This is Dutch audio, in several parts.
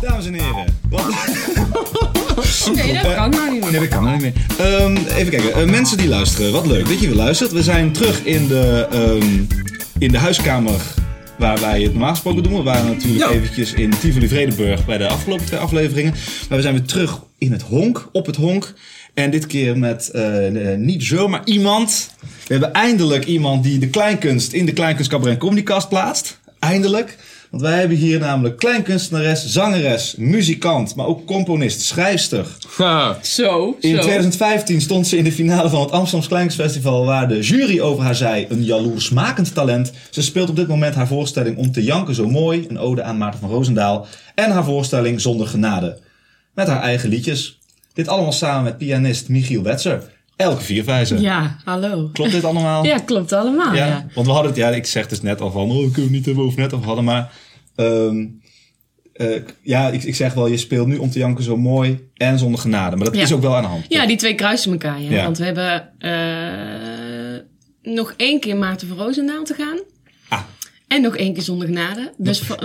Dames en heren. Wat? Nee, dat kan nou niet Nee, meer. dat kan er niet meer. Ehm, even kijken. Eh, mensen die luisteren, wat leuk dat je weer luistert. We zijn terug in de, ehm, in de huiskamer waar wij het normaal gesproken doen. We waren natuurlijk Ja. eventjes in Tivoli-Vredenburg bij de afgelopen twee afleveringen. Maar we zijn weer terug in het honk, op het honk. En dit keer met eh, eh, niet zomaar iemand. We hebben eindelijk iemand die de kleinkunst in de Kleinkunst Cabaret Communicast plaatst. Eindelijk. Want wij hebben hier namelijk kleinkunstenares, zangeres, muzikant, maar ook componist, schrijfster. Ha. Zo, In zo. 2015 stond ze in de finale van het Amsterdams Kleinkunstfestival, waar de jury over haar zei: een jaloersmakend talent. Ze speelt op dit moment haar voorstelling Om te janken zo mooi, een ode aan Maarten van Roosendaal, en haar voorstelling Zonder genade, met haar eigen liedjes. Dit allemaal samen met pianist Michiel Wetser. Elke vierwijzer. Ja, hallo. Klopt dit allemaal? Ja, klopt allemaal. Ja, Ja. want we hadden het, ja, ik zeg dus net al van, oh, ik kunnen het niet hebben over net al hadden, maar ehm, eh, ja, ik, ik zeg wel, je speelt nu om te janken zo mooi en zonder genade, maar dat Ja. is ook wel aan de hand. Ja, die twee kruisen elkaar. Ja. Ja. Want we hebben eh, nog één keer Maarten van Roosendaal te gaan. Ah. En nog één keer zonder genade. Dus va-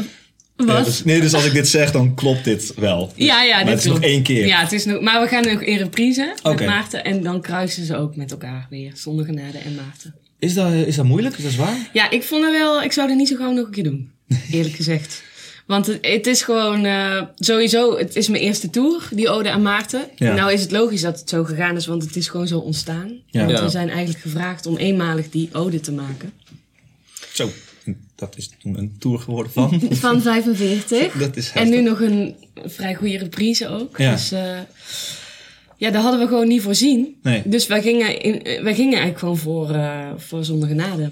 Ja, wat? dus- nee, dus als ik dit zeg, dan klopt dit wel. Ja, ja, maar dit het is nog klopt. één keer. Ja, het is nog, maar we gaan nog in reprise Oké. met Maarten. En dan kruisen ze ook met elkaar weer. Zonder genade en Maarten. Is, dat, is dat moeilijk? Is dat zwaar? Ja, ik vond het wel, ik zou dat niet zo gauw nog een keer doen. Eerlijk gezegd. Want het, het is gewoon, eh, sowieso, het is mijn eerste tour, die Ode aan Maarten. Ja. Nou is het logisch dat het zo gegaan is, want het is gewoon zo ontstaan. Ja. Want Ja. we zijn eigenlijk gevraagd om eenmalig die Ode te maken. Zo, dat is toen een tour geworden van. Van 45. Dat is en nu nog een vrij goede reprise ook. Ja. Dus eh, ja, dat hadden we gewoon niet voorzien. Nee. Dus wij gingen, in, eh, wij gingen eigenlijk gewoon voor, eh, voor Zonder Genade.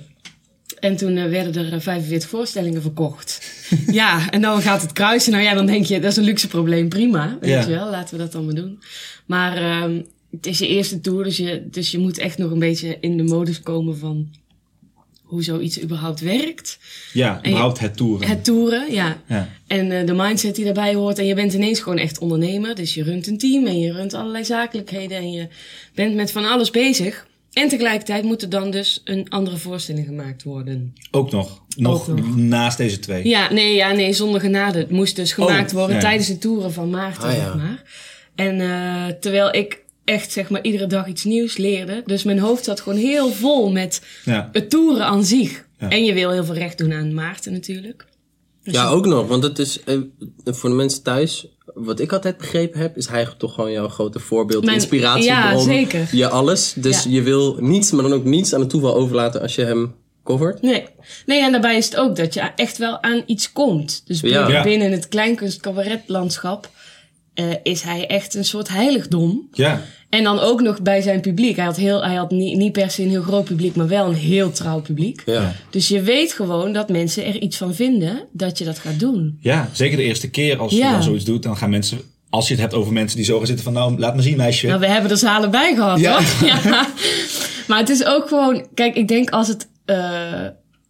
En toen eh, werden er eh, 45 voorstellingen verkocht. ja, en dan gaat het kruisen. Nou ja, dan denk je, dat is een luxe probleem. Prima, weet Ja. je wel. Laten we dat dan maar doen. Maar ehm, het is je eerste tour, dus je, dus je moet echt nog een beetje in de modus komen van hoe zoiets überhaupt werkt. Ja, überhaupt het toeren. Het toeren, ja. Ja. En eh, de mindset die daarbij hoort. En je bent ineens gewoon echt ondernemer. Dus je runt een team en je runt allerlei zakelijkheden. En je bent met van alles bezig. En tegelijkertijd moet er dan dus een andere voorstelling gemaakt worden. Ook nog. Nog Ook nog. naast deze twee. Ja, nee, ja, nee, zonder genade. Het moest dus gemaakt Oh, worden ja. tijdens de toeren van Maarten, Ah, ja. zeg maar. En eh, terwijl ik echt, zeg maar, iedere dag iets nieuws leerde. Dus mijn hoofd zat gewoon heel vol met Ja. het toeren aan zich. Ja. En je wil heel veel recht doen aan Maarten natuurlijk. Ja, ook nog, want het is eh, voor de mensen thuis. Wat ik altijd begrepen heb, is hij toch gewoon jouw grote voorbeeld, Mijn- inspiratiebron. ja, zeker. Je alles. Dus Ja. je wil niets, maar dan ook niets aan het toeval overlaten als je hem covert. Nee. nee, en daarbij is het ook dat je echt wel aan iets komt. Dus binnen, Ja. binnen het kleinkunst-cabaretlandschap eh, is hij echt een soort heiligdom. Ja. En dan ook nog bij zijn publiek. Hij had, heel, hij had niet, niet per se een heel groot publiek, maar wel een heel trouw publiek. Ja. Dus je weet gewoon dat mensen er iets van vinden dat je dat gaat doen. Ja, zeker de eerste keer als je Ja. dan zoiets doet, dan gaan mensen, als je het hebt over mensen die zo gaan zitten van, nou, laat me zien meisje. Nou, we hebben er zalen bij gehad, Ja. hoor. Ja. Maar het is ook gewoon... Kijk, ik denk als het, eh,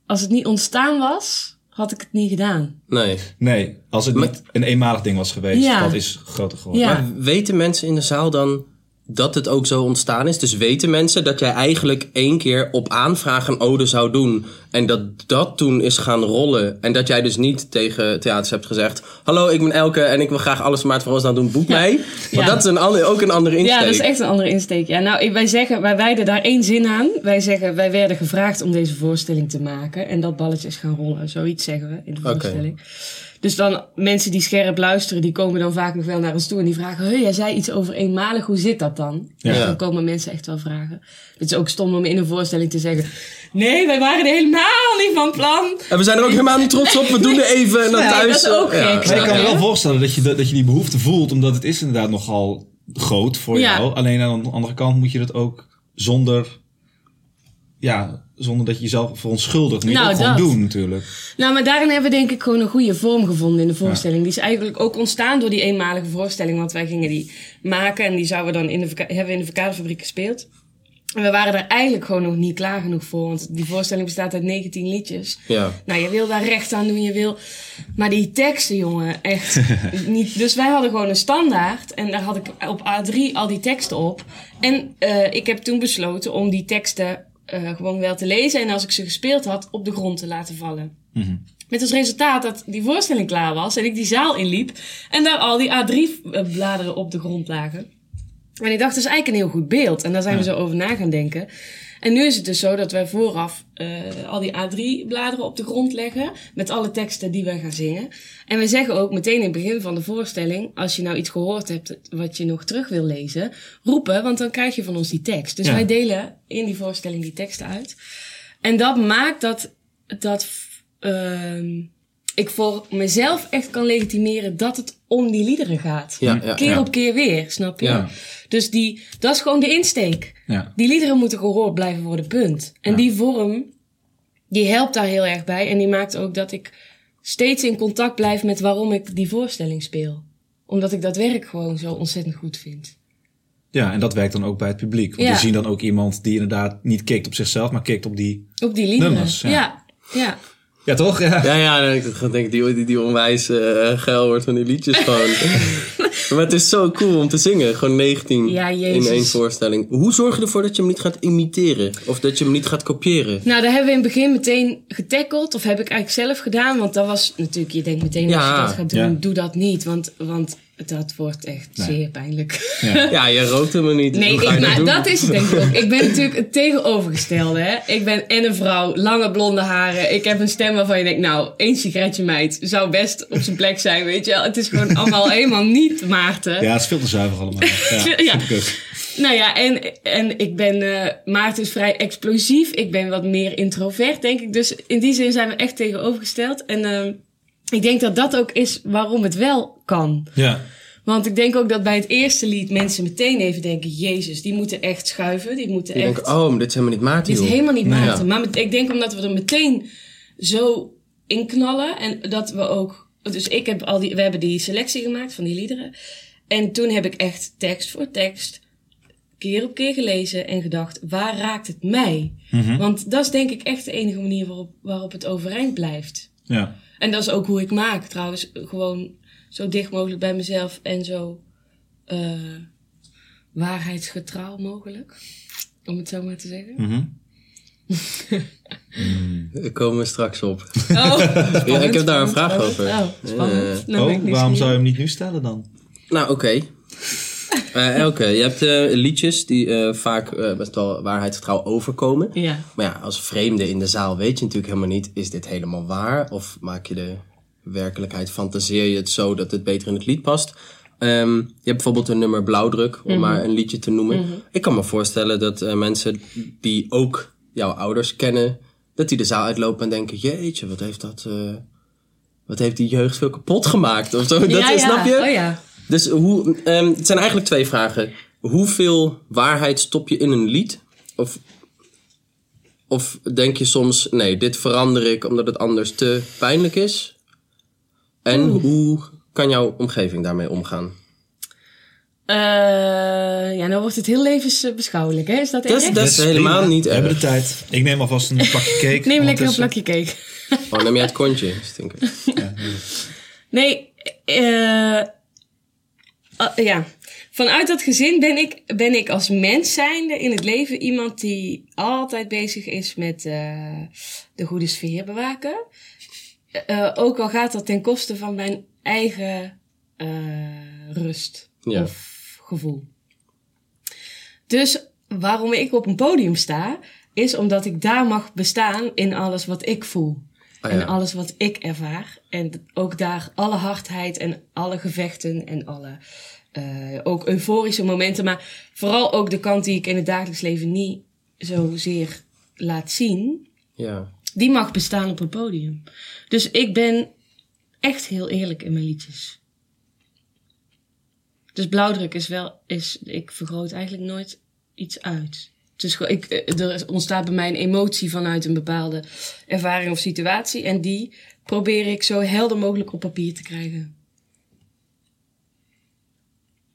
als het niet ontstaan was, had ik het niet gedaan. Nee. nee, als het niet een eenmalig ding was geweest, Ja. dat is groter geworden. Ja. Maar weten mensen in de zaal dan dat het ook zo ontstaan is? Dus weten mensen dat jij eigenlijk één keer op aanvraag een ode zou doen... en dat dat toen is gaan rollen... en dat jij dus niet tegen theaters hebt gezegd... hallo, ik ben Elke en ik wil graag alles van Maarten van Roosdaal doen, boek mij. Maar Ja. dat is een ander, ook een andere insteek. Ja, dat is echt een andere insteek. Ja, nou, ik- wij, zeggen, wij wijden daar één zin aan. Wij zeggen, wij werden gevraagd om deze voorstelling te maken. En dat balletje is gaan rollen. Zoiets zeggen we in de Oké. voorstelling. Dus dan mensen die scherp luisteren, die komen dan vaak nog wel naar ons toe. En die vragen, hey, jij zei iets over eenmalig. Hoe zit dat dan? Ja. Dus dan komen mensen echt wel vragen. Het is ook stom om in een voorstelling te zeggen... Nee, wij waren er helemaal niet van plan. En we zijn er ook helemaal niet trots op. We doen er even en dan Nee, thuis. dat is ook ja. gek. Maar ik kan me wel Ja. voorstellen dat je, dat, dat je die behoefte voelt, omdat het is inderdaad nogal groot voor Ja. jou. Alleen aan de andere kant moet je dat ook zonder, ja, zonder dat je jezelf verontschuldigt. Moet je Nou, ook gewoon dat. doen natuurlijk. Nou, maar daarin hebben we denk ik gewoon een goede vorm gevonden in de voorstelling. Die is eigenlijk ook ontstaan door die eenmalige voorstelling. Want wij gingen die maken en die zouden we dan in de, verka- hebben we in de verkadefabriek gespeeld. En we waren daar eigenlijk gewoon nog niet klaar genoeg voor. Want die voorstelling bestaat uit 19 liedjes. Ja. Nou, je wil daar recht aan doen, je wil... Maar die teksten, jongen, echt niet... Dus wij hadden gewoon een standaard. En daar had ik op A3 al die teksten op. En eh, ik heb toen besloten om die teksten eh, gewoon wel te lezen. En als ik ze gespeeld had, op de grond te laten vallen. Met als resultaat dat die voorstelling klaar was en ik die zaal inliep en daar al die A3-bladeren op de grond lagen. En ik dacht, dat is eigenlijk een heel goed beeld. En daar zijn we zo over na gaan denken. En nu is het dus zo dat wij vooraf eh, al die A3-bladeren op de grond leggen. Met alle teksten die wij gaan zingen. En we zeggen ook meteen in het begin van de voorstelling. Als je nou iets gehoord hebt wat je nog terug wil lezen. Roepen, want dan krijg je van ons die tekst. Dus Ja. wij delen in die voorstelling die teksten uit. En dat maakt dat, dat ehm, ik voor mezelf echt kan legitimeren dat het om die liederen gaat. Ja, ja, keer ja. op keer weer, snap je? Ja. Dus die, dat is gewoon de insteek. Ja. Die liederen moeten gehoord blijven worden, punt. En die vorm, die helpt daar heel erg bij. En die maakt ook dat ik steeds in contact blijf met waarom ik die voorstelling speel. Omdat ik dat werk gewoon zo ontzettend goed vind. Ja, en dat werkt dan ook bij het publiek. Want Ja. we zien dan ook iemand die inderdaad niet kikt op zichzelf, maar kikt op die... Op die liederen. Nummers, ja. ja. ja. Ja, toch? Ja. Ja, ja, dan denk ik gewoon, denk, die, die, die onwijs eh, geil wordt van die liedjes gewoon. maar het is zo cool om te zingen. Gewoon 19 Ja, in Jezus. één voorstelling. Hoe zorg je ervoor dat je hem niet gaat imiteren? Of dat je hem niet gaat kopiëren? Nou, daar hebben we in het begin meteen getackeld. Of heb ik eigenlijk zelf gedaan. Want dat was natuurlijk, je denkt meteen als Ja, je dat gaat doen, ja. doe dat niet. Want, want dat wordt echt zeer pijnlijk. Ja, je rookt hem niet. Nee, Hoe ga ik- je dat maar doen? dat is het denk ik ook. Ik ben natuurlijk het tegenovergestelde. Hè? Ik ben en een vrouw, lange blonde haren. Ik heb een stem waarvan je denkt, nou, één sigaretje meid zou best op zijn plek zijn, weet je wel. Het is gewoon allemaal helemaal niet Maarten. Ja, het is veel te zuiver allemaal. Ja, Ja. vind ik ook. Nou ja, en, en ik ben, eh, Maarten is vrij explosief. Ik ben wat meer introvert, denk ik. Dus in die zin zijn we echt tegenovergesteld. En ehm, ik denk dat dat ook is waarom het wel kan. ja. Want ik denk ook dat bij het eerste lied mensen meteen even denken... Jezus, die moeten echt schuiven. Die moeten Je echt... denkt, oh, maar dit is helemaal niet Maarten, dit is joh. helemaal niet Nee. Maarten. Ja. Maar met- ik denk omdat we er meteen zo in knallen... en dat we ook... Dus ik heb al die... We hebben die selectie gemaakt van die liederen. En toen heb ik echt tekst voor tekst... keer op keer gelezen en gedacht... waar raakt het mij? Mhm. Want dat is denk ik echt de enige manier waarop, waarop het overeind blijft. ja. En dat is ook hoe ik maak trouwens. Gewoon zo dicht mogelijk bij mezelf en zo eh, waarheidsgetrouw mogelijk. Om het zo maar te zeggen. Daar komen we straks op. Oh, Ja, ik heb daar een spannend, vraag spannend. over. Oh, spannend. Nou, ben ik Oh, niet waarom zo- zou je hem niet nu stellen dan? Nou, oké. Eh, Elke, je hebt eh, liedjes die eh, vaak eh, best wel waarheidsgetrouw overkomen. Ja. Maar ja, als vreemde in de zaal weet je natuurlijk helemaal niet... is dit helemaal waar? Of maak je de werkelijkheid, fantaseer je het zo dat het beter in het lied past? Ehm, je hebt bijvoorbeeld een nummer Blauwdruk, om Mhm. maar een liedje te noemen. Ik kan me voorstellen dat eh, mensen die ook jouw ouders kennen... dat die de zaal uitlopen en denken... jeetje, wat heeft dat... eh, wat heeft die jeugd veel kapot gemaakt of zo? Dat, Ja, ja. Snap je? Oh ja. Dus hoe, ehm, het zijn eigenlijk twee vragen. Hoeveel waarheid stop je in een lied? Of, of denk je soms, nee, dit verander ik omdat het anders te pijnlijk is? En hoe kan jouw omgeving daarmee omgaan? Eh, ja, nou wordt het heel levensbeschouwelijk, hè? Is dat Dat is- erg? dat is helemaal prima. niet We hebben de erg. tijd. Ik neem alvast een plakje cake. Neem lekker een ondertussen. plakje cake. Oh, neem jij het kontje, stinker. Nee, eh eh, ja. Vanuit dat gezin ben ik, ben ik als mens zijnde in het leven iemand die altijd bezig is met eh, de goede sfeer bewaken. Eh, ook al gaat dat ten koste van mijn eigen eh, rust Ja. of gevoel. Dus waarom ik op een podium sta, is omdat ik daar mag bestaan in alles wat ik voel. Ah, ja. En alles wat ik ervaar. En ook daar alle hardheid en alle gevechten en alle eh, ook euforische momenten. Maar vooral ook de kant die ik in het dagelijks leven niet zozeer laat zien Ja. die mag bestaan op een podium. Dus ik ben echt heel eerlijk in mijn liedjes. Dus blauwdruk is wel, is, ik vergroot eigenlijk nooit iets uit. Het is gewoon- ik, eh, er is- ontstaat bij mij een emotie vanuit een bepaalde ervaring of situatie. En die probeer ik zo helder mogelijk op papier te krijgen.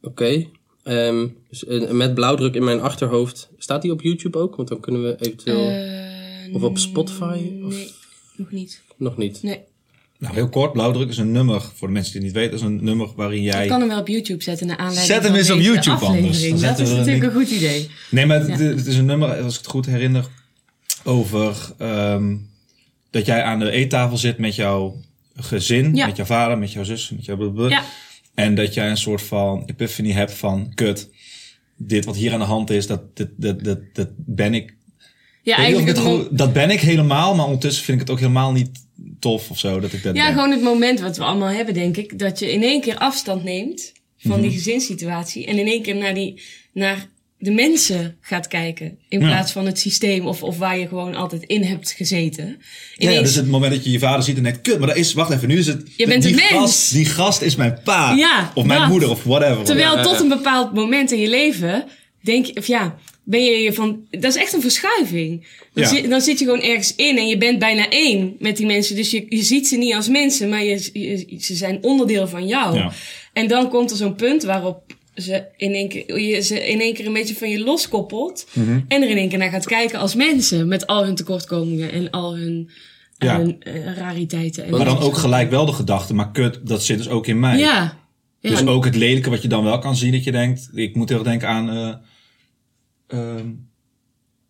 Oké. Ehm, dus, eh, met blauwdruk in mijn achterhoofd. Staat die op YouTube ook? Want dan kunnen we eventueel... Eh, of op Spotify? Of nee, nog niet. nog niet? Nee, Nou, heel kort. Blauwdruk is een nummer, voor de mensen die het niet weten, is een nummer waarin jij... ik kan hem wel op YouTube zetten naar aanleiding Zet hem van eens op deze YouTube anders. Dan aflevering. Dat zetten is we er een natuurlijk een goed idee. Nee, maar het, het is een nummer, als ik het goed herinner, over ehm, dat jij aan de eettafel zit met jouw gezin, Ja. met jouw vader, met jouw zus, met jouw blablabla. Ja. En dat jij een soort van epiphany hebt van, kut, dit wat hier aan de hand is, dat, dit, dat, dat, dat ben ik. Ik weet niet of ik Ja, eigenlijk het het gewoon- mo- dat ben ik helemaal, maar ondertussen vind ik het ook helemaal niet tof of zo dat ik dat ja, ben. gewoon het moment wat we allemaal hebben, denk ik. Dat je in één keer afstand neemt van die Mhm. gezinssituatie. En in één keer naar, die, naar de mensen gaat kijken. In Ja. plaats van het systeem of, of waar je gewoon altijd in hebt gezeten. Ja, ja, Ineens- dus het moment dat je je vader ziet en denkt, kut, maar dat is, wacht even, nu is het... Je bent die een mens. Gast, die gast is mijn pa. Ja, of mijn dat. moeder, of whatever. Terwijl Ja. tot een bepaald moment in je leven denk je, of ja, ben je je van, dat is echt een verschuiving. Dan, Ja. zit, dan zit je gewoon ergens in en je bent bijna één met die mensen. Dus je, je ziet ze niet als mensen, maar je, je- ze zijn onderdeel van jou. Ja. En dan komt er zo'n punt waarop ze in één keer, je ze in één keer een beetje van je loskoppelt. Mhm. En er in één keer naar gaat kijken als mensen. Met al hun tekortkomingen en al hun, Ja. hun, eh, rariteiten. En Maar dan ook gelijk wel de gedachte, maar kut, dat zit dus ook in mij. Ja. ja. Dus ook het lelijke wat je dan wel kan zien, dat je denkt, ik moet heel erg denken aan... eh, ehm,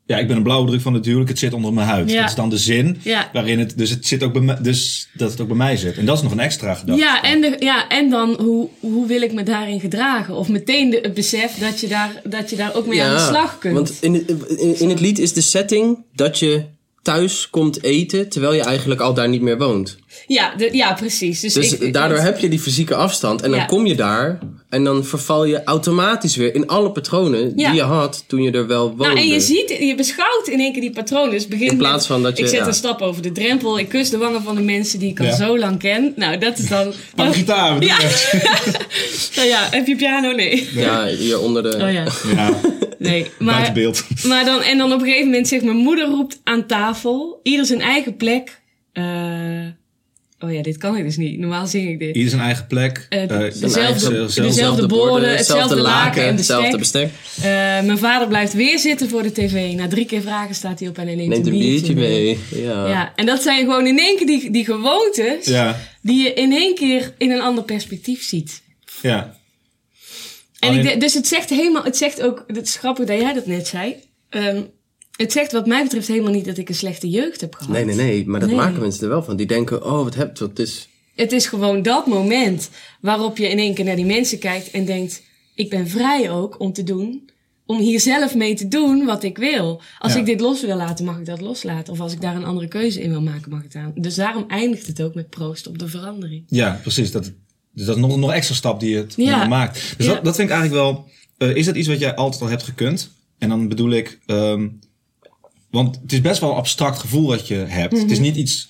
ja, ik ben een blauwdruk van het huwelijk, het zit onder mijn huid. Ja. Dat is dan de zin Ja. waarin het, dus het zit ook bij mij, dus dat het ook bij mij zit. En dat is nog een extra gedachte. Ja, en, de, ja, en dan hoe, hoe wil ik me daarin gedragen? Of meteen de, het besef dat je, daar, dat je daar ook mee aan de slag kunt. Want in, in, in het lied is de setting dat je thuis komt eten terwijl je eigenlijk al daar niet meer woont. ja, de- ja, precies. Dus, Dus ik- ik, daardoor heb je die fysieke afstand en dan Ja. kom je daar en dan verval je automatisch weer in alle patronen Ja. die je had toen je er wel woonde. Nou, en je ziet, je beschouwt in één keer die patronen. Dus begin In plaats van dat je- Ik zet ja. een stap over de drempel. Ik kus de wangen van de mensen die ik al Ja. zo lang ken. Nou, dat is dan... Pak de gitaar. we doen Ja. het. nou ja, heb je piano? Nee. Ja, hier onder de... Oh ja, ja nee. buiten Maar, beeld. Maar dan, en dan op een gegeven moment zegt mijn moeder roept aan tafel, ieder zijn eigen plek. Eh, oh ja, dit kan ik dus niet. Normaal zing ik dit. Ieder zijn eigen plek. Eh, eh, dezelfde- eigen- dezelfde- Hetzelfde borden, hetzelfde laken en hetzelfde bestek. bestek. Eh, mijn vader blijft weer zitten voor de tv. Na drie keer vragen staat hij op en hij neemt, Neemt een biertje mee. Ja. Ja, en dat zijn gewoon in één keer die, die gewoontes Ja, die je in één keer in een ander perspectief ziet. ja. En Alleen- ik de- dus het zegt helemaal, het zegt ook, het is grappig dat jij dat net zei. Ehm, het zegt wat mij betreft helemaal niet dat ik een slechte jeugd heb gehad. Nee, nee, nee. Maar dat Nee. maken mensen er wel van. Die denken, oh, wat heb wat is... Het is gewoon dat moment waarop je in één keer naar die mensen kijkt en denkt: ik ben vrij ook om te doen, om hier zelf mee te doen wat ik wil. Als Ja. ik dit los wil laten, mag ik dat loslaten. Of als ik daar een andere keuze in wil maken, mag ik daar. Dus daarom eindigt het ook met proost op de verandering. Ja, precies. Dat, dus dat is nog, nog een extra stap die je het Ja. nog maakt. Dus Ja. dat, dat vind ik eigenlijk wel... eh, is dat iets wat jij altijd al hebt gekund? En dan bedoel ik... ehm, want het is best wel een abstract gevoel dat je hebt. Het Mhm. is niet iets...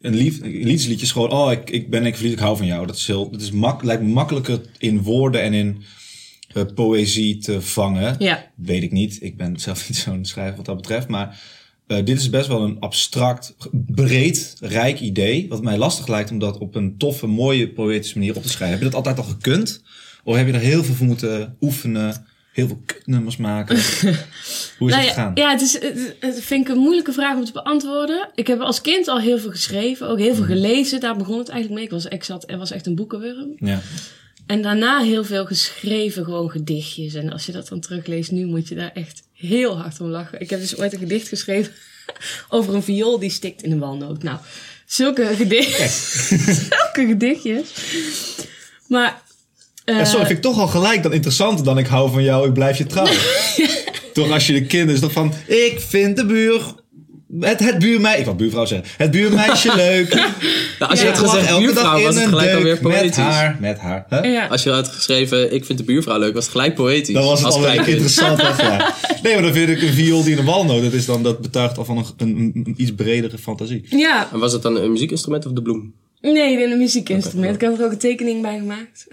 Een lief, een liefdesliedje is gewoon... Oh, ik, ik ben ik verliefd, ik hou van jou. Dat is heel, dat is mak, lijkt me makkelijker in woorden en in eh, poëzie te vangen. Ja. Weet ik niet. Ik ben zelf niet zo'n schrijver wat dat betreft. Maar eh, dit is best wel een abstract, ge- breed, rijk idee. Wat mij lastig lijkt om dat op een toffe, mooie, poëtische manier op te schrijven. Heb je dat altijd al gekund? Of heb je er heel veel voor moeten oefenen? Heel veel kutnummers maken? Hoe is Nou het ja, gegaan? Ja, het, is, het, het vind ik een moeilijke vraag om te beantwoorden. Ik heb als kind al heel veel geschreven, ook heel Mhm. veel gelezen. Daar begon het eigenlijk mee. Ik was, ik zat, er was echt een boekenwurm. Ja. En daarna heel veel geschreven, gewoon gedichtjes. En als je dat dan terugleest nu, moet je daar echt heel hard om lachen. Ik heb dus ooit een gedicht geschreven over een viool die stikt in een walnoot. Nou, zulke gedichtjes. zulke gedichtjes. Maar... eh, Ja, sorry, vind ik toch al gelijk dan interessanter dan ik hou van jou, ik blijf je trouwen. toch als je de kind is, dan van ik vind de buur, het, het buurmeisje, ik wil buurvrouw zeggen, het buurmeisje leuk. Nou, als je Ja. had Ik lag gezegd buurvrouw, was het gelijk deuk alweer met poëtisch. haar, met haar. Huh? eh, ja. Als je had geschreven, ik vind de buurvrouw leuk, was het gelijk poëtisch. Dan was het als alweer kleinkind. interessant. echt waar. Nee, maar dan vind ik een viool die in een walnoot, dat, is dan, dat betuigt al van een, een, een- een iets bredere fantasie. ja, En was het dan een muziekinstrument of de bloem? nee, ik ben een muziekinstrument. Ik heb er ook een tekening bij gemaakt.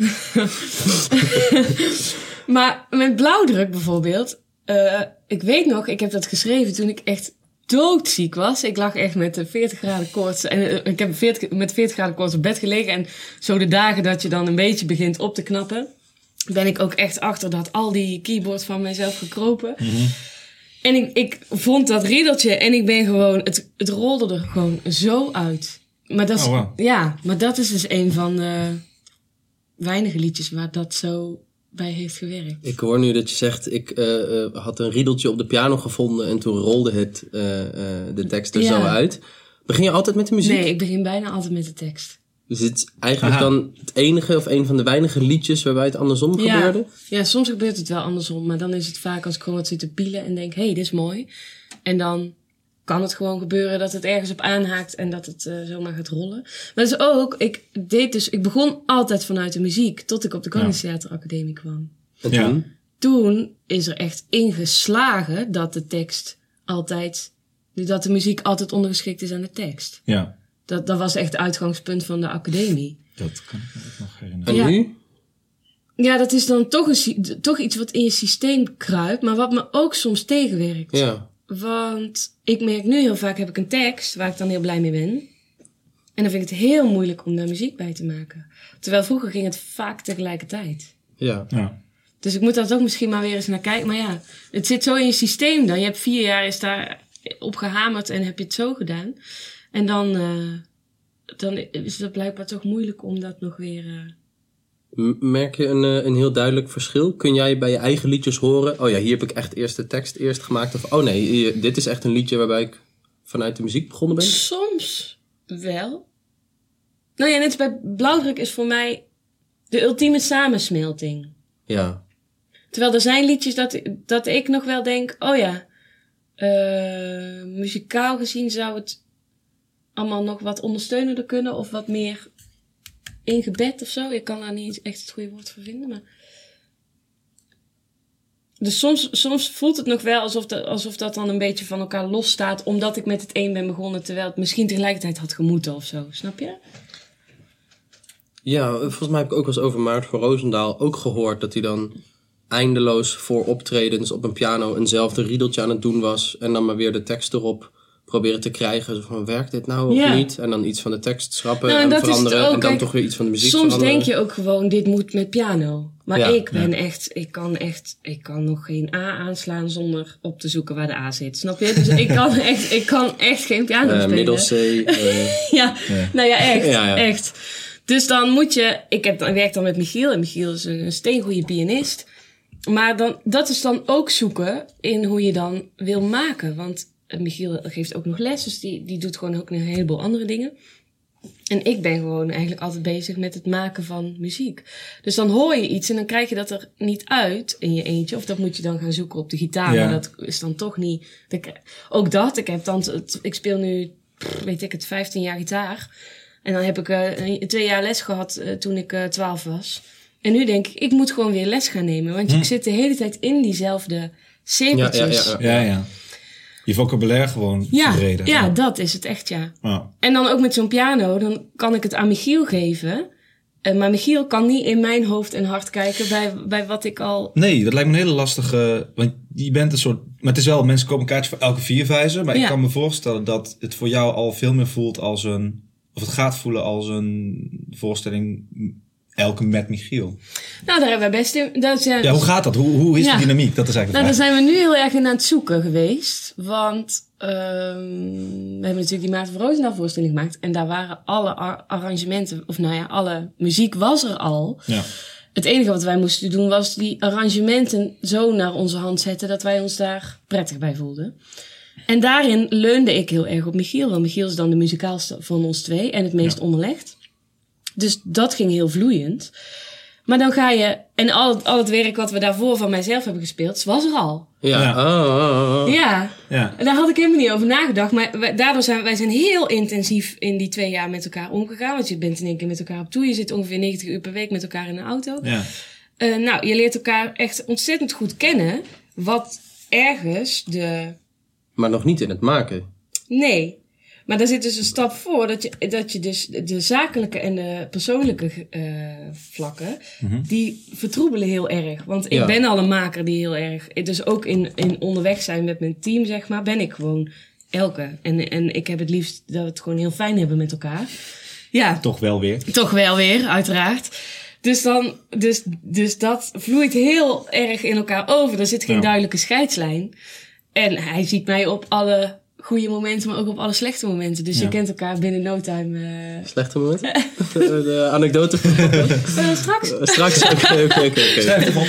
maar met blauwdruk bijvoorbeeld. eh, ik weet nog, ik heb dat geschreven toen ik echt doodziek was. Ik lag echt met eh, 40 graden koorts. En eh, ik heb 40, met 40 graden koorts op bed gelegen. En zo de dagen dat je dan een beetje begint op te knappen. Ben ik ook echt achter dat al die keyboard van mezelf gekropen. Mhm. En ik, ik vond dat riddeltje en ik ben gewoon, het, het rolde er gewoon zo uit. Maar dat is, Oh, wauw. ja, maar dat is dus een van de weinige liedjes waar dat zo bij heeft gewerkt. Ik hoor nu dat je zegt, ik eh, eh, had een riedeltje op de piano gevonden en toen rolde het, eh, eh, de tekst er Ja. zo uit. Begin je altijd met de muziek? Nee, ik begin bijna altijd met de tekst. Dus het is eigenlijk Aha. dan het enige of een van de weinige liedjes waarbij het andersom gebeurde? Ja, ja, soms gebeurt het wel andersom. Maar dan is het vaak als ik gewoon wat zit te pielen en denk, hé, hey, dit is mooi. En dan kan het gewoon gebeuren dat het ergens op aanhaakt en dat het eh, zomaar gaat rollen. Maar dus ook, ik deed dus, ik begon altijd vanuit de muziek tot ik op de Koningstheateracademie kwam. En Ja. toen? Toen is er echt ingeslagen dat de tekst altijd, dat de muziek altijd ondergeschikt is aan de tekst. Ja. Dat, dat was echt het uitgangspunt van de academie. Dat kan ik me ook nog En herinneren. Ja. nu? Ja, dat is dan toch, een, sy- toch iets wat in je systeem kruipt, maar wat me ook soms tegenwerkt. Ja. Want ik merk nu heel vaak heb ik een tekst waar ik dan heel blij mee ben. En dan vind ik het heel moeilijk om daar muziek bij te maken. Terwijl vroeger ging het vaak tegelijkertijd. Ja. Ja. Dus ik moet daar toch misschien maar weer eens naar kijken. Maar ja, het zit zo in je systeem dan. Je hebt vier jaar is daar op gehamerd en heb je het zo gedaan. En dan, eh dan is het blijkbaar toch moeilijk om dat nog weer... eh, M- Merk je een, eh, een heel duidelijk verschil? Kun jij bij je eigen liedjes horen? Oh ja, hier heb ik echt eerst de tekst eerst gemaakt. Of oh nee, hier- dit is echt een liedje waarbij ik vanuit de muziek begonnen ben. Soms wel. Nou ja, net als bij blauwdruk is voor mij de ultieme samensmelting. Ja. Terwijl er zijn liedjes dat, dat ik nog wel denk, oh ja, eh, muzikaal gezien zou het allemaal nog wat ondersteunender kunnen of wat meer ingebed of zo. Ik kan daar niet echt het goede woord voor vinden, maar... Dus soms, soms voelt het nog wel alsof, dat alsof dat dan een beetje van elkaar losstaat, omdat ik met het een ben begonnen, terwijl het misschien tegelijkertijd had gemoeten of zo. Snap je? Ja, eh, volgens mij heb ik ook wel eens over Maart van Roosendaal ook gehoord dat hij dan eindeloos voor optredens op een piano eenzelfde riedeltje aan het doen was. En dan maar weer de tekst erop proberen te krijgen. Zo van, werkt dit nou of Ja. niet? En dan iets van de tekst schrappen Nou, en en, dat is het veranderen. ook. en dan Kijk, toch weer iets van de muziek Soms veranderen. denk je ook gewoon, dit moet met piano. Maar Ja, ik ben echt, ik kan echt, ik kan nog geen A aanslaan zonder op te zoeken waar de A zit. Snap je? Dus ik kan echt, ik kan echt geen piano Eh, spelen. middel C. eh, Ja, nou ja, echt, Ja, ja. echt. Dus dan moet je, ik heb, dan- werk dan met Michiel en Michiel is een, een steengoede pianist. Maar dan, dat is dan ook zoeken in hoe je dan wil maken. Want eh, Michiel geeft ook nog les, dus die, die doet gewoon ook een heleboel andere dingen. En ik ben gewoon eigenlijk altijd bezig met het maken van muziek. Dus dan hoor je iets en dan krijg je dat er niet uit in je eentje. Of dat moet je dan gaan zoeken op de gitaar. Ja. Maar dat is dan toch niet. dat ik- Ook dat, ik, heb dan, het- ik speel nu, pff, weet ik het, 15 jaar gitaar. En dan heb ik eh, een- twee jaar les gehad eh, toen ik eh 12 was. En nu denk ik, ik moet gewoon weer les gaan nemen. Want ik zit de hele tijd in diezelfde cirkeltjes. Hm. Ja, ja, ja, ja. Ja, ja. Je vocabulaire gewoon verbreden. ja, dat is het echt, ja. Ja. En dan ook met zo'n piano, dan kan ik het aan Michiel geven. Eh, maar Michiel kan niet in mijn hoofd en hart kijken bij, bij wat ik al. Nee, dat lijkt me een hele lastige. Want je bent een soort. Maar het is wel, mensen kopen een kaartje voor elke vierwijzer. Maar Ja. ik kan me voorstellen dat het voor jou al veel meer voelt als een. Of het gaat voelen als een voorstelling. Elke met Michiel. Nou, daar hebben we best in. Daar zijn, Ja, hoe gaat dat? Hoe, hoe is Ja. de dynamiek? Dat is eigenlijk nou, de daar vraag. zijn we nu heel erg in aan het zoeken geweest. Want ehm, we hebben natuurlijk die Maarten van Roosendaal voorstelling gemaakt. En daar waren alle ar- arrangementen, of nou ja, alle muziek was er al. Ja. Het enige wat wij moesten doen was die arrangementen zo naar onze hand zetten dat wij ons daar prettig bij voelden. En daarin leunde ik heel erg op Michiel, want Michiel is dan de muzikaalste van ons twee en het meest onderlegd. Dus dat ging heel vloeiend. Maar dan ga je, en al het, al het werk wat we daarvoor van mijzelf hebben gespeeld, was er al. ja. Ja. Oh, oh, oh. Ja, Ja. daar had ik helemaal niet over nagedacht. Maar wij- daardoor zijn wij zijn heel intensief in die twee jaar met elkaar omgegaan. Want je bent in één keer met elkaar op toe. Je zit ongeveer 90 uur per week met elkaar in een auto. Ja. Eh, nou, je leert elkaar echt ontzettend goed kennen. Wat ergens de. Maar nog niet in het maken. Nee. Maar daar zit dus een stap voor dat je, dat je dus de zakelijke en de persoonlijke eh, vlakken, die vertroebelen heel erg. Want ik Ja. ben al een maker die heel erg, dus ook in, in onderweg zijn met mijn team, zeg maar, ben ik gewoon elke. En, en ik heb het liefst dat we het gewoon heel fijn hebben met elkaar. Ja, Toch wel weer. toch wel weer, uiteraard. Dus, dan, dus, dus dat vloeit heel erg in elkaar over. Er zit geen Ja. duidelijke scheidslijn. En hij ziet mij op alle goede momenten, maar ook op alle slechte momenten. Dus je Ja. kent elkaar binnen no time. eh, Slechte moment? Eh, de anekdote. eh, straks, Straks. Oké, oké, oké, oké. Slechte, Oh, mom-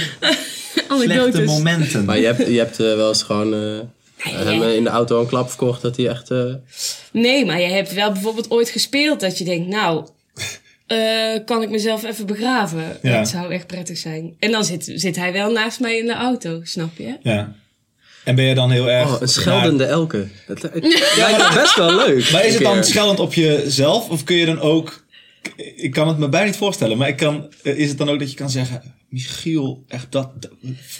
slechte anekdotes. momenten. Maar je hebt, je hebt eh, wel eens gewoon eh, hem eh, in de auto een klap verkocht dat hij echt... eh, Nee, maar je hebt wel bijvoorbeeld ooit gespeeld dat je denkt, nou, eh, kan ik mezelf even begraven? Ja. Dat zou echt prettig zijn. En dan zit, zit hij wel naast mij in de auto, snap je? Ja. En ben je dan heel erg... Oh, een scheldende elke. Dat lijkt lijkt me best wel leuk. Maar is het Een keer. dan scheldend op jezelf? Of kun je dan ook... Ik kan het me bijna niet voorstellen. Maar ik kan, eh, is het dan ook dat je kan zeggen... Michiel, echt dat...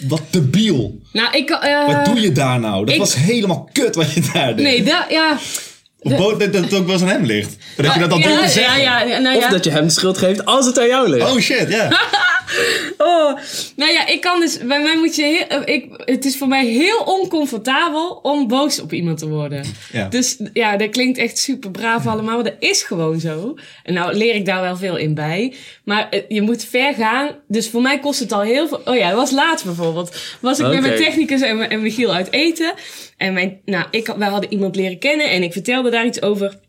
Wat debiel. Nou, ik kan... eh, Wat doe je daar nou? Dat ik- was helemaal kut wat je daar deed. Nee, dat, ja. Of bo- dat dat het ook wel eens aan hem ligt. Dat je dat dan Ah, ja, durft te ja, zeggen. ja, ja, nou Of ja. dat je hem de schuld geeft als het aan jou ligt. Oh shit, ja. Oh, nou ja, ik kan dus. Bij mij moet je. Heel, eh, ik, het is voor mij heel oncomfortabel om boos op iemand te worden. Ja. Dus ja, dat klinkt echt super braaf allemaal, maar dat is gewoon zo. En nou leer ik daar wel veel in bij. Maar eh, je moet ver gaan. Dus voor mij kost het al heel veel. Oh ja, dat was laatst bijvoorbeeld. Was ik met Oké. mijn technicus en, mijn- en Michiel uit eten. En mijn, nou, ik, had- wij hadden iemand leren kennen en ik vertelde daar iets over.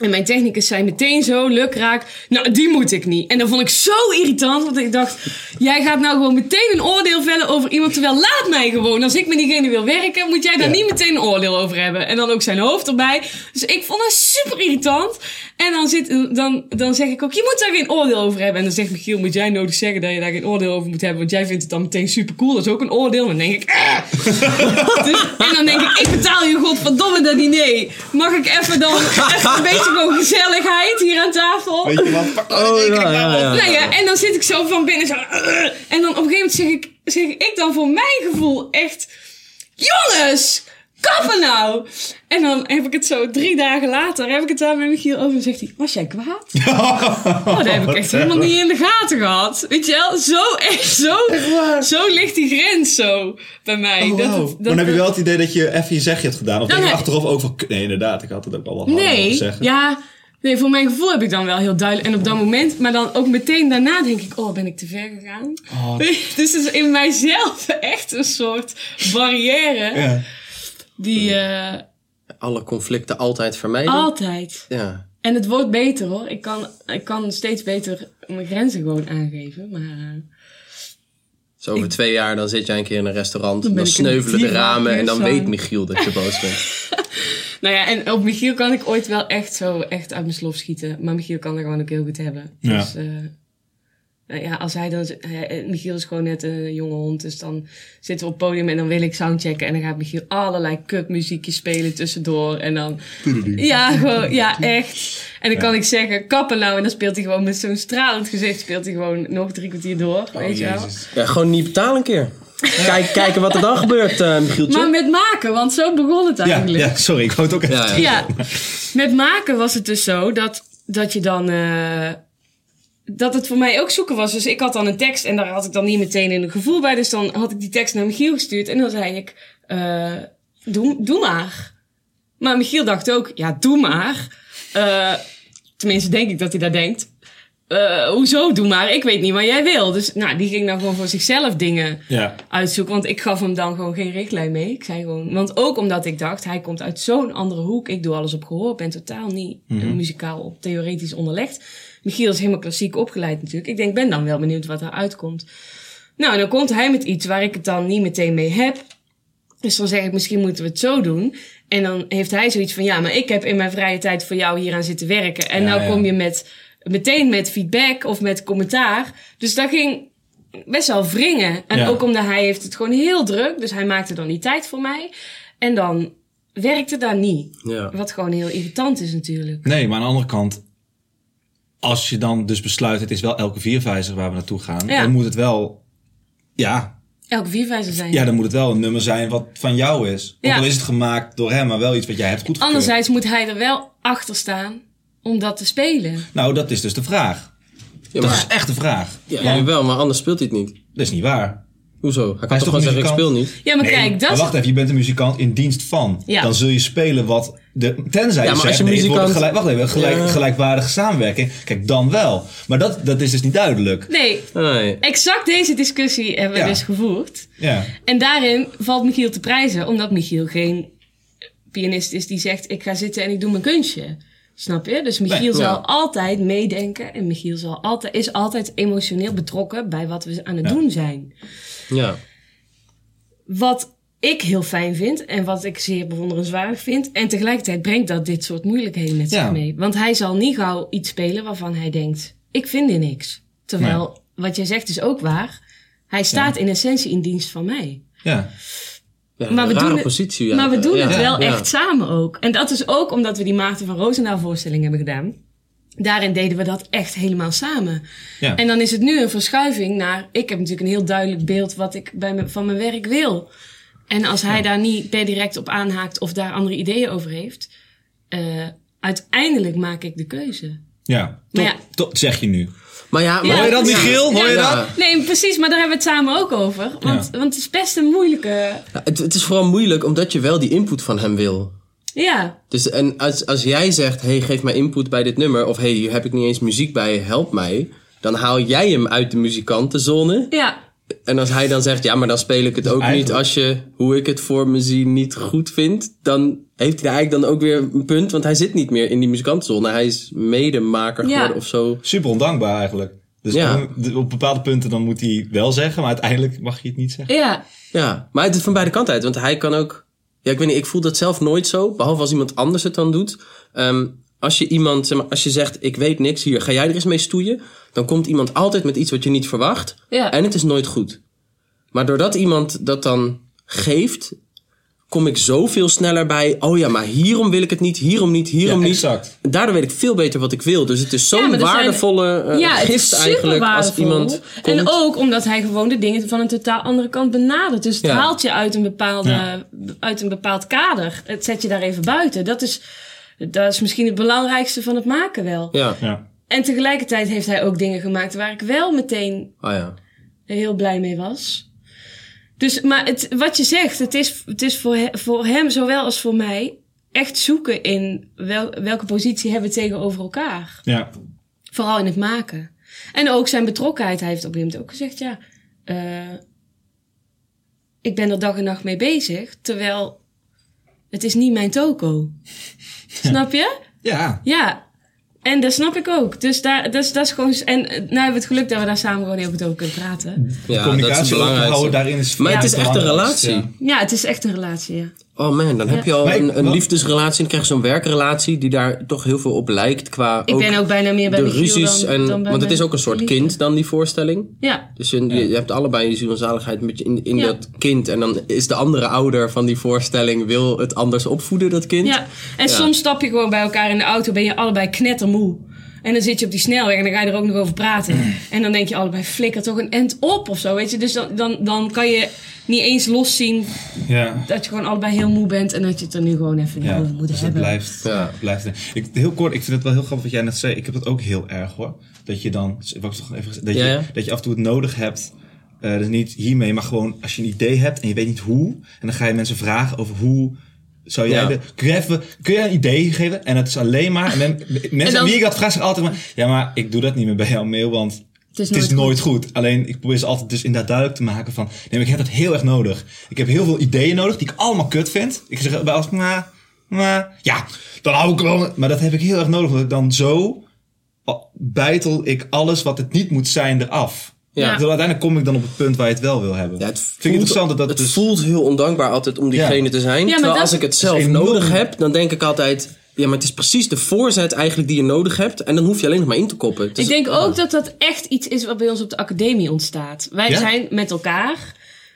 En mijn technicus zei meteen zo, lukraak, nou die moet ik niet. En dat vond ik zo irritant, want ik dacht, jij gaat nou gewoon meteen een oordeel vellen over iemand, terwijl laat mij gewoon. Als ik met diegene wil werken, moet jij daar Ja. niet meteen een oordeel over hebben. En dan ook zijn hoofd erbij. Dus ik vond dat super irritant. En dan, zit, dan, dan zeg ik ook, je moet daar geen oordeel over hebben. En dan zegt Michiel, moet jij nodig zeggen dat je daar geen oordeel over moet hebben, want jij vindt het dan meteen super cool. Dat is ook een oordeel. En dan denk ik, eh, dus- en dan denk ik, ik betaal je godverdomme dat diner. Mag ik even dan even een beetje gewoon gezelligheid hier aan tafel? Weet je wat? Pak dat in Oh, één keer ja, ja, nou op. ja. Nou ja, en dan zit ik zo van binnen zo... "Ugh." en dan op een gegeven moment zeg ik, zeg ik dan voor mijn gevoel echt... Jongens, kappen nou! En dan heb ik het zo drie dagen later, heb ik het daar met Michiel over en zegt hij... Was jij kwaad? Oh, dat heb ik echt helemaal niet in de gaten gehad. Weet je wel, zo echt, zo, zo ligt die grens zo bij mij. Oh, Dat het- wauw. dat Oh, maar dan heb het- je wel het idee dat je even je zegje hebt gedaan. Of Nou, dat je nee. achteraf ook van... Nee, inderdaad, ik had het ook al wel Nee, gezegd. ja. Nee, voor mijn gevoel heb ik dan wel heel duidelijk. En op dat moment, maar dan ook meteen daarna denk ik, oh, ben ik te ver gegaan? Oh. Dus het is in mijzelf echt een soort barrière Ja. die eh, Alle conflicten altijd vermijden. Oh. altijd. Ja. En het wordt beter hoor. Ik kan, ik kan steeds beter mijn grenzen gewoon aangeven. Maar eh, Dus over twee jaar dan zit jij een keer in een restaurant. Dan Dan, ben ik een sneuvelen de diva, ramen en dan Kirsten. weet Michiel dat je boos bent. nou ja, en op Michiel kan ik ooit wel echt zo echt uit mijn slof schieten. Maar Michiel kan dat gewoon ook heel goed hebben. Ja. Dus eh, nou ja, als hij dan... z- hij- eh, Michiel is gewoon net een jonge hond. Dus dan zitten we op het podium en dan wil ik soundchecken. En dan gaat Michiel allerlei kutmuziekjes spelen tussendoor. En dan... Ja, gewoon, ja, echt. En dan kan ik zeggen, kappen nou. En dan speelt hij gewoon met zo'n stralend gezicht... speelt hij gewoon nog drie kwartier Oh, door. weet je wel. Ja, gewoon niet betalen een keer. Kijk, kijken wat er dan gebeurt, eh Michieltje. Maar met maken, want zo begon het Ja, eigenlijk. ja, sorry, ik wou het ook even... Ja, ja. ja. Met maken was het dus zo dat, dat je dan. eh, dat het voor mij ook zoeken was. Dus ik had dan een tekst en daar had ik dan niet meteen een gevoel bij. Dus dan had ik die tekst naar Michiel gestuurd en dan zei ik: eh, doe, doe maar. Maar Michiel dacht ook: ja, doe maar. Eh, tenminste, denk ik dat hij dat denkt. Eh, hoezo, doe maar. Ik weet niet wat jij wil. Dus nou, die ging dan gewoon voor zichzelf dingen Ja. uitzoeken. Want ik gaf hem dan gewoon geen richtlijn mee. Ik zei gewoon, want ook omdat ik dacht, hij komt uit zo'n andere hoek. Ik doe alles op gehoor, ben totaal niet Mhm. eh, muzikaal of theoretisch onderlegd. Michiel is helemaal klassiek opgeleid natuurlijk. Ik denk, ben dan wel benieuwd wat er uitkomt. Nou, en dan komt hij met iets waar ik het dan niet meteen mee heb. Dus dan zeg ik, misschien moeten we het zo doen. En dan heeft hij zoiets van, ja, maar ik heb in mijn vrije tijd voor jou hier aan zitten werken. En Ja, nou ja. kom je met, meteen met feedback of met commentaar. Dus dat ging best wel wringen. En Ja. ook omdat hij heeft het gewoon heel druk. Dus hij maakte dan die tijd voor mij. En dan werkte dat niet. Ja. Wat gewoon heel irritant is natuurlijk. Nee, maar aan de andere kant... Als je dan dus besluit, het is wel elke viervijzer waar we naartoe gaan... Ja. dan moet het wel... Ja, Elke vierwijzer zijn. ja, dan moet het wel een nummer zijn wat van jou is. Ja. Ook al is het gemaakt door hem, maar wel iets wat jij hebt goedgekeurd. Anderzijds moet hij er wel achter staan om dat te spelen. Nou, dat is dus de vraag. Ja, Dat maar, is echt de vraag. ja, wel, maar anders speelt hij het niet. Dat is niet waar. Hoezo? Hij kan is toch toch gewoon zeggen, ik muzikant? speel niet? Ja, maar kijk, dat Maar is wacht even, je bent een muzikant in dienst van. Ja. Dan zul je spelen wat... De, tenzij Ja, je maar zegt, als je nee, het wordt een muzikant- gelijk, wacht even, een gelijk, Ja. gelijkwaardige samenwerking. Kijk, dan wel. Maar dat, dat is dus niet duidelijk. Nee, Nee. exact deze discussie hebben we Ja. dus gevoerd. Ja. En daarin valt Michiel te prijzen, omdat Michiel geen pianist is die zegt: Ik ga zitten en ik doe mijn kunstje. Snap je? Dus Michiel Nee, zal ja. altijd meedenken en Michiel zal altijd, is altijd emotioneel betrokken bij wat we aan het Ja. doen zijn. Ja. Wat ik heel fijn vind en wat ik zeer bewonderenswaardig vind. En tegelijkertijd brengt dat dit soort moeilijkheden met Ja. zich mee. Want hij zal niet gauw iets spelen waarvan hij denkt, ik vind hier niks. Terwijl, wat jij zegt is ook waar. Hij staat in essentie in dienst van mij. Ja. Maar Ja, een we Eh, rare doen het- positie. ja. maar we doen Ja, het wel ja. echt samen ook. En dat is ook omdat we die Maarten van Roosendaal voorstelling hebben gedaan. Daarin deden we dat echt helemaal samen. Ja. En dan is het nu een verschuiving naar... Ik heb natuurlijk een heel duidelijk beeld wat ik bij me, van mijn werk wil. En als hij daar niet per direct op aanhaakt of daar andere ideeën over heeft... eh, uiteindelijk maak ik de keuze. ja. Top, Maar ja. top, zeg je nu. Maar ja, maar- Ja. Hoor je dat, Ja. Michiel? Hoor je Ja. dat? Nee, precies, maar daar hebben we het samen ook over. Want, want het is best een moeilijke... Ja, het, het is vooral moeilijk omdat je wel die input van hem wil. Ja, Dus en als, als jij zegt, hey, geef mij input bij dit nummer. Of hey, hier heb ik niet eens muziek bij, help mij. Dan haal jij hem uit de muzikantenzone. ja. En als hij dan zegt, ja, maar dan speel ik het ook niet eigenlijk- als je hoe ik het voor me zie niet goed vindt. Dan heeft hij daar eigenlijk dan ook weer een punt. Want hij zit niet meer in die muzikantenzone. Hij is medemaker Ja. geworden of zo. Super ondankbaar eigenlijk. Dus Ja. op- op bepaalde punten dan moet hij wel zeggen, maar uiteindelijk mag je het niet zeggen. ja. Ja, maar het is van beide kanten uit. Want hij kan ook... Ja, ik weet niet, ik voel dat zelf nooit zo. Behalve als iemand anders het dan doet. Ehm, als je iemand, zeg maar, als je zegt, ik weet niks hier, ga jij er eens mee stoeien? Dan komt iemand altijd met iets wat je niet verwacht. Ja. En het is nooit goed. Maar doordat iemand dat dan geeft, kom ik zoveel sneller bij... Oh ja, maar hierom wil ik het niet, hierom niet, hierom Ja, niet. exact. Daardoor weet ik veel beter wat ik wil. Dus het is Ja, zo'n maar er zijn- waardevolle eh, ja, het is gift super eigenlijk als waardevol. iemand komt. En ook omdat hij gewoon de dingen van een totaal andere kant benadert. Dus het Ja. haalt je uit een, bepaalde, Ja. uit een bepaald kader. Het zet je daar even buiten. Dat is, dat is misschien het belangrijkste van het maken wel. Ja, Ja. En tegelijkertijd heeft hij ook dingen gemaakt waar ik wel meteen oh ja. heel blij mee was. Dus, maar het, wat je zegt, het is, het is voor, he- voor hem zowel als voor mij echt zoeken in wel, welke positie hebben we tegenover elkaar. Ja. Vooral in het maken. En ook zijn betrokkenheid. Hij heeft op een gegeven moment ook gezegd, ja, eh, ik ben er dag en nacht mee bezig. Terwijl het is niet mijn toko. snap je? Ja. Ja. En dat snap ik ook. Dus daar, dus, dat is gewoon... En eh, nou hebben we het geluk dat we daar samen gewoon heel goed over kunnen praten. ja dat is Communicatie het belangrijkste. openhouden daarin is Maar het is echt een belangrijkste, relatie. ja. Ja, het is echt een relatie, ja. Oh man, dan heb je al Maar ik- een, een wel- liefdesrelatie en dan krijg je zo'n werkrelatie die daar toch heel veel op lijkt qua Ik ben ook bijna meer bij de Michiel ruzies. dan- en, dan bij want het mijn is ook een soort liefde. kind dan, die voorstelling. Ja. Dus je, je hebt allebei je ziel en zaligheid met je in, in Ja. dat kind. En dan is de andere ouder van die voorstelling, wil het anders opvoeden, dat kind. Ja, en soms stap je gewoon bij elkaar in de auto, ben je allebei knettermoe. En dan zit je op die snelweg en dan ga je er ook nog over praten. En dan denk je allebei, flikker toch een end op of zo, weet je. Dus dan, dan, dan kan je niet eens loszien Ja. dat je gewoon allebei heel moe bent. En dat je het er nu gewoon even niet Ja, over moet dus het hebben. blijft. Ja. het blijft ik, heel kort, ik vind het wel heel grappig wat jij net zei. Ik heb dat ook heel erg hoor. Dat je dan, wat ik toch even gezegd- dat, Ja, je, ja. dat je af en toe het nodig hebt. eh, dus niet hiermee, maar gewoon als je een idee hebt en je weet niet hoe. En dan ga je mensen vragen over hoe zou jij. Ja. De, kun, je even, kun jij een idee geven? En het is alleen maar. En men- mensen dan- aan wie ik dat vraag zeggen altijd maar. Ja, maar ik doe dat niet meer bij jouw mail, want Het is het is nooit nooit goed. Alleen ik probeer ze altijd dus inderdaad duidelijk te maken van... Nee, maar ik heb dat heel erg nodig. Ik heb heel veel ideeën nodig die ik allemaal kut vind. Ik zeg bij als... Maar, maar, ja, dan hou ik wel... Maar dat heb ik heel erg nodig. Omdat ik dan zo al- bijtel ik alles wat het niet moet zijn eraf. Ja. Ja. uiteindelijk kom ik dan op het punt waar je het wel wil hebben. Ja, het Vind voelt, ik interessant dat dat het dus... voelt heel ondankbaar altijd om diegene Ja. te zijn. maar Terwijl dat- als ik het zelf is enorm. nodig heb, dan denk ik altijd... Ja, maar het is precies de voorzet eigenlijk die je nodig hebt. En dan hoef je alleen nog maar in te koppen. Het is- ik denk ook dat dat echt iets is wat bij ons op de academie ontstaat. Wij Ja? zijn met elkaar.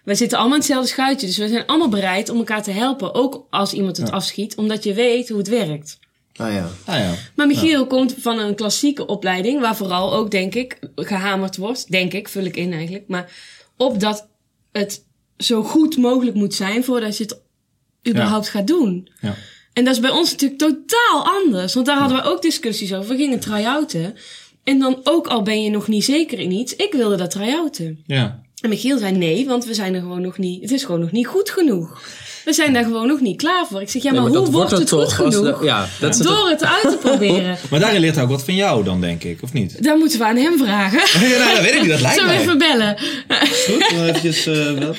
Wij zitten allemaal in hetzelfde schuitje. Dus we zijn allemaal bereid om elkaar te helpen. Ook als iemand het afschiet. Omdat je weet hoe het werkt. Ah ja. Ah, ja. Maar Michiel komt van een klassieke opleiding, waar vooral ook, denk ik, gehamerd wordt. Denk ik, vul ik in eigenlijk. Maar op dat het zo goed mogelijk moet zijn voordat je het überhaupt gaat doen. Ja. En dat is bij ons natuurlijk totaal anders. Want daar hadden we ook discussies over. We gingen try-outen. En dan ook al ben je nog niet zeker in iets. Ik wilde dat try-outen. Ja. En Michiel zei nee, want we zijn er gewoon nog niet. Het is gewoon nog niet goed genoeg. We zijn daar gewoon nog niet klaar voor. Ik zeg, ja, maar, Nee, hoe wordt het, goed als de- genoeg? ja, dat is het ook. Door het uit te proberen. Maar daarin leert hij ook wat van jou dan, denk ik. Of niet? Daar moeten we aan hem vragen. Ja, nou, dat weet ik niet. Dat lijkt Zullen mij. we even bellen? Goed, dan eventjes... eh, wel.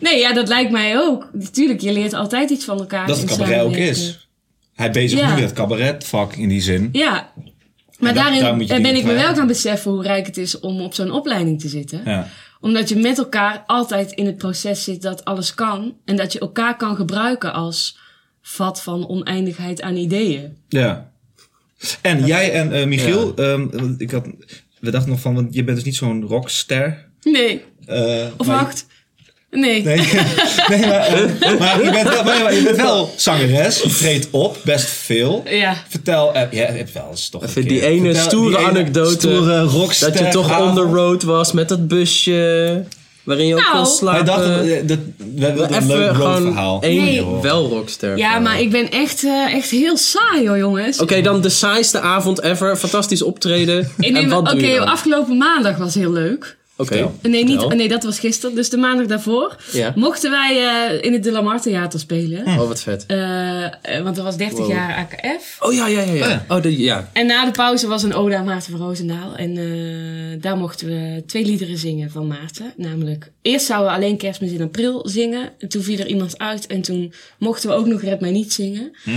Nee, ja, dat lijkt mij ook. Natuurlijk, je leert altijd iets van elkaar. dat het in cabaret ook samenwerking. is. Hij bezig Ja. nu met het cabaretvak in die zin. Ja. Maar daar- daarin eh, daar moet je ben dingen ik me wel vragen. gaan beseffen hoe rijk het is om op zo'n opleiding te zitten. Ja. Omdat je met elkaar altijd in het proces zit dat alles kan. En dat je elkaar kan gebruiken als vat van oneindigheid aan ideeën. Ja. En jij en eh, Michiel, ehm, want ik had, we dachten nog van, want je bent dus niet zo'n rockster. Nee. Eh, Of maar- wacht. Nee. Nee, nee maar, eh, maar, je bent wel, maar je bent wel zangeres, je treedt op, best veel. Ja. Vertel, eh, ja, je hebt wel eens toch een Even die keer- ene vertel stoere anekdote Stoere rockster. Dat je toch on avond. the road was met dat busje. Waarin je ook Nou. kon Hij slapen. dacht, eh, dat, we wilden een Even leuk gewoon roadverhaal. één Nee. wel rockster. Ja, maar ik ben echt, eh, echt heel saai hoor, jongens. Oké, dan de saaiste avond ever. Fantastisch optreden. Ik neem- en wat Oké, doe je dan? afgelopen maandag was heel leuk. Oké. Vertel. Nee, niet, Vertel. nee, dat was gisteren. Dus de maandag daarvoor Ja. mochten wij eh, in het De La Mar Theater spelen. Oh, wat vet. Eh, eh, want er was 30 Wow. jaar AKF. Oh ja, ja, ja. Oh, ja. ja. Oh, de, ja. En na de pauze was een Oda aan Maarten van Roosendaal. En eh, daar mochten we twee liederen zingen van Maarten. Namelijk, eerst zouden we alleen Kerstmis in april zingen. En toen viel er iemand uit. En toen mochten we ook nog Red Mij Niet zingen. Hm.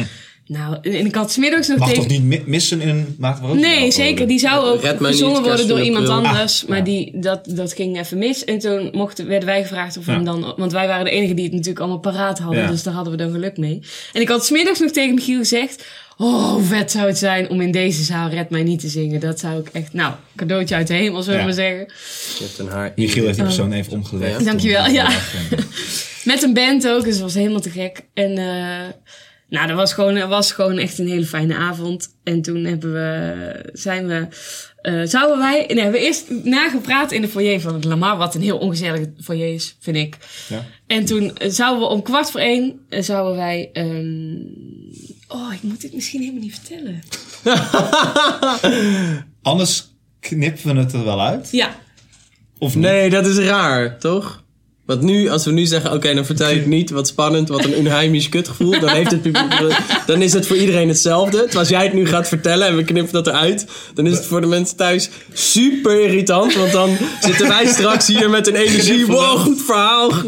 Nou, en ik had smiddags nog Mag tegen... toch niet mi- missen in een maat van rockverhaal Nee, worden? zeker. Die zou ook Red mij niet, gezongen worden Kerst door in iemand april. anders. Oh, Ah, maar ja. die, dat, dat ging even mis. En toen mochten, werden wij gevraagd of we Ja. hem dan... Want wij waren de enigen die het natuurlijk allemaal paraat hadden. Ja. Dus daar hadden we dan geluk mee. En ik had smiddags nog tegen Michiel gezegd... Oh, hoe vet zou het zijn om in deze zaal Red Mij Niet te zingen. Dat zou ik echt... Nou, cadeautje uit de hemel, Ja. zullen we maar zeggen. Je hebt een haar. Michiel heeft die persoon even omgelegd. Ja. Oh. Dankjewel, Toen- ja. Met een band ook, dus het was helemaal te gek. En eh, nou, dat was gewoon, dat was gewoon echt een hele fijne avond. En toen hebben we, zijn we, eh, zouden wij, nee, hebben we eerst nagepraat in de foyer van het Lamar, wat een heel ongezellige foyer is, vind ik. Ja. En toen eh, zouden we om kwart voor één, eh, zouden wij, ehm, oh, ik moet dit misschien helemaal niet vertellen. Anders knippen we het er wel uit. Ja, Of niet? Nee, dat is raar, toch? Want nu, als we nu zeggen, oké, dan vertel je het niet, wat spannend, wat een unheimisch kutgevoel, dan, heeft het publiek, dan is het voor iedereen hetzelfde. Terwijl als jij het nu gaat vertellen en we knippen dat eruit, dan is het voor de mensen thuis super irritant. Want dan zitten wij straks hier met een energie, Knippen. wow, goed verhaal, eh,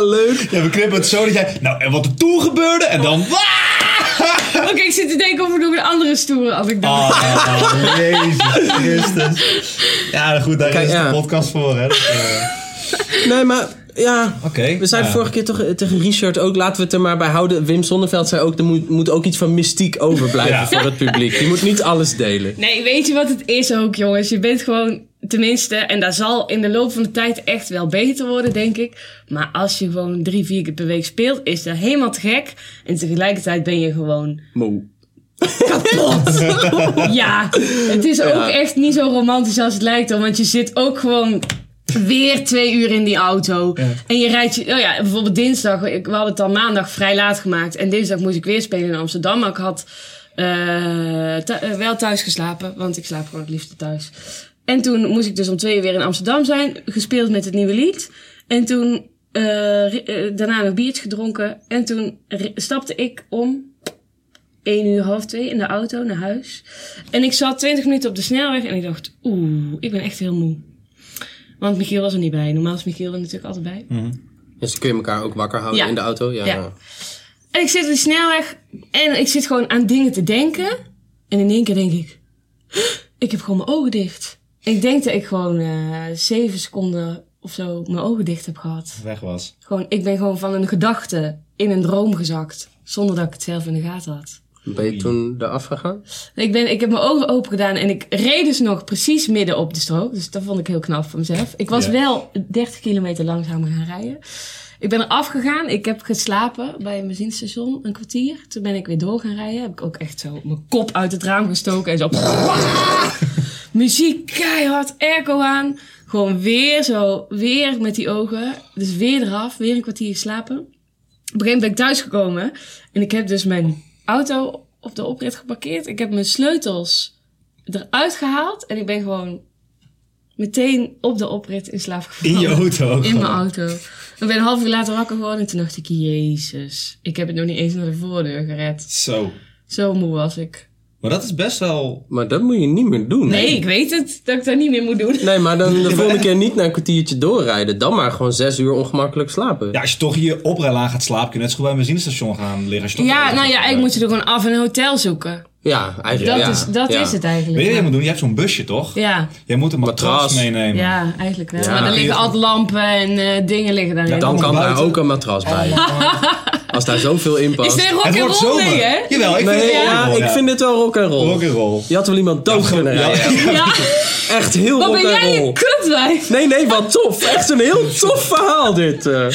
leuk. Ja, we knippen het zo dat jij... Nou, en wat er toen gebeurde en dan... Oh. oké, ik zit te denken of we nog een andere stoere anekdote. Oh, jezus Christus. Ja, goed, daar Kijk, is ja. de podcast voor, hè. Dat, eh, Nee, maar ja, Oké, we zeiden ja. vorige keer toch eh, tegen Richard ook, laten we het er maar bij houden. Wim Sonneveld zei ook, er moet, moet ook iets van mystiek overblijven Ja. voor het publiek. Je moet niet alles delen. Nee, weet je wat het is ook, jongens? Je bent gewoon, tenminste, en dat zal in de loop van de tijd echt wel beter worden, denk ik. Maar als je gewoon drie, vier keer per week speelt, is dat helemaal te gek. En tegelijkertijd ben je gewoon Moe. kapot. ja, het is ook echt niet zo romantisch als het lijkt, hoor, want je zit ook gewoon. Weer twee uur in die auto. En je rijdt. je- Oh ja, bijvoorbeeld dinsdag. Ik, we hadden het dan maandag vrij laat gemaakt. En dinsdag moest ik weer spelen in Amsterdam. Maar ik had eh, thu- eh, wel thuis geslapen. Want ik slaap gewoon het liefste thuis. En toen moest ik dus om twee uur weer in Amsterdam zijn. Gespeeld met het nieuwe lied. En toen. eh, ri- eh, daarna nog biertje gedronken. En toen ri- stapte ik om 1 uur, half twee in de auto naar huis. En ik zat 20 minuten op de snelweg en ik dacht, oeh, ik ben echt heel moe. Want Michiel was er niet bij. Normaal is Michiel er natuurlijk altijd bij. Dus dan kun je elkaar ook wakker houden Ja. Oh, in de auto? Ja. Ja. En ik zit op die snelweg en ik zit gewoon aan dingen te denken. En in één keer denk ik, ik heb gewoon mijn ogen dicht. Ik denk dat ik gewoon eh, zeven seconden of zo mijn ogen dicht heb gehad. weg was. Gewoon, ik ben gewoon van een gedachte in een droom gezakt. Zonder dat ik het zelf in de gaten had. Ben je toen eraf gegaan? Ik, ben, ik heb mijn ogen open gedaan en ik reed dus nog precies midden op de strook. Dus dat vond ik heel knap van mezelf. Ik was Ja. wel 30 kilometer langzamer gaan rijden. Ik ben eraf gegaan. Ik heb geslapen bij mijn zinstation een kwartier. Toen ben ik weer door gaan rijden. Heb ik ook echt zo mijn kop uit het raam gestoken en zo. Muziek keihard, airco aan. Gewoon weer zo, weer met die ogen. Dus weer eraf, weer een kwartier slapen. Op een gegeven moment ben ik thuisgekomen. En ik heb dus mijn auto op de oprit geparkeerd. Ik heb mijn sleutels eruit gehaald. En ik ben gewoon meteen op de oprit in slaap gevallen. In je auto ook In mijn gewoon. auto. Ik ben een half uur later wakker geworden. En toen dacht ik, jezus. Ik heb het nog niet eens naar de voordeur gered. Zo. Zo moe was ik. Maar dat is best wel... Maar dat moet je niet meer doen. Nee, ik weet het. Dat ik dat niet meer moet doen. Nee, maar dan de volgende keer niet naar een kwartiertje doorrijden. Dan maar gewoon zes uur ongemakkelijk slapen. Ja, als je toch hier oprijlaan gaat slapen, kun je net zo goed bij een benzinestation gaan liggen. Als je toch Ja, ergens nou ja, gaat ik moet je er gewoon af in een hotel zoeken. Ja, eigenlijk Dat, ja. is, dat Ja. is het Weet eigenlijk. je wat ja. je moet doen? Je hebt zo'n busje, toch? Ja. Jij moet een matras, Matras. meenemen. Ja, eigenlijk wel. Ja. Maar er liggen altijd lampen en eh, dingen liggen daarin. Dan Allemaal kan daar buiten. ook een matras bij. Als daar zoveel in Oh, is past. dit rock Het and wordt roll? zomer. Nee, hè? Jawel, ik vind Nee, het Ja. ja, rock'n'roll, ik vind dit wel rock and roll. Rock'n'roll. Je had wel iemand dood kunnen Ja, rijden. Ja. Echt heel Wat rock ben and jij roll. een kutwijf? Nee, nee, wat tof. Echt een heel tof verhaal dit. eh.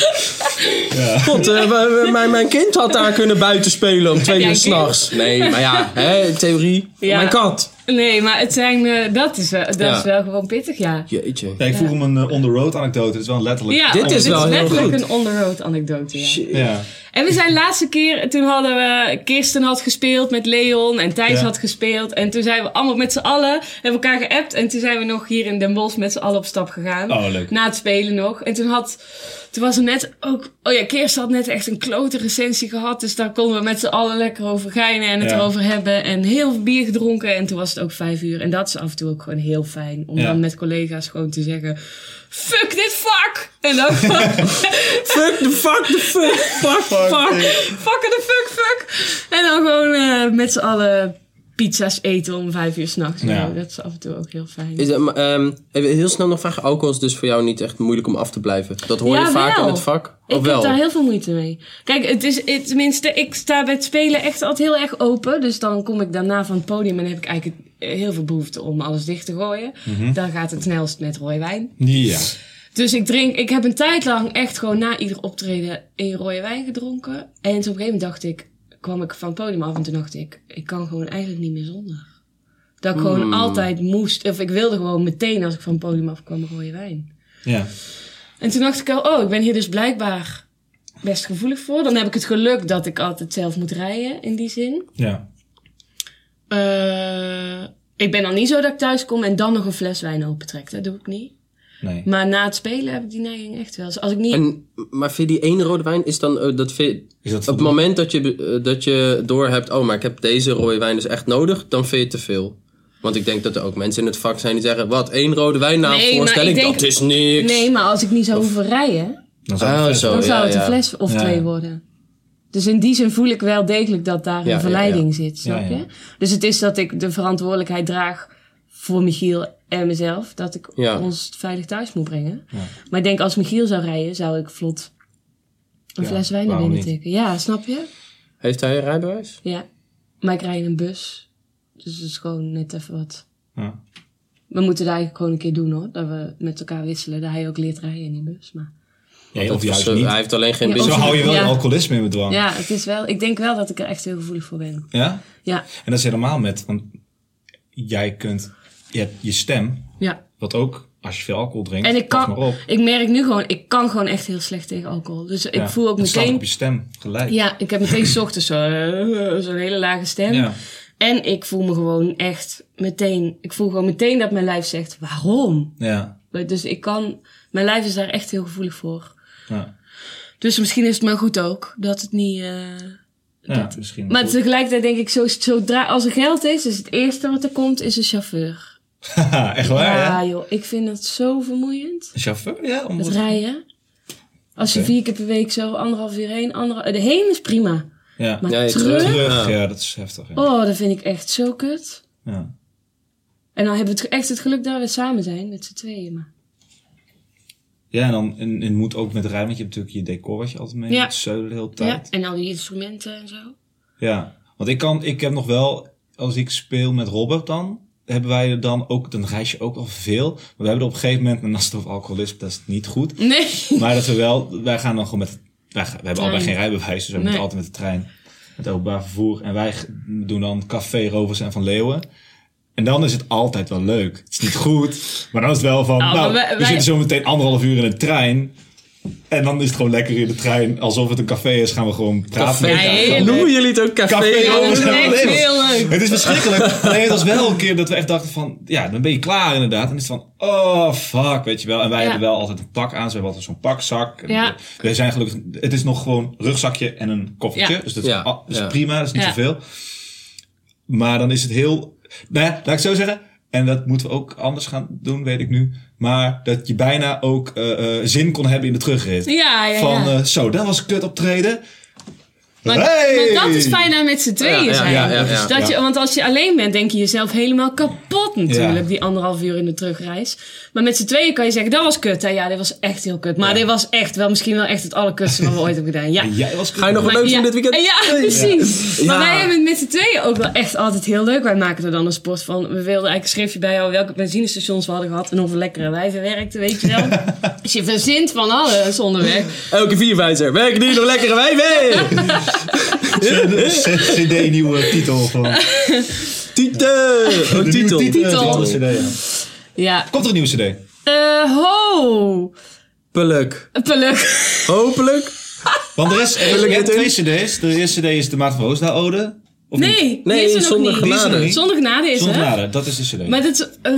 God, eh, w- w- mijn, mijn kind had daar kunnen buiten spelen om twee jij uur een s'nachts. Nee, maar ja, hè, theorie. Ja. Mijn kat. Nee, maar het zijn, eh, dat, is wel, dat Ja. is wel gewoon pittig, ja. Jeetje. Ja, ik vroeg hem een eh, on the road anekdote. Dat is wel letterlijk. ja Dit want is wel heel letterlijk goed. een on-the-road anekdote, ja. Ja. En we zijn laatste keer, toen hadden we, Kirsten had gespeeld met Leon en Thijs Ja. had gespeeld. En toen zijn we allemaal met z'n allen, hebben elkaar geappt. En toen zijn we nog hier in Den Bosch met z'n allen op stap gegaan. Oh, leuk. Na het spelen nog. En toen had, toen was er net ook, oh ja, Kirsten had net echt een klote recensie gehad. Dus daar konden we met z'n allen lekker over geinen en het Ja. erover hebben. En heel veel bier gedronken. En toen was het ook vijf uur. En dat is af en toe ook gewoon heel fijn. Om Ja. dan met collega's gewoon te zeggen, fuck dit vak! En dan Fuck the fuck the fuck. Fuck, fuck, fuck the fuck, fuck. En dan gewoon eh, met z'n allen pizza's eten om vijf uur s'nachts. Ja. Nou, dat is af en toe ook heel fijn. Is, ehm, ehm, even heel snel nog vragen. Alcohol is dus voor jou niet echt moeilijk om af te blijven. Dat hoor je Ja, vaak wel. in het vak. Of ik wel? heb daar heel veel moeite mee. Kijk, het is, het, tenminste, ik sta bij het spelen echt altijd heel erg open. Dus dan kom ik daarna van het podium en heb ik eigenlijk eh, heel veel behoefte om alles dicht te gooien. Dan gaat het snelst met rode wijn. Ja. Dus ik drink, ik heb een tijd lang echt gewoon na ieder optreden een rode wijn gedronken. En toen op een gegeven moment dacht ik, kwam ik van het podium af en toen dacht ik, ik kan gewoon eigenlijk niet meer zonder. Dat ik gewoon altijd moest, of ik wilde gewoon meteen als ik van het podium af kwam rode wijn. Ja. En toen dacht ik al, oh, ik ben hier dus blijkbaar best gevoelig voor. Dan heb ik het geluk dat ik altijd zelf moet rijden in die zin. Ja. Eh, ik ben dan niet zo dat ik thuis kom en dan nog een fles wijn opentrek. Dat doe ik niet. Nee. Maar na het spelen heb ik die neiging echt wel. Dus als ik niet... En, maar vind je die ene rode wijn is dan eh, dat vind, Is dat op het voldoende? moment dat je, eh, dat je door hebt, oh, maar ik heb deze rode wijn dus echt nodig, dan vind je het te veel. Want ik denk dat er ook mensen in het vak zijn die zeggen: wat, één rode wijn na een Nee, maar voorstelling, ik denk- dat is niks. Nee, maar als ik niet zou hoeven rijden, Dan zou Ah, het zo, vet dan ja, zou het ja. een fles of Oh, Ja. twee worden. Dus in die zin voel ik wel degelijk dat daar Ja, ja, een verleiding zit, Ja, snap ja. je? Dus het is dat ik de verantwoordelijkheid draag voor Michiel en mezelf, dat ik Ja. ons veilig thuis moet brengen. Maar ik denk, als Michiel zou rijden, zou ik vlot een Ja, fles wijn naar waarom binnen niet? tikken. Ja, snap je? Heeft hij een rijbewijs? Ja. Maar ik rij in een bus, dus het is gewoon net even wat. Ja. We moeten dat eigenlijk gewoon een keer doen hoor, dat we met elkaar wisselen, dat hij ook leert rijden in die bus, maar... Nee, of Dat juist is, eh, niet. Hij heeft alleen geen Ja, Zo business. of- hou je wel Ja. je alcoholisme in bedwang. Ja. Ja, het is wel, ik denk wel dat ik er echt heel gevoelig voor ben. Ja, En dat is helemaal met, want jij kunt, je hebt je stem, ja. wat ook, als je veel alcohol drinkt, En ik pas maar kan, op. ik merk nu gewoon, ik kan gewoon echt heel slecht tegen alcohol. Dus ik Ja. voel ook Het slaat meteen, op je stem gelijk. ja, ik heb meteen 's ochtends zo, eh, zo'n hele lage stem. Ja. En ik voel me gewoon echt meteen, ik voel gewoon meteen dat mijn lijf zegt, waarom? Ja. Dus ik kan, mijn lijf is daar echt heel gevoelig voor. Ja. Dus misschien is het maar goed ook, dat het niet... eh, Ja, misschien. Maar tegelijkertijd denk ik, zo, zodra, als er geld is, is het eerste wat er komt, is een chauffeur. Haha, echt waar, ja? Ja, joh, ik vind dat zo vermoeiend. Een chauffeur, ja? om- Het rijden. Als je Oké. vier keer per week zo anderhalf uur heen, anderhalf, de heen is prima. Ja. Maar Ja, je terug, terug. Terug, Ja. ja, dat is heftig. Ja. oh, dat vind ik echt zo kut. Ja. En dan hebben we het- echt het geluk dat we samen zijn met z'n tweeën. Maar. Ja, en dan en, en moet ook met ruim, want je hebt natuurlijk je decor wat je altijd mee Ja. moet zeulen de hele Ja, tijd. en al die instrumenten en zo. Ja. want ik kan, ik heb nog wel, als ik speel met Robert dan, hebben wij er dan ook, dan reis je ook al veel. Maar we hebben er op een gegeven moment, en als het over alcoholisme, dat is niet goed. Nee. Maar dat we wel, wij gaan dan gewoon met, wij, gaan- we hebben allebei geen Trein. rijbewijs, dus we Nee. moeten altijd met de trein. Het openbaar vervoer. En wij g- doen dan Café Rovers en Van Leeuwen. En dan is het altijd wel leuk. Het is niet goed, maar dan is het wel van, Nou, nou, maar wij- we wij- zitten zo meteen anderhalf uur in de trein. En dan is het gewoon lekker in de trein. Alsof het een café is, gaan we gewoon praten. Café. met elkaar. Ja, heerlijk. Noemen jullie het ook café? Café Ja, dat Rovers is en Van echt Leeuwen. heel leuk. Het is verschrikkelijk. Nee, het was wel een keer dat we echt dachten van... Ja, dan ben je klaar inderdaad. En is het van... Oh, fuck, weet je wel. En wij Ja. hebben wel altijd een pak aan. Ze hebben altijd zo'n pakzak. En Ja. we- We zijn gelukkig... Het is nog gewoon rugzakje en een koffertje. Ja. Dus dat Ja, is, ah, dat is ja. prima. Dat is niet Ja. zoveel. Maar dan is het heel... Nou ja, laat ik zo zeggen. En dat moeten we ook anders gaan doen, weet ik nu. Maar dat je bijna ook eh, eh, zin kon hebben in de terugrit. Ja, ja, ja. Van, eh, zo, dat was kut optreden. Maar, Hey! maar dat is fijn aan met z'n tweeën Ja, ja, zijn. ja, ja, ja. Dus dat je, want als je alleen bent, denk je jezelf helemaal kapot natuurlijk. Ja. Die anderhalf uur in de terugreis. Maar met z'n tweeën kan je zeggen, dat was kut. Hè? Ja, dit was echt heel kut. Maar dit was echt wel misschien wel echt het allerkutste wat we ooit hebben gedaan. Ja. Jij was Ga je nog wat Maar leuks ja, doen dit weekend? Ja, precies. Maar Ja. wij hebben het met z'n tweeën ook wel echt altijd heel leuk. Wij maken er dan een sport van. We wilden eigenlijk een schriftje bij jou welke benzinestations we hadden gehad. En hoeveel lekkere wijven werkten, weet je wel. dus je verzint van alles onderweg. Elke vierwijzer. Werken die nog lekker wij mee? CD nieuwe titel van. Titel! Oh, De titel. nieuwe Titel. van de CD, ja. Ja. Komt er een nieuwe CD? Eh, ho! Hopelijk. Peluk. Hopelijk. Want er is Wil ik je hebt dit twee in? CD's. De eerste CD is de Maat van Roosda Ode. Of Nee, niet? die is er nog zonder niet. Die is er genade. niet. Zonder genade is Zonder hè? naden, dat is de CD. Maar dat is eh,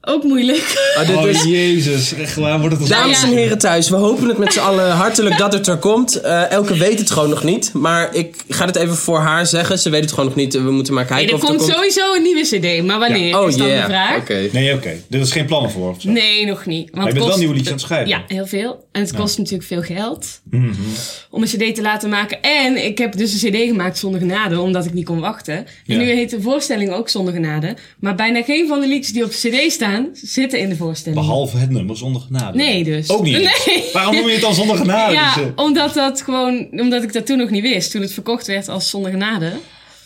ook moeilijk. Ah, dit Oh is- jezus, echt waar wordt het als Dames en heren thuis, we hopen het met z'n allen hartelijk dat het er komt. Eh, Elke weet het gewoon nog niet, maar ik ga het even voor haar zeggen. Ze weet het gewoon nog niet, we moeten maar kijken Nee, er of komt sowieso een nieuwe CD, maar wanneer Oh is dan yeah, de vraag? oké. Nee, oké. Er is geen plan voor. of zo. Nee, nog niet. Want Maar je het bent wel kost- nieuwe liedjes aan het schrijven. Mhm. Ja, heel veel. En het kost natuurlijk veel geld om een CD te laten maken. En ik heb dus een CD gemaakt zonder genade, omdat ik niet kon wachten. En Ja. nu heet de voorstelling ook zonder genade. Maar bijna geen van de liedjes die op de CD staan, zitten in de voorstelling. Behalve het nummer zonder genade. Nee, dus. Ook niet. Nee. Waarom noem je het dan zonder genade? Ja, Dus, eh, omdat dat gewoon, omdat ik dat toen nog niet wist, toen het verkocht werd als zonder genade.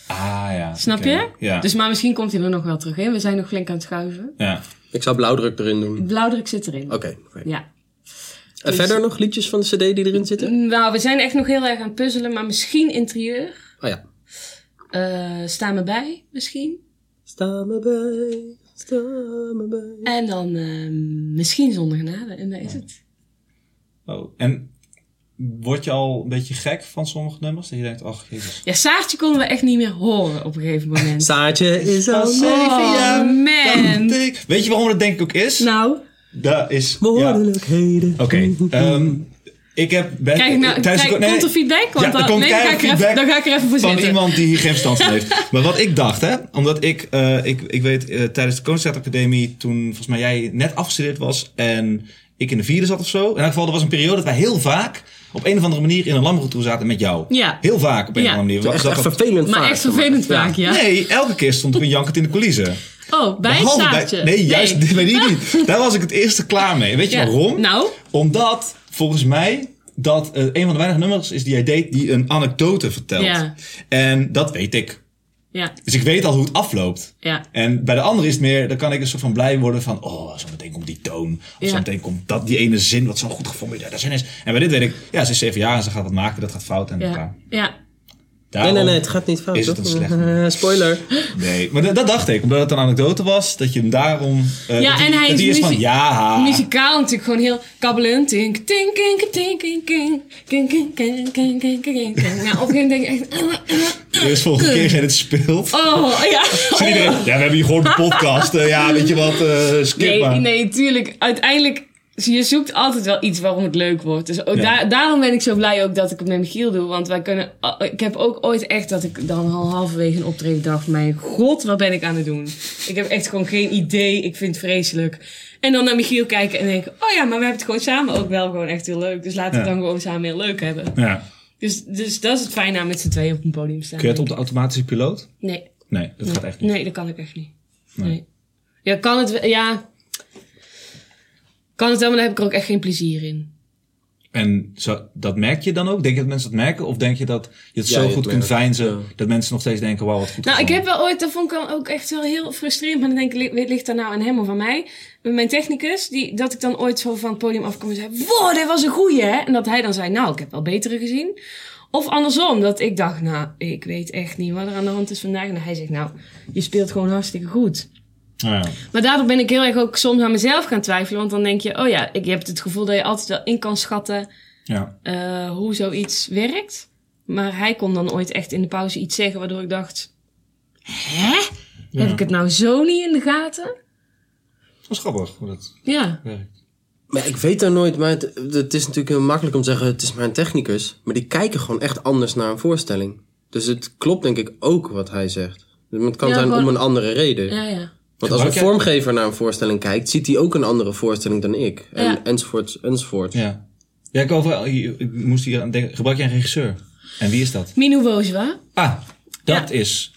ah ja. Snap oké. je? Ja. Dus maar misschien komt hij er nog wel terug in. We zijn nog flink aan het schuiven. ja. Ik zou blauwdruk erin doen. Oké. Blauwdruk zit erin. oké. Ja. En verder nog liedjes van de cd die erin zitten? Nou, we zijn echt nog heel erg aan het puzzelen, maar misschien interieur. Oh ja. Eh sta me bij, misschien. Sta me bij, sta me bij. En dan eh, misschien zonder genade. En daar is het. Oh. En word je al een beetje gek van sommige nummers? Dat je denkt, ach jezus. Ja, Saartje konden we echt niet meer horen op een gegeven moment. Saartje is al mee. Oh, man. Weet je waarom dat denk ik ook is? Nou, Dat is... ja. Oké. Behoorlijkheden. ehm, ik heb... Ben, kijk, nou, tijdens de- kijk, nee. komt er feedback? Want Ja, er dan, komt nee, dan ga, ik keihard er even, dan feedback ga ik er even voor van zitten. iemand die hier geen verstand van heeft. Maar wat ik dacht, hè, omdat ik, eh, ik, ik weet, eh, tijdens de Koningsstaatacademie, toen volgens mij jij net afgestudeerd was en ik in de vierde zat of zo. In elk geval, er was een periode dat wij heel vaak op een of andere manier in een lamroetour zaten met jou. Ja. Heel vaak op een Ja. of andere manier. Echt, Dat- echt dat- vervelend Maar vaak. echt vervelend vaak, ja. Nee, elke keer stond er een jankert in de coulissen. Oh, bij Behalve Saartje. nee, juist, die weet ik niet. Daar was ik het eerste klaar mee. Weet je Ja. waarom? Nou? Omdat, volgens mij, dat eh, een van de weinige nummers is die jij deed die een anekdote vertelt. Ja. En dat weet ik. Ja, Dus ik weet al hoe het afloopt. ja. En bij de andere is het meer, dan kan ik een soort van blij worden van, oh, zo meteen komt die toon. Of Ja. zo meteen komt dat, die ene zin wat zo goed geformuleerd daar zin is. En bij dit weet ik, ja, ze is zeven jaar en ze gaat wat maken, dat gaat fout. En Ja, klaar. ja. Nee, Daarom- nee, nee, het gaat niet fout. Is het toch? een slecht Eh, spoiler. Nee, maar dat, dat dacht ik, omdat het een anekdote was, dat je hem daarom... eh, Ja, dat die- en hij dat is die van, muzie- ja. Muzikaal natuurlijk gewoon heel kabbelend. Tink, tink, tink, tink, tink, tink, tink, tink, tink, tink, tink, tink, tink. Nou, op een gegeven moment denk ik echt... eh, eh, Dus volgende keer als jij dit speelt. Oh, ja. zit iedereen, ja, we hebben hier gewoon de podcast. eh, ja, weet je wat, eh skip Nee, maar. nee, tuurlijk. Uiteindelijk, je zoekt altijd wel iets waarom het leuk wordt. Dus ook Ja. daar- daarom ben ik zo blij ook dat ik het met Michiel doe. Want wij kunnen... ah, Ik heb ook ooit echt dat ik dan al halverwege een optreden dacht... Mijn god, wat ben ik aan het doen? Ik heb echt gewoon geen idee. Ik vind het vreselijk. En dan naar Michiel kijken en denken... Oh ja, maar we hebben het gewoon samen ook wel gewoon echt heel leuk. Dus laten we het Ja. dan gewoon samen heel leuk hebben. Ja. Dus, dus dat is het fijne aan met z'n tweeën op een podium staan. Kun je het op de automatische piloot? Nee. Nee, dat gaat echt niet. Nee, dat kan ik echt niet. Nee. Ja, kan het, wel- ja. Kan het wel, maar daar heb ik er ook echt geen plezier in. En zo, dat merk je dan ook? Denk je dat mensen dat merken? Of denk je dat je het Ja, zo je goed het kunt merkt, veinzen ja. dat mensen nog steeds denken, wauw, wat goed Nou, ik gevonden. heb wel ooit, dat vond ik dan ook echt wel heel frustrerend. Maar dan denk ik, li- ligt, dat nou aan hem of aan mij? Met mijn technicus, die, dat ik dan ooit zo van het podium afkom en zei... Wow, dit was een goeie, hè? En dat hij dan zei, nou, ik heb wel betere gezien. Of andersom, dat ik dacht, nou, ik weet echt niet wat er aan de hand is vandaag. En hij zegt, nou, je speelt gewoon hartstikke goed. Ah, ja. Maar daardoor ben ik heel erg ook soms aan mezelf gaan twijfelen. Want dan denk je, oh ja, ik, je hebt het gevoel dat je altijd wel in kan schatten Ja. eh, hoe zoiets werkt. Maar hij kon dan ooit echt in de pauze iets zeggen waardoor ik dacht... Hè? Heb ik het nou zo niet in de gaten? Dat is grappig hoe dat Ja. werkt. Maar ik weet daar nooit, maar het, het is natuurlijk heel makkelijk om te zeggen, het is maar een technicus. Maar die kijken gewoon echt anders naar een voorstelling. Dus het klopt denk ik ook wat hij zegt. Dus het kan Ja, zijn gewoon- om een andere reden. Ja, ja. Want als een Gebruik jij- vormgever naar een voorstelling kijkt, ziet hij ook een andere voorstelling dan ik. En Ja. enzovoort, enzovoort. Ja. Ja, ik, over, ik moest hier aan denken. Gebruik jij een regisseur? En wie is dat? Minou Wojwa? Ah, dat Ja. is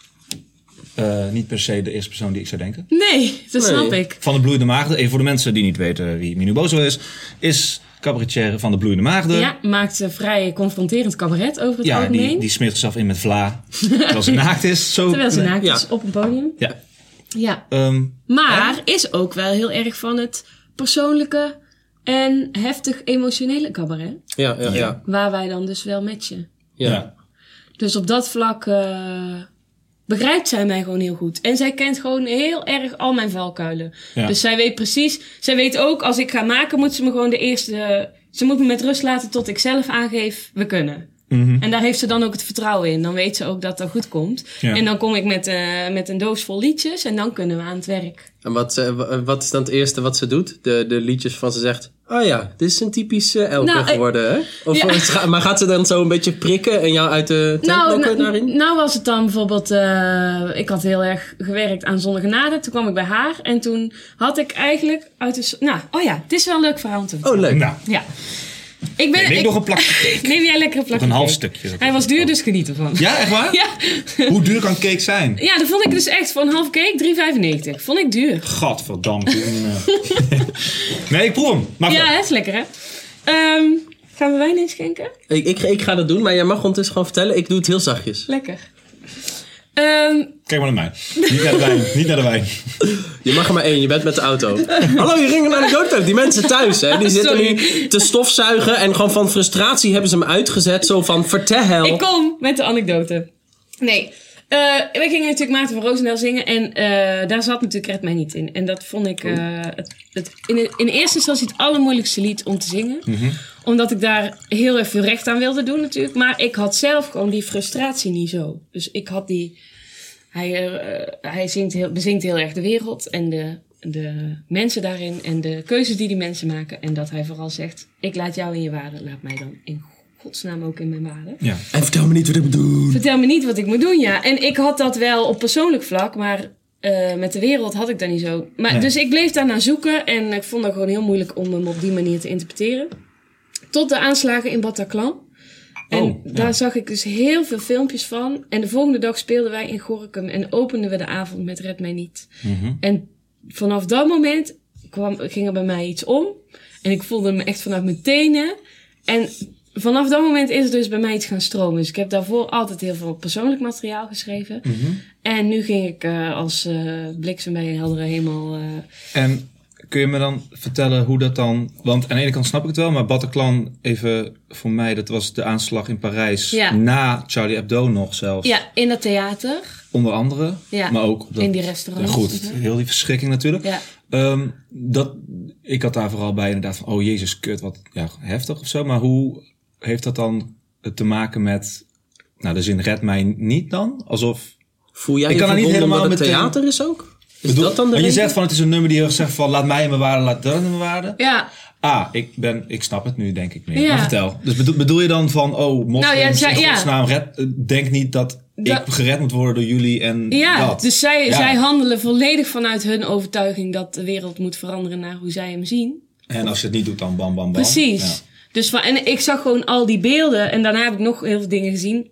eh, niet per se de eerste persoon die ik zou denken. Nee, dat Nee. snap ik. Van de Bloeiende Maagden, even voor de mensen die niet weten wie Minu Bozo is, is cabaretier van de Bloeiende Maagden. Ja, maakt eh, vrij confronterend cabaret over het Ja, algemeen. die, die smeert zichzelf in met vla. Terwijl ze naakt is. Zo. eh, Terwijl ze naakt Ja. is op een podium. Ja. Ja. Ehm, Maar is ook wel heel erg van het persoonlijke en heftig emotionele cabaret. Ja, ja, ja. Waar wij dan dus wel matchen. ja. ja. Dus op dat vlak eh, begrijpt zij mij gewoon heel goed. En zij kent gewoon heel erg al mijn valkuilen. Ja. Dus zij weet precies. Zij weet ook, als ik ga maken, moet ze me gewoon de eerste. Ze moet me met rust laten tot ik zelf aangeef, we kunnen. Mhm. En daar heeft ze dan ook het vertrouwen in. Dan weet ze ook dat dat goed komt. Ja. En dan kom ik met, eh, met een doos vol liedjes en dan kunnen we aan het werk. En wat, eh, wa- wat is dan het eerste wat ze doet? De, de liedjes van ze zegt. Oh ja, dit is een typische Elke Nou, eh, geworden, hè? Of, ja. eh, scha- maar gaat ze dan zo een beetje prikken en jou uit de tent Nou, lokken nou, daarin? nou was het dan bijvoorbeeld, eh, ik had heel erg gewerkt aan Zonnige Naden. Toen kwam ik bij haar en toen had ik eigenlijk uit de... s- Nou, oh ja, het is wel een leuk verhaal om te vertellen. Oh, leuk. Nou, Ja. Ik ben... neem ik ik- nog een plakje. Neem jij lekker een plakje een half cake. stukje. Hij was duur, dus geniet ervan. Ja, echt waar? Ja. Hoe duur kan cake zijn? Ja, dat vond ik dus echt voor een half cake 3,95. Vond ik duur. Gadverdamme. nee, ik proef hem. Maar Ja, hè, is lekker hè. Ehm, gaan we wijn inschenken? Ik, ik, ik ga dat doen, maar jij mag ondertussen gewoon vertellen. Ik doe het heel zachtjes. Lekker. Ehm, kijk maar naar mij. Niet naar de wijn. Niet naar de wijn. Je mag er maar één, je bent met de auto. Hallo, je ging naar de auto. Die mensen thuis, hè? Die zitten Sorry. nu te stofzuigen en gewoon van frustratie hebben ze hem uitgezet. Zo van, vertel. ik kom met de anekdote. Nee. Eh we gingen natuurlijk Maarten van Roosendaal zingen en eh, daar zat natuurlijk Red Mij Niet in. En dat vond ik eh, het, het, in, in eerste instantie het allermoeilijkste lied om te zingen. Omdat ik daar heel erg veel recht aan wilde doen natuurlijk. Maar ik had zelf gewoon die frustratie niet zo. Dus ik had die... Hij, eh, hij zingt heel, bezingt heel erg de wereld en de, de mensen daarin. En de keuzes die die mensen maken. En dat hij vooral zegt, ik laat jou in je waarde. Laat mij dan in godsnaam ook in mijn waarde. Ja. En vertel me niet wat ik moet doen. Vertel me niet wat ik moet doen, ja. En ik had dat wel op persoonlijk vlak, maar eh, met de wereld had ik dat niet zo. Maar, Nee. Dus ik bleef daarna zoeken en ik vond het gewoon heel moeilijk om hem op die manier te interpreteren. Tot de aanslagen in Bataclan. En Oh, ja. daar zag ik dus heel veel filmpjes van. En de volgende dag speelden wij in Gorkum en openden we de avond met Red Mij Niet. Mhm. En vanaf dat moment kwam, ging er bij mij iets om. En ik voelde me echt vanuit mijn tenen. En vanaf dat moment is er dus bij mij iets gaan stromen. Dus ik heb daarvoor altijd heel veel persoonlijk materiaal geschreven. Mhm. En nu ging ik eh, als eh, bliksem bij een heldere hemel... eh, En kun je me dan vertellen hoe dat dan... Want aan de ene kant snap ik het wel, maar Bataclan, even voor mij, dat was de aanslag in Parijs. Ja. Na Charlie Hebdo nog zelfs. ja, in dat theater. Onder andere, Ja. maar ook op dat... in die restaurants. Goed, heel die verschrikking natuurlijk. Ja. Ehm, dat, ik had daar vooral bij inderdaad van, oh jezus, kut, wat ja, heftig of zo. Maar hoe heeft dat dan te maken met, nou de zin red mij niet dan? Alsof, Voel jij Ik je kan er niet verbonden helemaal wat het meteen- theater is ook? Is Bedoel- dat dan de want je reden? zegt van, het is een nummer die heel erg zegt van, laat mij in mijn waarde, laat dat in mijn waarde. Ja, Ah, ik, ben, ik snap het nu denk ik meer. Ja. Maar vertel. Dus bedoel, bedoel je dan van, oh moslims, Nou ja, zij- in ja. godsnaam, red, denk niet dat, Dat- ik gered moet worden door jullie en ja. dat. dus zij, Ja. zij handelen volledig vanuit hun overtuiging dat de wereld moet veranderen naar hoe zij hem zien. En als je het niet doet, dan bam, bam, bam. Precies. Ja. Dus van, en ik zag gewoon al die beelden. En daarna heb ik nog heel veel dingen gezien.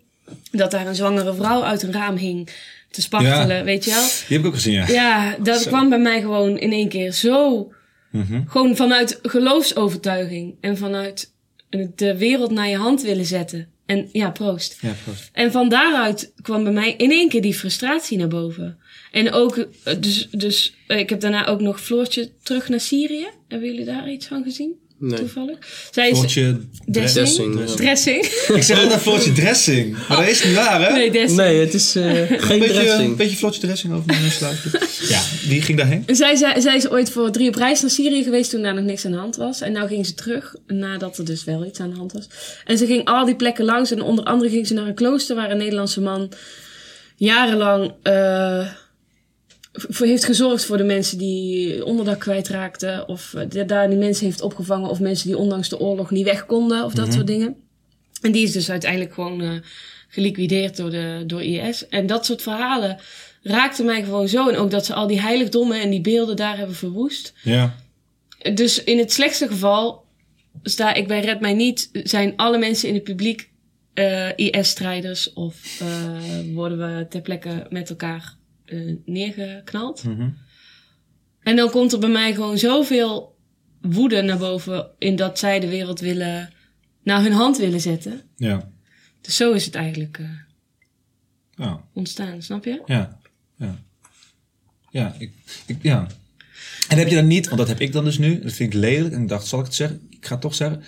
Dat daar een zwangere vrouw uit een raam hing te spartelen, Ja. weet je wel. Die heb ik ook gezien, ja. Ja, dat kwam bij mij gewoon in één keer zo. Gewoon vanuit geloofsovertuiging. En vanuit de wereld naar je hand willen zetten. En ja, proost. Ja, proost. En van daaruit kwam bij mij in één keer die frustratie naar boven. En ook, eh, dus, dus eh, ik heb daarna ook nog Floortje terug naar Syrië. Hebben jullie daar iets van gezien? Nee. Toevallig. Zij is Floortje dressing. Dressing. dressing. Ik zeg altijd Floortje dressing. Maar dat is niet waar, hè? Nee, dressing. Nee, het is eh, geen beetje, dressing. een beetje Floortje dressing over mijn sluitje. ja, die ging daarheen. En Zij, zij, zij is ooit voor drie op reis naar Syrië geweest toen daar nog niks aan de hand was. En nou ging ze terug, nadat er dus wel iets aan de hand was. En ze ging al die plekken langs. En onder andere ging ze naar een klooster waar een Nederlandse man jarenlang eh, voor heeft gezorgd voor de mensen die onderdak kwijtraakten. Of eh, die- daar die mensen heeft opgevangen. Of mensen die ondanks de oorlog niet weg konden. Of dat soort dingen. En die is dus uiteindelijk gewoon eh, geliquideerd door, de, door IS. En dat soort verhalen raakten mij gewoon zo. En ook dat ze al die heiligdommen en die beelden daar hebben verwoest. Ja. Dus in het slechtste geval sta ik bij Red Mij Niet, zijn alle mensen in het publiek eh, IS-strijders of eh, worden we ter plekke met elkaar eh, neergeknald. Mhm. En dan komt er bij mij gewoon zoveel woede naar boven in dat zij de wereld willen, naar hun hand willen zetten. Ja. Dus zo is het eigenlijk eh, Ja. ontstaan, snap je? Ja, ja. Ja, ik, ik- ja. En heb je dan niet, want dat heb ik dan dus nu, dat vind ik lelijk en ik dacht, zal ik het zeggen? Ik ga het toch zeggen.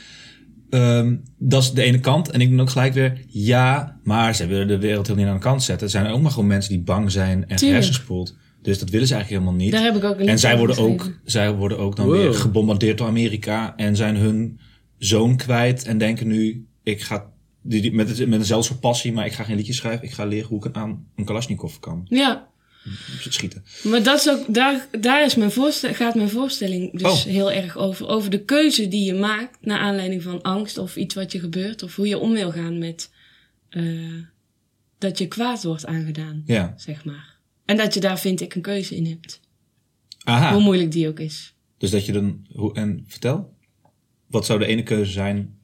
Ehm, dat is de ene kant. En ik ben ook gelijk weer, ja, maar ze willen de wereld helemaal niet aan de kant zetten. Er zijn ook maar gewoon mensen die bang zijn en Tuurlijk. hersenspoeld. Dus dat willen ze eigenlijk helemaal niet. Daar heb ik ook een en zij lied over worden, ook, geschreven. zij worden ook dan Wow. weer gebombardeerd door Amerika. En zijn hun zoon kwijt. En denken nu, ik ga die, die- met, het- met dezelfde soort passie, maar ik ga geen liedjes schrijven. Ik ga leren hoe ik aan een Kalashnikov kan Ja, schieten. maar dat is ook, daar, daar is mijn voorstel, gaat mijn voorstelling dus Oh. heel erg over. Over de keuze die je maakt naar aanleiding van angst of iets wat je gebeurt. Of hoe je om wil gaan met eh, dat je kwaad wordt aangedaan, Ja. zeg maar. En dat je daar, vind ik, een keuze in hebt. Hoe Aha. moeilijk die ook is. Dus dat je dan... hoe- En vertel. Wat zou de ene keuze zijn?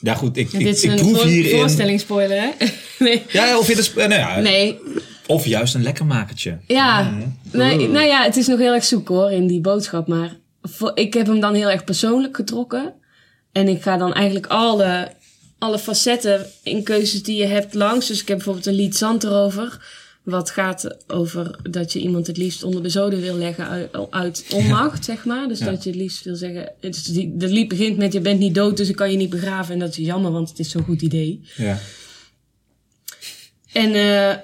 Ja goed, ik, ik, dit is ik een proef voor- hierin... voorstellingspoiler, hè? nee. Ja, of, je de sp- eh, nou ja, nee, of juist een lekkermakertje. Ja, nee, nou ja, het is nog heel erg zoek hoor in die boodschap. Maar voor, ik heb hem dan heel erg persoonlijk getrokken. En ik ga dan eigenlijk alle, alle facetten in keuzes die je hebt langs. Dus ik heb bijvoorbeeld een lied Zand erover. Wat gaat over dat je iemand het liefst onder de zoden wil leggen uit, uit onmacht, zeg maar. Dus Ja. dat je het liefst wil zeggen... Het, is die- dat lied begint met je bent niet dood, dus ik kan je niet begraven. En dat is jammer, want het is zo'n goed idee. Ja. En eh,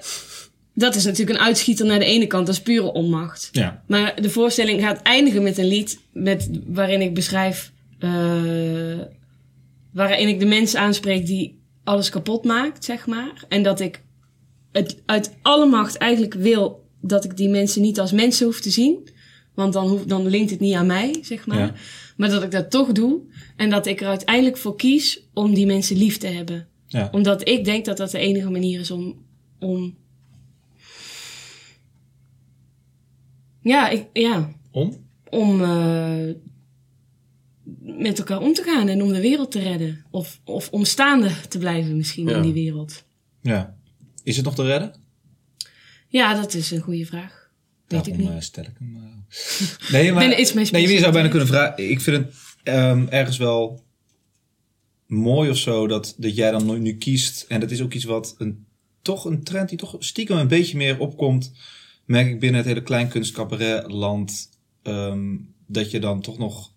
dat is natuurlijk een uitschieter naar de ene kant. Dat is pure onmacht. Ja. Maar de voorstelling gaat eindigen met een lied met, waarin ik beschrijf. eh, waarin ik de mensen aanspreek die alles kapot maakt, zeg maar. En dat ik het uit alle macht eigenlijk wil dat ik die mensen niet als mensen hoef te zien. Want dan, hoef, dan linkt het niet aan mij, zeg maar. Ja. Maar dat ik dat toch doe. En dat ik er uiteindelijk voor kies om die mensen lief te hebben. Ja. Omdat ik denk dat dat de enige manier is om. om... Ja, ik, ja, Om? om eh, met elkaar om te gaan en om de wereld te redden. Of, of om staande te blijven misschien Ja. in die wereld. Ja. Is het nog te redden? Ja, dat is een goede vraag. Weet ik Daarom eh, niet. stel ik hem. eh. Nee, maar, ben er iets mee nee, maar je zou bijna specifiek. kunnen vragen... Ik vind het ehm, ergens wel mooi of zo dat, dat jij dan nu- nu kiest. En dat is ook iets wat een, toch een trend die toch stiekem een beetje meer opkomt. Merk ik binnen het hele kleinkunstcabaretland. ehm dat je dan toch nog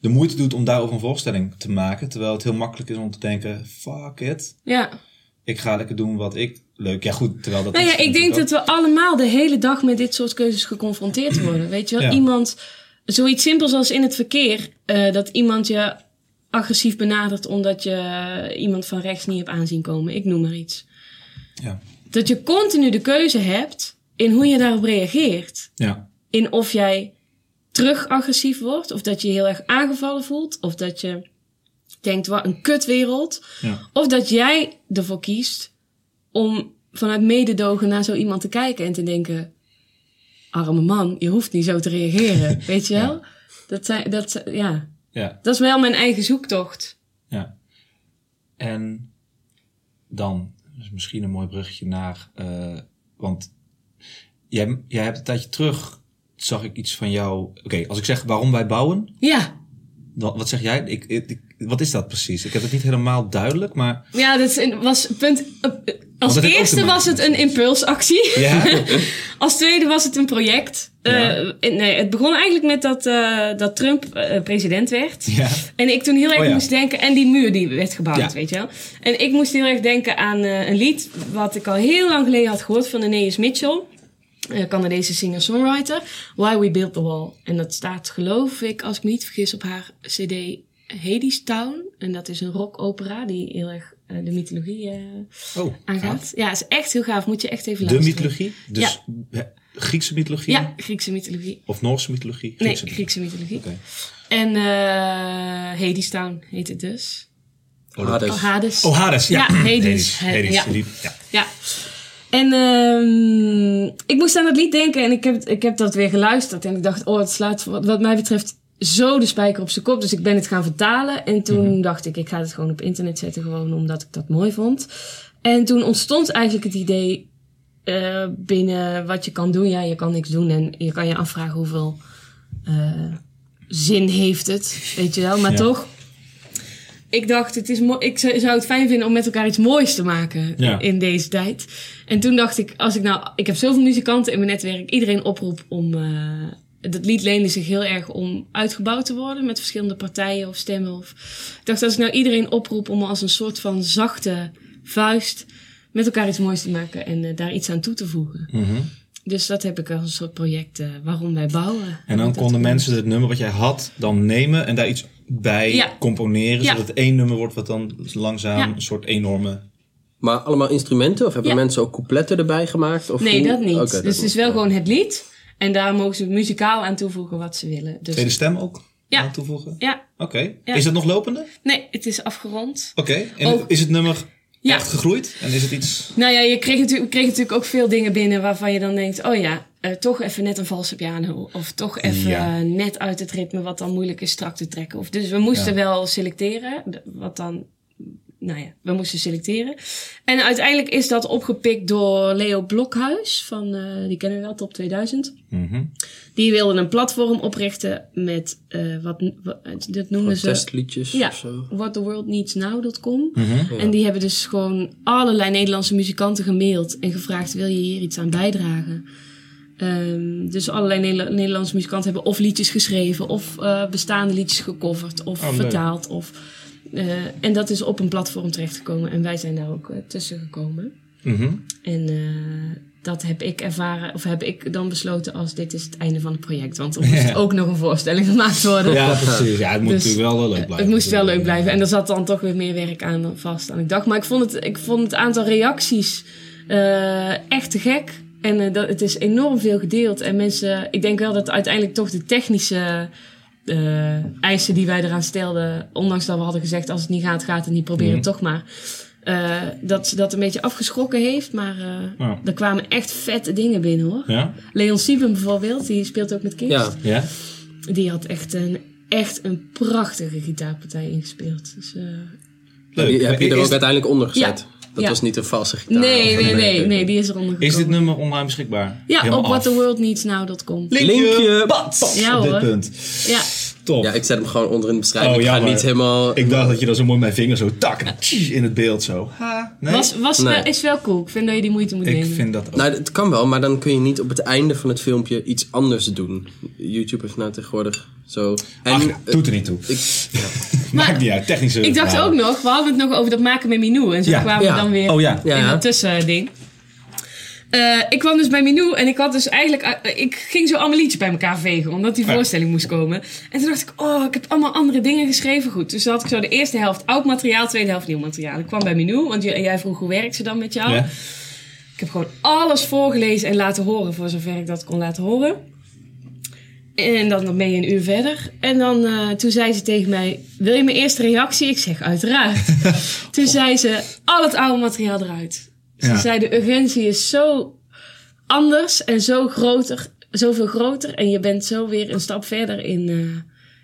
de moeite doet om daarover een voorstelling te maken. Terwijl het heel makkelijk is om te denken, fuck it. Ja. Ik ga lekker doen wat ik leuk... Ja goed, terwijl dat... Nou is ja, ik denk natuurlijk dat we allemaal de hele dag met dit soort keuzes geconfronteerd worden. Weet je wel, Ja. iemand, zoiets simpels als in het verkeer, eh, dat iemand je agressief benadert omdat je iemand van rechts niet hebt aanzien komen. Ik noem maar iets. ook- Ja, Dat je continu de keuze hebt in hoe je daarop reageert. ja, in of jij terug agressief wordt, of dat je je heel erg aangevallen voelt, of dat je denkt, wat een kutwereld. ja. Of dat jij ervoor kiest om vanuit mededogen naar zo iemand te kijken en te denken, arme man, je hoeft niet zo te reageren, weet je wel? Dat, zijn, dat, zijn- ja. ja. dat is wel mijn eigen zoektocht. Ja. En dan is misschien een mooi bruggetje naar. eh, want jij, jij hebt een tijdje terug. Zag ik iets van jou. Oké, als ik zeg waarom wij bouwen. Ja, Dan, wat zeg jij? Ik, ik, ik- wat is dat precies? Ik heb het niet helemaal duidelijk, maar. ja dat is een- was punt. eh, dat Als heeft ook te eerste maken was het met een zoiets. impulsactie. Ja. Als tweede was het een project. Ja. Eh, nee, het begon eigenlijk met dat, eh, dat Trump eh, president werd. ja. En ik toen heel erg Oh ja. moest denken... En die muur die werd gebouwd, Ja. weet je wel. En ik moest heel erg denken aan eh, een lied... wat ik al heel lang geleden had gehoord van Aeneas Mitchell. eh, Canadese singer-songwriter. Why We Built The Wall. En dat staat, geloof ik, als ik me niet vergis... op haar cd Hades Town. En dat is een rockopera die heel erg eh, de mythologie eh, Oh, aangaat. Ja, is echt heel gaaf. Moet je echt even De luisteren. mythologie? Dus hè, Griekse mythologie? Ja, Griekse mythologie. Of Noorse mythologie? Nee, Griekse mythologie. Oké. En eh Hades Town heet het dus. Hades. Oh, Hades. Oh, Hades, ja. Ja, Hades. He- Hades, ja. die- ja. Ja. En ehm, ik moest aan dat lied denken en ik heb, ik heb dat weer geluisterd. En ik dacht, oh, het slaat wat, wat mij betreft zo de spijker op zijn kop. Dus ik ben het gaan vertalen. En toen Mhm. dacht ik, ik ga het gewoon op internet zetten. Gewoon omdat ik dat mooi vond. En toen ontstond eigenlijk het idee eh, binnen wat je kan doen. Ja, je kan niks doen. En je kan je afvragen hoeveel eh, zin heeft het. Weet je wel. Maar Ja. toch. Ik dacht, het is mo- ik zou zou het fijn vinden om met elkaar iets moois te maken Ja. in deze tijd. En toen dacht ik, als ik nou, ik heb zoveel muzikanten in mijn netwerk, iedereen oproep om. eh, dat lied leende zich heel erg om uitgebouwd te worden met verschillende partijen of stemmen. Of, ik dacht, als ik nou iedereen oproep om als een soort van zachte vuist met elkaar iets moois te maken en eh, daar iets aan toe te voegen. Hm. Dus dat heb ik als een soort project eh, waarom wij bouwen. En dan Dat- konden mensen het nummer wat jij had dan nemen en daar iets bij Ja. componeren. Ja. Zodat het één nummer wordt wat dan langzaam Ja. een soort enorme... Maar allemaal instrumenten? Of hebben Ja. mensen ook coupletten erbij gemaakt? Of Nee, hoe? dat niet. Oké, dat dus het niet. is wel gewoon het lied. En daar mogen ze muzikaal aan toevoegen wat ze willen. Dus, Tweede stem ook Ja. aan toevoegen. Ja, Oké. Ja. Is dat nog lopende? nee, het is afgerond. Oké. En Ook- is het nummer Ja. echt gegroeid? En is het iets... Nou ja, je kreeg, natuurlijk, kreeg natuurlijk ook veel dingen binnen waarvan je dan denkt: oh ja, eh, toch even net een valse piano. Of toch even Ja. eh, net uit het ritme wat dan moeilijk is strak te trekken. Of, dus we moesten Ja. wel selecteren, d- wat dan. Nou ja, we moesten selecteren. En uiteindelijk is dat opgepikt door Leo Blokhuis. Van, eh, die kennen we wel, Top 2000. Mhm. Die wilde een platform oprichten met eh, wat, wat- dat noemden ze Protestliedjes dus, eh, ja, of zo. whattheworldneedsnow.com. Mhm. En die hebben dus gewoon allerlei Nederlandse muzikanten gemaild en gevraagd: wil je hier iets aan bijdragen? Ehm, dus allerlei Nederla- Nederlandse muzikanten hebben of liedjes geschreven, of eh, bestaande liedjes gecoverd, of Oh, leuk. vertaald. Of, eh, en dat is op een platform terechtgekomen en wij zijn daar ook eh, tussen gekomen. Mhm. En eh, dat heb ik ervaren, of heb ik dan besloten als dit is het einde van het project. Want er moest Ja. ook nog een voorstelling gemaakt worden. Ja, precies. Ja, het moet Dus, natuurlijk wel leuk Eh, blijven. Het moest wel leuk blijven. En er zat dan toch weer meer werk aan dan vast aan ik dacht. Maar ik vond het, ik vond het aantal reacties eh, echt te gek. En eh, dat, het is enorm veel gedeeld. En mensen, ik denk wel dat uiteindelijk toch de technische eh, eisen die wij eraan stelden, ondanks dat we hadden gezegd als het niet gaat, gaat het niet, probeer Mhm. het toch maar. eh, dat ze dat een beetje afgeschrokken heeft. Maar eh, Ja. er kwamen echt vette dingen binnen hoor. Ja? Leon Sieben bijvoorbeeld, die speelt ook met Kist. Ja. Ja? Die had echt een, echt een prachtige gitaarpartij ingespeeld. Dus, eh, Leuk. Die heb je er Is- ook uiteindelijk onder gezet? Ja. Dat Ja. was niet een valse gitaar. nee, Of- nee, nee, nee, die is eronder gekomen. Is dit nummer online beschikbaar? Ja, Helemaal op af. whattheworldneedsnow.com. Linkje, Linkje, pad! Ja, op dit hoor. punt. Ja, Top. Ja, ik zet hem gewoon onder in de beschrijving. Oh, ik ga jammer. niet helemaal... Ik dacht dat je dan zo mooi mijn vinger zo tak en tjie, in het beeld zo. Ha, nee? was, was Nee. wel- is wel cool. Ik vind dat je die moeite moet ik nemen. vind dat ook. Nou, het kan wel, maar dan kun je niet op het einde van het filmpje iets anders doen. YouTube heeft nou tegenwoordig zo... En, Ach, ja, doet er niet toe. eh, ik, Maakt niet uit, technische Ik dacht ook verhalen. nog, we hadden het nog over dat maken met Minou. En zo Ja. kwamen Ja. we dan weer Oh ja. Ja. in dat tussending. Eh, ik kwam dus bij Minou en ik had dus eigenlijk... eh, ik ging zo allemaal liedjes bij elkaar vegen, omdat die Ja. voorstelling moest komen. En toen dacht ik, oh, ik heb allemaal andere dingen geschreven. Goed, dus dan had ik zo de eerste helft oud materiaal, tweede helft nieuw materiaal. Ik kwam bij Minou, want j- jij vroeg hoe werkt ze dan met jou? Ja. Ik heb gewoon alles voorgelezen en laten horen, voor zover ik dat kon laten horen. En dan nog mee een uur verder. En dan, eh, toen zei ze tegen mij, wil je mijn eerste reactie? Ik zeg, uiteraard. toen zei ze, al het oude materiaal eruit. Ze Ja. zei, de urgentie is zo anders en zo groter, zoveel groter. En je bent zo weer een stap verder in, eh,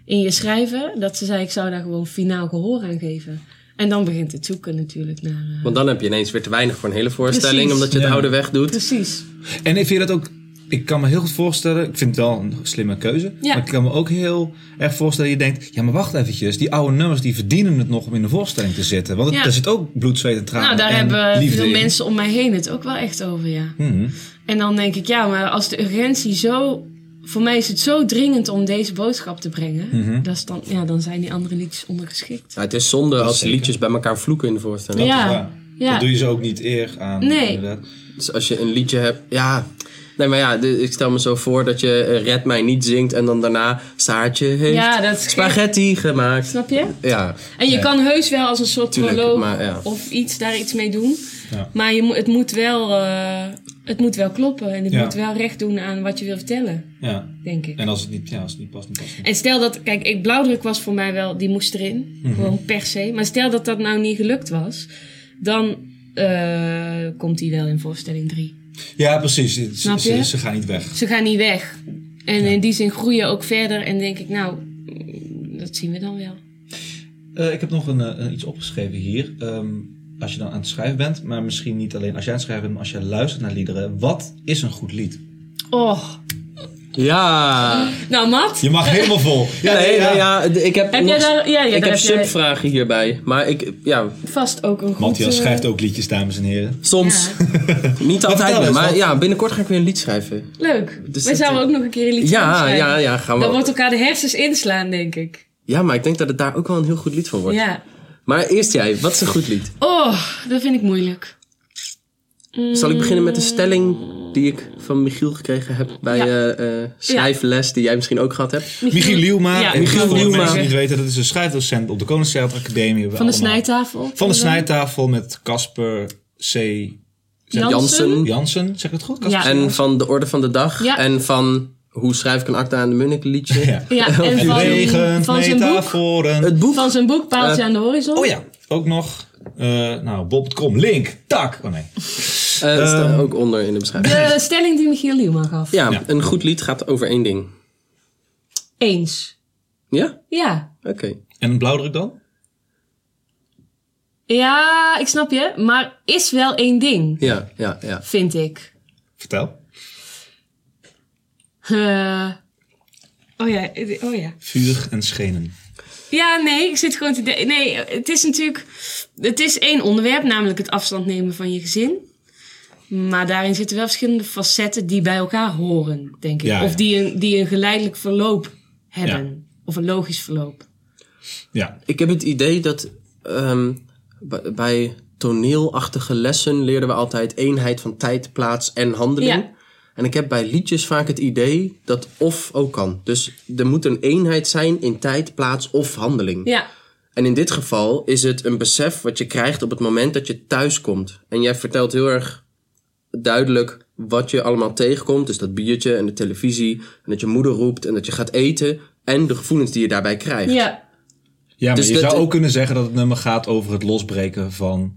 in je schrijven. Dat ze zei, ik zou daar gewoon finaal gehoor aan geven. En dan begint het zoeken natuurlijk naar... eh, want dan heb je ineens weer te weinig voor een hele voorstelling, Precies. omdat je het Ja. oude weg doet. precies. En ik vind dat ook... Ik kan me heel goed voorstellen, ik vind het wel een slimme keuze. Ja. Maar ik kan me ook heel erg voorstellen dat je denkt... Ja, maar wacht eventjes. Die oude nummers die verdienen het nog om in de voorstelling te zitten. Want het- Ja. daar zit ook bloed, zweet en tranen Nou, daar en hebben liefde veel in. mensen om mij heen het ook wel echt over, ja. Mhm. En dan denk ik, ja, maar als de urgentie zo... Voor mij is het zo dringend om deze boodschap te brengen. Mhm. dat is dan, ja, dan zijn die andere liedjes ondergeschikt. Ja, het is zonde als zeker. liedjes bij elkaar vloeken in de voorstelling. Ja. Dat is waar. ja. Dat doe je ze ook niet eer aan. Nee. inderdaad. Dus als je een liedje hebt, ja. Nee, maar ja, de- ik stel me zo voor dat je eh, Red Mij Niet zingt en dan daarna Saartje heeft Ja, dat is- spaghetti gemaakt. Snap je? Ja, En je kan heus wel als een soort Tuurlijk, proloog maar ja. of iets daar iets mee doen. Ja. Maar je, moet- het, moet wel, eh, het moet wel kloppen. En het Ja. moet wel recht doen aan wat je wil vertellen, Ja. denk ik. En als het niet, ja, als het niet past, niet past. het niet. En stel dat, kijk, ik, blauwdruk was voor mij wel, die moest erin. Mhm. Gewoon per se. Maar stel dat dat nou niet gelukt was, dan eh, komt die wel in voorstelling 3. Ja, precies. Ze- Snap ze, je? ze gaan niet weg. Ze gaan niet weg. En in die zin groeien ook verder en denk ik, nou, dat zien we dan wel. Eh, ik heb nog een, eh, een iets opgeschreven hier. Ehm, als je dan aan het schrijven bent, maar misschien niet alleen als jij aan het schrijven bent, maar als je luistert naar liederen. Wat is een goed lied? Oh. Ja. Nou, Matt, Je mag helemaal vol. Ja, nee, nee, ja, d- ik heb, Heb jij daar- ja, ja, ik daar heb heb jij- subvragen hierbij. Maar ik, ja, vast ook een goed... Matthias eh, schrijft ook liedjes, dames en heren. soms. Ja. Niet altijd, vertel meer, eens, maar wat- ja, binnenkort ga ik weer een lied schrijven. Leuk. Dus Wij dat, zouden eh, ook nog een keer een liedje gaan Ja, schrijven. ja, ja, gaan we. Dan wordt elkaar de hersens inslaan, denk ik. Ja, maar ik denk dat het daar ook wel een heel goed lied van wordt. Ja. Maar eerst jij, wat is een goed lied? Oh, dat vind ik moeilijk. Zal ik beginnen met de stelling die ik van Michiel gekregen heb bij Ja. eh, eh, schrijfles, die jij misschien ook gehad hebt? Michiel Lielma. Ja, en Michiel voor de Lielma. mensen die het weten, dat is een schrijfdocent op de Koninklijke Academie. Van de snijtafel. Van de snijtafel met Casper C. Jansen. Jansen, zeg ik het goed? Casper? Ja. En van de orde van de dag. Ja. En van hoe schrijf ik een acta aan de Munnik liedje. Ja. Ja, en Het van, regent van zijn boek. metaforen. Het boek. Van zijn boek Paaltje aan de horizon. Oh ja, ook nog. eh, nou, bob.com, link, tak. Oh nee. eh, dat staat ook onder in de beschrijving. De stelling die Michiel Lielman gaf. Ja, Ja. een goed lied gaat over één ding. Eens. Ja? Ja. Oké. En een blauwdruk dan? Ja, ik snap je. Maar is wel één ding, Ja, ja, ja. vind ik. Vertel. Eh, oh ja, oh ja. Vuur en schenen. Ja, nee, ik zit gewoon te... de- Nee, het is natuurlijk... Het is één onderwerp, namelijk het afstand nemen van je gezin. Maar daarin zitten wel verschillende facetten die bij elkaar horen, denk ik. Ja, ja. Of die een, die een geleidelijk verloop hebben. Of een logisch verloop. Ja. Ik heb het idee dat ehm, b- bij toneelachtige lessen leerden we altijd eenheid van tijd, plaats en handeling. Ja. En ik heb bij liedjes vaak het idee dat of ook kan. Dus er moet een eenheid zijn in tijd, plaats of handeling. Ja, En in dit geval is het een besef wat je krijgt op het moment dat je thuis komt. En jij vertelt heel erg duidelijk wat je allemaal tegenkomt. Dus dat biertje en de televisie. En dat je moeder roept en dat je gaat eten. En de gevoelens die je daarbij krijgt. ja. Ja, maar Dus je dat- zou ook kunnen zeggen dat het nummer gaat over het losbreken van,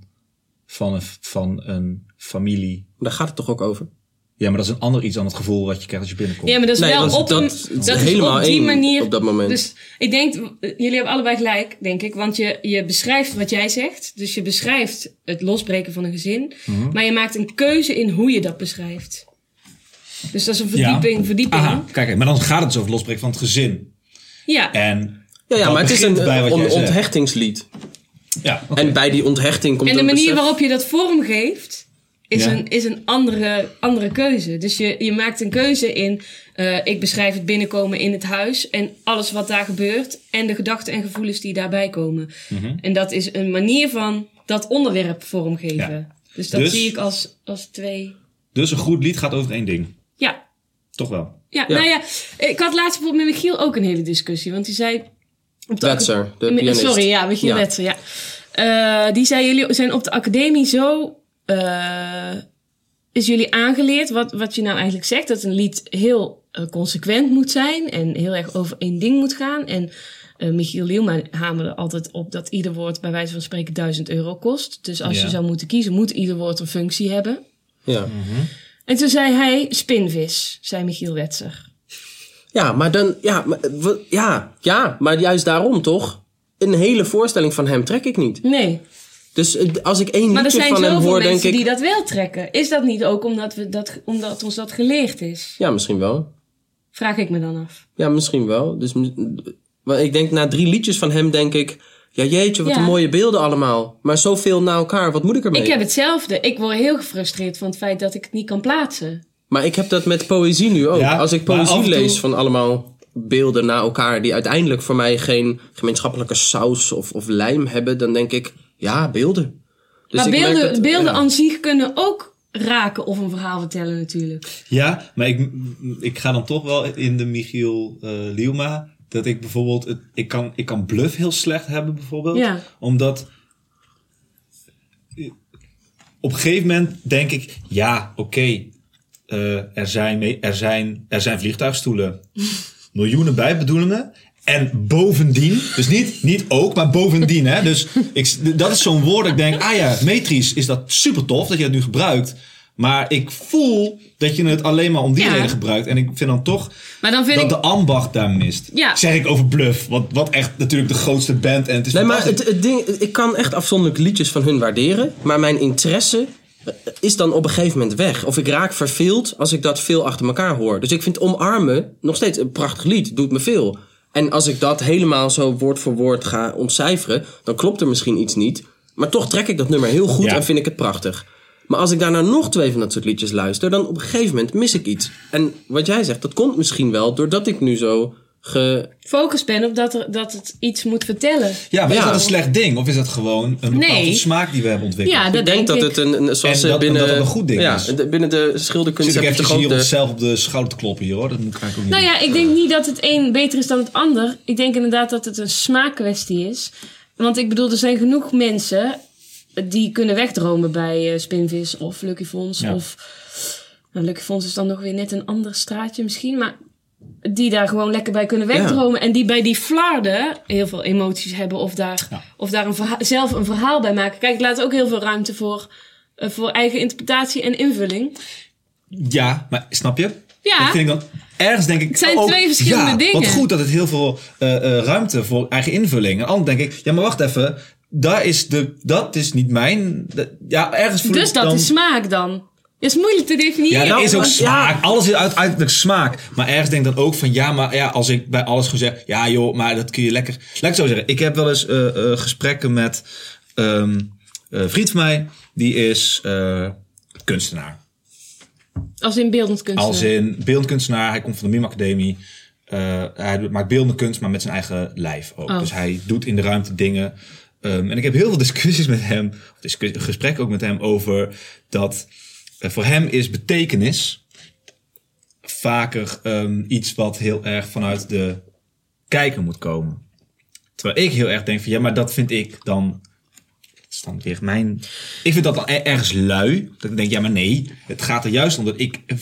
van, een, van een familie. Daar gaat het toch ook over? Ja, maar dat is een ander iets dan het gevoel wat je krijgt als je binnenkomt. ja maar dat is Nee, wel dat- op, een- dat is helemaal op die één manier. op dat moment. Dus ik denk, eh, jullie hebben allebei gelijk, denk ik. Want je, je beschrijft wat jij zegt. Dus je beschrijft het losbreken van een gezin. Maar je maakt een keuze in hoe je dat beschrijft. Dus dat is een verdieping, verdieping. Aha, Eh, kijk, kijk, maar dan gaat het dus over het losbreken van het gezin. Ja, En Ja, ja dat maar het is begint een eh, bij wat on- jij zegt. onthechtingslied. Ja, oké. En bij die onthechting komt en de een manier besef- waarop je dat vormgeeft is Ja. een, is een andere, andere keuze. Dus je, je maakt een keuze in, eh, ik beschrijf het binnenkomen in het huis en alles wat daar gebeurt en de gedachten en gevoelens die daarbij komen. Mhm. En dat is een manier van dat onderwerp vormgeven. Ja. Dus dat Dus- zie ik als, als twee. Dus een goed lied gaat over één ding. Ja. Toch wel. Ja, Ja. nou ja, ik had laatst bijvoorbeeld met Michiel ook een hele discussie. Want die zei. Op de Wetser, acad- de Mi- pianist. Sorry, ja, Michiel Ja. Wetser, ja. Eh, die zei: Jullie zijn op de academie zo. eh, is jullie aangeleerd wat, wat je nou eigenlijk zegt? Dat een lied heel eh, consequent moet zijn en heel erg over één ding moet gaan. En eh, Michiel Lielma hamerde altijd op dat ieder woord bij wijze van spreken 1000 euro kost. Dus als Ja. je zou moeten kiezen, moet ieder woord een functie hebben. Ja. En toen zei hij: Spinvis, zei Michiel Wetser. Ja, maar dan, ja, maar, eh, wa- ja, ja, maar juist daarom toch? Een hele voorstelling van hem trek ik niet. Nee. Dus eh, als ik één Maar er liedje zijn van hem zoveel hoor, denk mensen ik. die dat wel trekken. Is dat niet ook omdat, we dat, omdat ons dat geleerd is? Ja, misschien wel. Vraag ik me dan af. Ja, misschien wel. Dus, m- maar ik denk na drie liedjes van hem, denk ik. Ja, jeetje, wat Ja. een mooie beelden allemaal. Maar zoveel na elkaar, wat moet ik ermee? Ik heb hetzelfde. Ik word heel gefrustreerd van het feit dat ik het niet kan plaatsen. Maar ik heb dat met poëzie nu ook. Ja, Als ik maar poëzie af en toe- lees van allemaal beelden na elkaar, die uiteindelijk voor mij geen gemeenschappelijke saus of, of lijm hebben, dan denk ik, ja, beelden. Dus maar ik merk beelden, dat- beelden ja. aan zich kunnen ook raken of een verhaal vertellen natuurlijk. Ja, maar ik, ik ga dan toch wel in de Michiel eh Liuma. Dat ik bijvoorbeeld, het, ik, kan, ik kan bluff heel slecht hebben bijvoorbeeld. Ja. Omdat op een gegeven moment denk ik, ja, oké. eh, er, zijn, me- er, zijn, er zijn vliegtuigstoelen. Miljoenen bijbedoelingen. En bovendien, dus niet, niet ook, maar bovendien. Hè? Dus ik, dat is zo'n woord dat ik denk, ah ja, metrisch is dat super tof dat je dat nu gebruikt. Maar ik voel dat je het alleen maar om die Ja. reden gebruikt. En ik vind dan toch Maar dan vind dat ik... de ambacht daar mist. Ja. Zeg ik over Bluff. Wat, wat echt natuurlijk de grootste band. En het is Nee, maar fantastisch. het, het ding, ik kan echt afzonderlijk liedjes van hun waarderen. Maar mijn interesse eh, is dan op een gegeven moment weg. Of ik raak verveeld als ik dat veel achter elkaar hoor. Dus ik vind Omarmen nog steeds een prachtig lied. Doet me veel. En als ik dat helemaal zo woord voor woord ga ontcijferen, dan klopt er misschien iets niet. Maar toch trek ik dat nummer heel goed Ja. en vind ik het prachtig. Maar als ik daarna nog twee van dat soort liedjes luister, dan op een gegeven moment mis ik iets. En wat jij zegt, dat komt misschien wel doordat ik nu zo ge, focus ben op dat, er, dat het iets moet vertellen. Ja, maar is Ja. dat een slecht ding? Of is dat gewoon een bepaalde Nee. smaak die we hebben ontwikkeld? Ja, Ja, dat ik denk dat ik. het een, een- zoals En ze dat- en binnen, dat het een goed ding ja, is. de- binnen de schilderkunst Zit ik heb je eventjes toch ook hier de- onszelf op de schouder te kloppen hier hoor. Dat moet ik eigenlijk ook niet Nou ja, ik denk niet dat het een beter is dan het ander. Ik denk inderdaad dat het een smaakkwestie is. Want ik bedoel, er zijn genoeg mensen die kunnen wegdromen bij eh, Spinvis of Lucky Fonds. Ja. Of nou, Lucky Fonds is dan nog weer net een ander straatje misschien. Maar die daar gewoon lekker bij kunnen wegdromen. En die bij die flarden heel veel emoties hebben. Of daar, Ja. of daar een verha- zelf een verhaal bij maken. Kijk, ik laat ook heel veel ruimte voor, eh, voor eigen interpretatie en invulling. doen. Ja, maar snap je? Nou Ja. Dat vind ik dan, ergens denk ik Het zijn twee verschillende ja, dingen. Wat goed dat het heel veel eh, eh, ruimte voor eigen invulling. En anders denk ik, ja maar wacht even. Daar is de, dat is niet mijn... dat- ja, ergens voel Dus ik dat dan, is smaak dan. Is moeilijk te Ja, nou definiëren. er is ook ja. smaak. Alles is uiteindelijk smaak. Maar ergens denk ik dan ook van ja, maar ja, als ik bij alles gewoon zeg, ja joh, maar dat kun je lekker. Laat ik het zo zeggen. Ik heb wel eens eh, eh, gesprekken met ehm, eh, een vriend van mij, die is eh, kunstenaar. Als in beeldend kunstenaar. Als in beeldkunstenaar, hij komt van de MIM Academie. Eh, hij doet- maakt beeldende kunst, maar met zijn eigen lijf ook. Oh. Dus hij doet in de ruimte dingen. Ehm, en ik heb heel veel discussies met hem, of discuss- gesprekken ook met hem over dat eh, voor hem is betekenis vaker ehm, iets wat heel erg vanuit de kijker moet komen. Terwijl ik heel erg denk van ja, maar dat vind ik dan. dat is dan weer mijn. Ik vind dat dan er- ergens lui. Dat ik denk, ja, maar nee. Het gaat er juist om dat ik eh,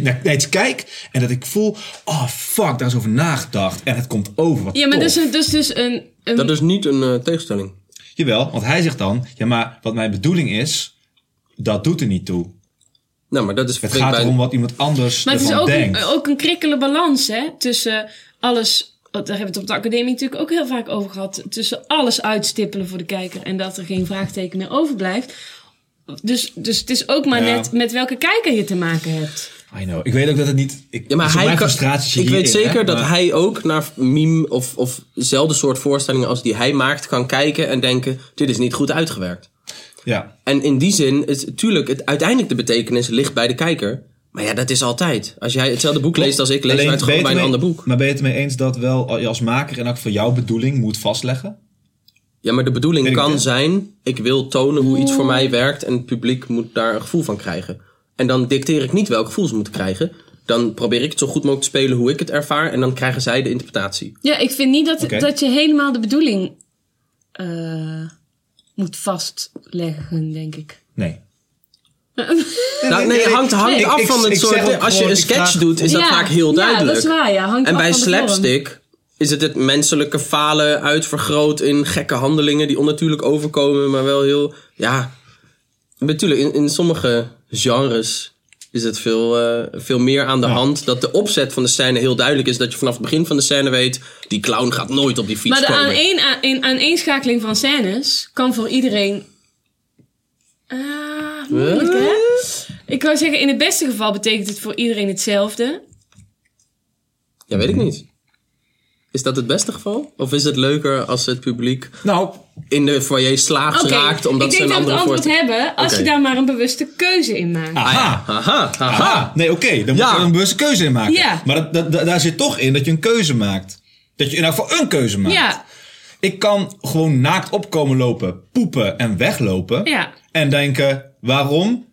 naar naar iets kijk en dat ik voel. Oh fuck, daar is over nagedacht. En het komt over. Wat Ja, maar tof. dus, dus, dus een... een Oh. Dat is niet een eh, tegenstelling. Jawel, want hij zegt dan. Ja, maar wat mijn bedoeling is, dat doet er niet toe. Nou, maar dat is Het bij- gaat erom wat iemand anders maar het is ervan ook een, denkt. ook een krikkele balans, hè. Tussen alles... oh, Daar hebben we het op de academie natuurlijk ook heel vaak over gehad. Tussen alles uitstippelen voor de kijker en dat er geen vraagteken meer overblijft. Dus, dus het is ook maar Ja. net met welke kijker je te maken hebt. I know. Ik weet ook dat het niet. Ik, Ja, maar dat is ook hij mijn kan- frustratie ik weet hierin, zeker hè, dat maar- hij ook naar meme of, of zelfde soort voorstellingen als die hij maakt kan kijken en denken: dit is niet goed uitgewerkt. Ja. En in die zin, is natuurlijk, het, uiteindelijk de betekenis ligt bij de kijker. Maar ja, dat is altijd. Als jij hetzelfde boek leest als ik, lees Alleen, je het gewoon ben bij je een het ander mee- boek. Maar ben je het mee eens dat wel je als maker en ook voor jouw bedoeling moet vastleggen? Ja, maar de bedoeling Weet ik kan het. zijn: ik wil tonen hoe iets voor mij werkt en het publiek moet daar een gevoel van krijgen. En dan dicteer ik niet welk gevoel ze moeten krijgen. Dan probeer ik het zo goed mogelijk te spelen hoe ik het ervaar en dan krijgen zij de interpretatie. Ja, ik vind niet dat, Oké. dat je helemaal de bedoeling eh, moet vastleggen, denk ik. Nee. nou, nee, nee, hangt, hangt ik- af ik- van het ik zeg soort. ook als je gewoon, een ik sketch vraag- doet, is dat Ja, vaak heel Ja, duidelijk. dat is waar, ja. Hangt en af bij van de vorm. slapstick is het het menselijke falen uitvergroot in gekke handelingen die onnatuurlijk overkomen, maar wel heel. Ja, natuurlijk, in, in sommige genres is het veel, eh, veel meer aan de hand. Dat de opzet van de scène heel duidelijk is. Dat je vanaf het begin van de scène weet, die clown gaat nooit op die fiets Maar de komen. aaneen, aan, aaneenschakeling van scènes kan voor iedereen. Ah, moeilijk hè? Ik wou zeggen, in het beste geval betekent het voor iedereen hetzelfde. Ja, weet ik niet. Is dat het beste geval? Of is het leuker als het publiek Nou, in de foyer slaags Oké, raakt omdat ik ze denk een dat we andere het antwoord voorstelling- hebben als je Oké. daar maar een bewuste keuze in maakt. aha. Aha, aha. Aha. Nee, oké. dan moet Ja. je er een bewuste keuze in maken. Ja. Maar dat, dat- dat- daar zit toch in dat je een keuze maakt. Dat je in elk geval een keuze Ah, maakt. ja, Ik kan gewoon naakt opkomen lopen, poepen en weglopen. Ja. En denken, waarom?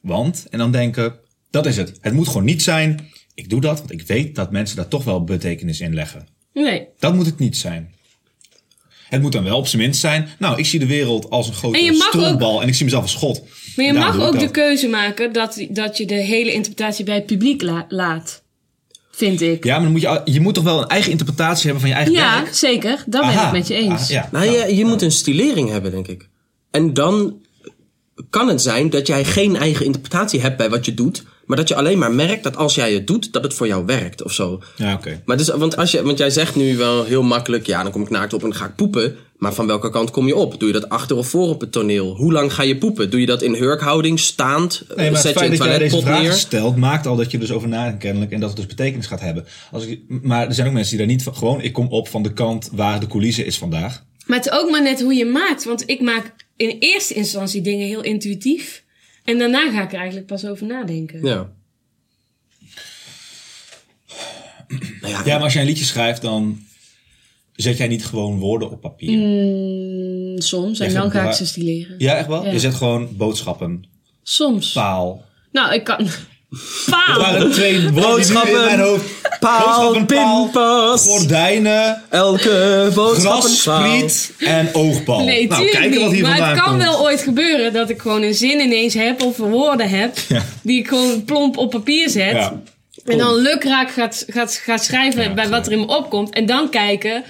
Want, en dan denken, dat is het. Het moet gewoon niet zijn. Ik doe dat, want ik weet dat mensen daar toch wel betekenis in leggen. nee. Dat moet het niet zijn. Het moet dan wel op zijn minst zijn. Nou, ik zie de wereld als een En je grote mag stroopbal en ik zie mezelf als God. Maar je Daarom mag doe ik ook de dat. keuze maken dat, dat je de hele interpretatie bij het publiek la- laat. Vind ik. Ja, maar dan moet je, al- je moet toch wel een eigen interpretatie hebben van je eigen Ja, werk? zeker. Daar ben Aha. ik met je eens. Ah, ja. Nou, je, je moet een stilering hebben, denk ik. En dan kan het zijn dat jij geen eigen interpretatie hebt bij wat je doet. Maar dat je alleen maar merkt dat als jij het doet, dat het voor jou werkt of zo. Ja, oké. Maar dus, want, als je, want jij zegt nu wel heel makkelijk, ja, dan kom ik naakt op en dan ga ik poepen. Maar van welke kant kom je op? Doe je dat achter of voor op het toneel? Hoe lang ga je poepen? Doe je dat in hurkhouding, staand? Nee, maar het zet je feit een dat jij deze toiletpot vraag neer? stelt, maakt al dat je dus over nadenkt kennelijk en dat het dus betekenis gaat hebben. Als ik, maar er zijn ook mensen die daar niet van, gewoon, ik kom op van de kant waar de coulisse is vandaag. Maar het is ook maar net hoe je maakt. Want ik maak in eerste instantie dingen heel intuïtief. En daarna ga ik er eigenlijk pas over nadenken. Ja. Nou ja, Ja, maar als jij een liedje schrijft, dan zet jij niet gewoon woorden op papier. Mm, Soms. En Jij dan gaat ga ik bewa- ze stileren. Ja, echt wel? Ja. Je zet gewoon boodschappen, Soms. paal. Nou, ik kan... Paal! waren twee boodschappen in mijn hoofd. paal, Boodschappen, paal, pinpas, Gordijnen, elke boodschap een paal. grasspriet en oogbal. Nee, nou, tuurlijk kijken wat niet. hier Maar vandaan het kan komt. wel ooit gebeuren dat ik gewoon een zin ineens heb of woorden heb. Ja. Die ik gewoon plomp op papier zet. Ja. En dan lukraak gaat, gaat, gaat schrijven bij wat er in me opkomt. En dan kijken,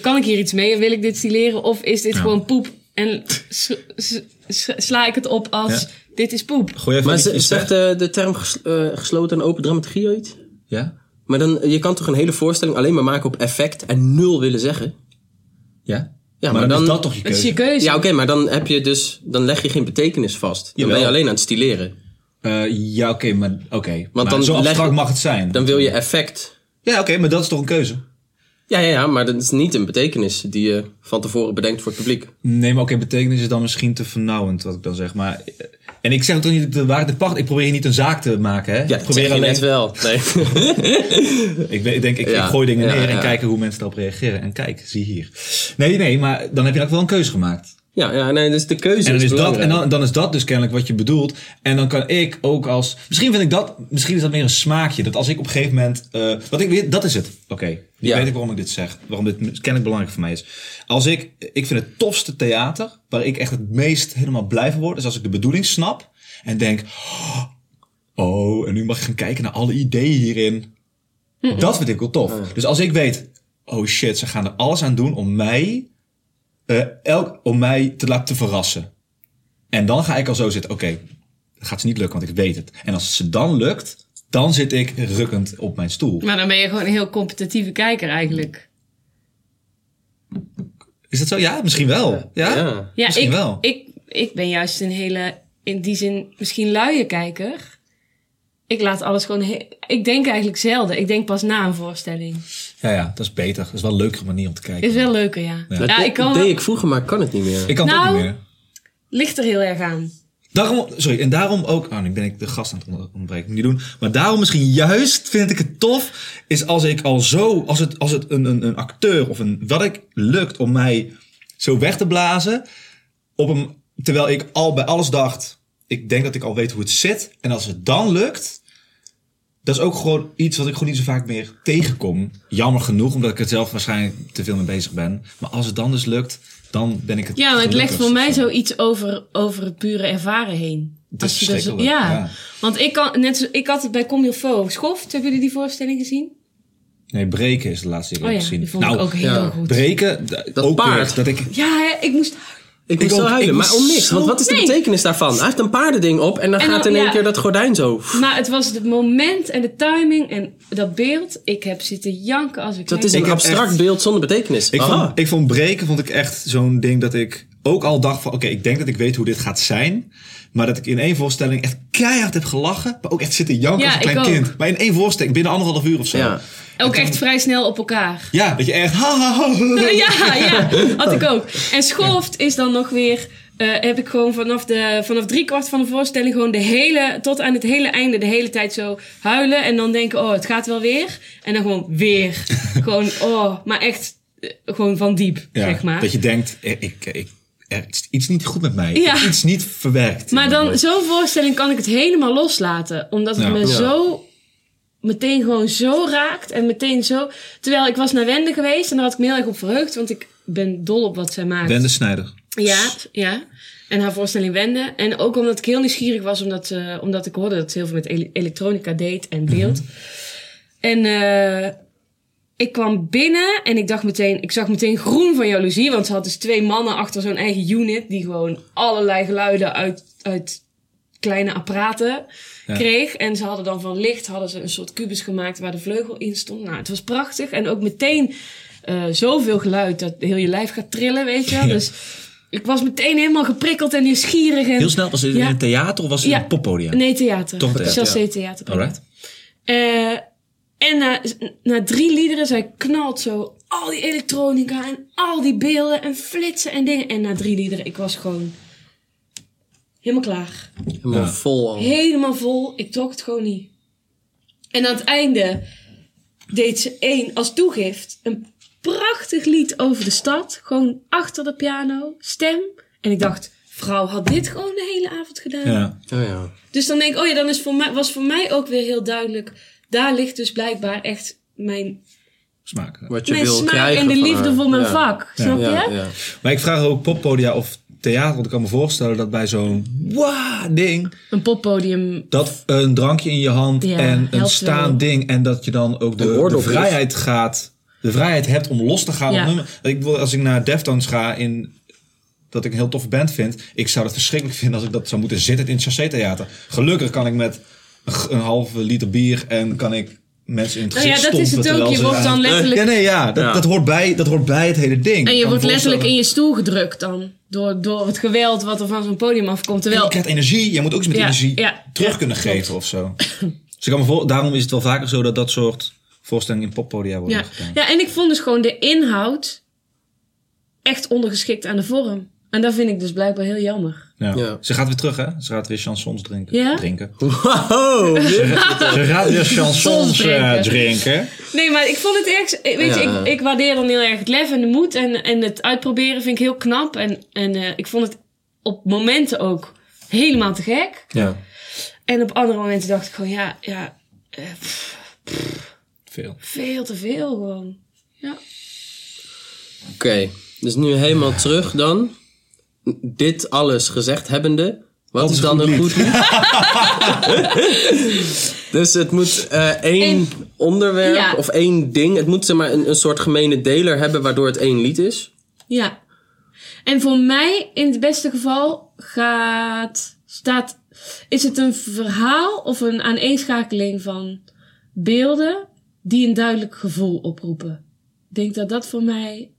kan ik hier iets mee? En Wil ik dit stileren? Of is dit gewoon poep? En s- s- s- sla ik het op als Ja. dit is poep? Gooi even Maar iets ze- in zegt de- de, de term ges- eh, gesloten en open dramaturgie ooit? Ja? Maar dan, je kan toch een hele voorstelling alleen maar maken op effect en nul willen zeggen? Ja? Ja, Maar dan is dat toch je Dat is keuze? je keuze. Ja, oké, maar dan heb je dus, dan leg je geen betekenis vast. Dan ben je Jawel. alleen aan het stileren. Eh, ja, oké, maar, oké. maar dan zo leg- abstract mag het zijn. Dan wil je effect. Ja, oké, maar dat is toch een keuze? Ja, ja, ja, maar dat is niet een betekenis die je van tevoren bedenkt voor het publiek. Nee, maar oké, betekenis is dan misschien te vernauwend, wat ik dan zeg. Maar, eh, en ik zeg toch niet dat de waarheid de pacht... Ik probeer hier niet een zaak te maken, hè? Ja, ik dat probeer zeg je net wel. Nee. Ik, ben- ik denk, ik, ik Ja, gooi dingen ja, neer en ja. kijken hoe mensen daarop reageren. En kijk, zie hier. Nee, nee, maar dan heb je ook wel een keuze gemaakt. ja, ja, nee, dus de keuze En dan is, is, dat, en belangrijk. dan, dan is dat dus kennelijk wat je bedoelt. En dan kan ik ook als. Misschien vind ik dat. Misschien is dat meer een smaakje. Dat als ik op een gegeven moment. eh, wat ik weet, dat is het. Oké. Nu Ja. weet ik waarom ik dit zeg. Waarom dit kennelijk belangrijk voor mij is. Als ik. Ik vind het tofste theater. Waar ik echt het meest helemaal blij van word. Is als ik de bedoeling snap. En denk. Oh, en nu mag ik gaan kijken naar alle ideeën hierin. Hm. Dat vind ik wel tof. Dus als ik weet. Oh shit, ze gaan er alles aan doen om mij. eh, elk, om mij te laten verrassen. En dan ga ik al zo zitten, oké, dat gaat ze niet lukken, want ik weet het. En als ze dan lukt, dan zit ik rukkend op mijn stoel. Maar dan ben je gewoon een heel competitieve kijker eigenlijk. Is dat zo? Ja, misschien wel. Ja? Ja. Ja, Misschien ik, wel. Ik, ik ben juist een hele, in die zin, misschien luie kijker. Ik laat alles gewoon... he- ik denk eigenlijk zelden. Ik denk pas na een voorstelling. ja, ja, dat is beter. Dat is wel een leukere manier om te kijken. Is wel leuker, ja. Ja, Dat ik kan... deed wel- ik vroeger, maar kan het niet meer. Ik kan het ook Nou. niet meer. Ligt er heel erg aan. Daarom, sorry, en daarom ook... Oh, nu ben ik de gast aan het onder- ontbreken. Moet ik niet doen. Maar daarom misschien juist vind ik het tof... is als ik al zo... als het, als het een, een, een acteur of een... wat ik lukt om mij zo weg te blazen... Op een, terwijl ik al bij alles dacht... ik denk dat ik al weet hoe het zit. En als het dan lukt... dat is ook gewoon iets wat ik gewoon niet zo vaak meer tegenkom. Jammer genoeg, omdat ik er zelf waarschijnlijk te veel mee bezig ben. Maar als het dan dus lukt... dan ben ik het Ja, maar het legt gelukkigst voor mij of zo. zoiets over, over het pure ervaren heen. Dat is dat zo- verschrikkelijk, ja. ja. want ik, kan, net zo, ik had het bij Comilfo. Schoft, hebben jullie die voorstelling gezien? Nee, breken is de laatste keer Oh dat ja, ik gezien. Nou, die vond ik ook heel ja. goed. breken, d- Dat ook paard. weer, dat ik Ja, hè, ik moest... Ik moest ook- zo ik huilen, maar moest om niks. zo- Want wat is de Nee. betekenis daarvan? Hij heeft een paardending op en dan En gaat dan- in één ja. keer dat gordijn zo. Maar het was het moment en de timing en dat beeld. Ik heb zitten janken als ik... Dat is Ik een heb abstract echt- beeld zonder betekenis. ik, Aha. vond, ik vond breken vond ik echt zo'n ding dat ik ook al dacht van... Oké, ik denk dat ik weet hoe dit gaat zijn. Maar dat ik in één voorstelling echt keihard heb gelachen. Maar ook echt zitten janken Ja, als een ik klein ook. kind. Maar in één voorstelling, binnen anderhalf uur of zo. Ja. Ja, Ook echt vrij snel op elkaar. dat je echt... Ha, ha, ha, ha. Ja, ja, had ik ook. En schoft is dan nog weer... eh, heb ik gewoon vanaf, de, vanaf drie kwart van de voorstelling... gewoon de hele, tot aan het hele einde de hele tijd zo huilen. En dan denken, oh, het gaat wel weer. En dan gewoon weer. gewoon, oh, maar echt eh, gewoon van diep, Ja, zeg maar. Dat je denkt, er, ik, ik, er is iets niet goed met mij. Ja. Ik heb Iets niet verwerkt. Maar dan, zo'n voorstelling kan ik het helemaal loslaten. Omdat het Ja. me Ja. zo, meteen gewoon zo raakt. En meteen zo... Terwijl ik was naar Wende geweest en daar had ik me heel erg op verheugd. Want ik ben dol op wat zij maakt. Wende Snijder. Ja, ja. En haar voorstelling Wende. En ook omdat ik heel nieuwsgierig was, omdat, eh, omdat ik hoorde dat ze heel veel met ele- elektronica deed en beeld. En eh, Ik kwam binnen en ik dacht meteen, ik zag meteen groen van jaloezie. Want ze had dus twee mannen achter zo'n eigen unit. Die gewoon allerlei geluiden uit, uit kleine apparaten kreeg. En ze hadden dan van licht hadden ze een soort kubus gemaakt waar de vleugel in stond. Nou, het was prachtig. En ook meteen eh, zoveel geluid dat heel je lijf gaat trillen, weet je wel. Dus ik was meteen helemaal geprikkeld en nieuwsgierig. En, Heel snel, was het in Ja. een theater of was het Ja. in een poppodium? Nee, theater. Toch theater, Chassé ja. theater. Alright. Eh, en na, na drie liederen, zij knalt zo al die elektronica en al die beelden en flitsen en dingen. En na drie liederen, ik was gewoon helemaal klaar. Helemaal vol al. Helemaal vol. Ik trok het gewoon niet. En aan het einde deed ze één als toegift een prachtig lied over de stad. Gewoon achter de piano, stem. En ik dacht, vrouw had dit gewoon de hele avond gedaan. Ja. Oh ja. Dus dan denk ik, oh ja, dan is voor mij, was voor mij ook weer heel duidelijk. Daar ligt dus blijkbaar echt mijn, Smaak. Wat je mijn wil smaak krijgen en de van liefde haar. voor mijn Ja. vak. Snap Ja, je? ja. Maar ik vraag ook poppodia of theater. Want ik kan me voorstellen dat bij zo'n waa ding... Een poppodium. dat een drankje in je hand Ja, en een helpt wel. staand ding en dat je dan ook Een de, de oordop is. vrijheid gaat, de vrijheid hebt om los te gaan. Ja. op nummer. Ik wil als ik naar Deftones ga in dat ik een heel toffe band vind, ik zou dat verschrikkelijk vinden als ik dat zou moeten zitten in het Chassé Theater. Gelukkig kan ik met een g- een halve liter bier en kan ik mensen in het Nou gezicht ja, dat is stompen het ook. terwijl Je ze- wordt Ja, dan letterlijk. nee, ja, dat, Ja. dat hoort bij, dat hoort bij het hele ding. Ik En je kan wordt me letterlijk in voorstellen- je stoel gedrukt dan. Door, door het geweld wat er van zo'n podium afkomt. En je Terwijl. krijgt energie. Je moet ook iets met Ja, energie ja, terug ja, kunnen klopt. geven of zo. Dus ik kan me voor, daarom is het wel vaker zo dat dat soort voorstellingen in poppodia worden Ja. gedaan. ja, en ik vond dus gewoon de inhoud echt ondergeschikt aan de vorm. En dat vind ik dus blijkbaar heel jammer. Ja. Ja. Ze gaat weer terug, hè? Ze gaat weer chansons drinken. Ja? drinken. Wow, weer? Ze gaat weer chansons eh, drinken. drinken. Nee, maar ik vond het echt. Weet je, Ja. ik, ik waardeer dan heel erg het lef en de moed. En, en het uitproberen vind ik heel knap. En, en eh, ik vond het op momenten ook helemaal te gek. Ja. En op andere momenten dacht ik gewoon, ja, ja eh, pff, Veel. veel te veel gewoon. Ja. Oké, dus nu helemaal terug dan. Dit alles gezegd hebbende. Wat is dan een goed lied? dus het moet eh, één Eén- onderwerp Ja. of één ding. Het moet zeg maar een, een soort gemene deler hebben waardoor het één lied is. ja. En voor mij, in het beste geval, gaat, staat, is het een verhaal of een aaneenschakeling van beelden die een duidelijk gevoel oproepen. Ik denk dat dat voor mij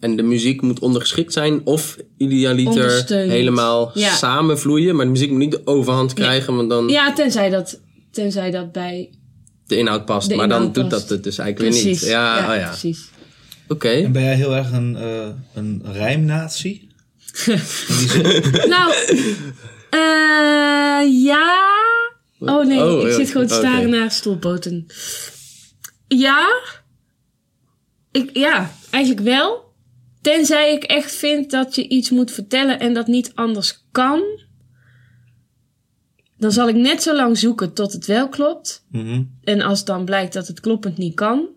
En de muziek moet ondergeschikt zijn of idealiter Ondersteunend. helemaal Ja. samenvloeien. Maar de muziek moet niet de overhand krijgen, want dan Ja, tenzij dat, tenzij dat bij. de inhoud past. De maar dan inhoud doet past. dat het dus eigenlijk weer Precies. niet. Ja, oh ja. precies. oké. En ben jij heel erg een, eh een rijmnatie? In die zin? nou, eh ja. Oh nee, Oh, ik ja, zit gewoon te oké. staren naar stoelpoten. Ja. Ik, ja, eigenlijk wel. Tenzij ik echt vind dat je iets moet vertellen en dat niet anders kan. Dan zal ik net zo lang zoeken tot het wel klopt. Mhm. En als dan blijkt dat het kloppend niet kan,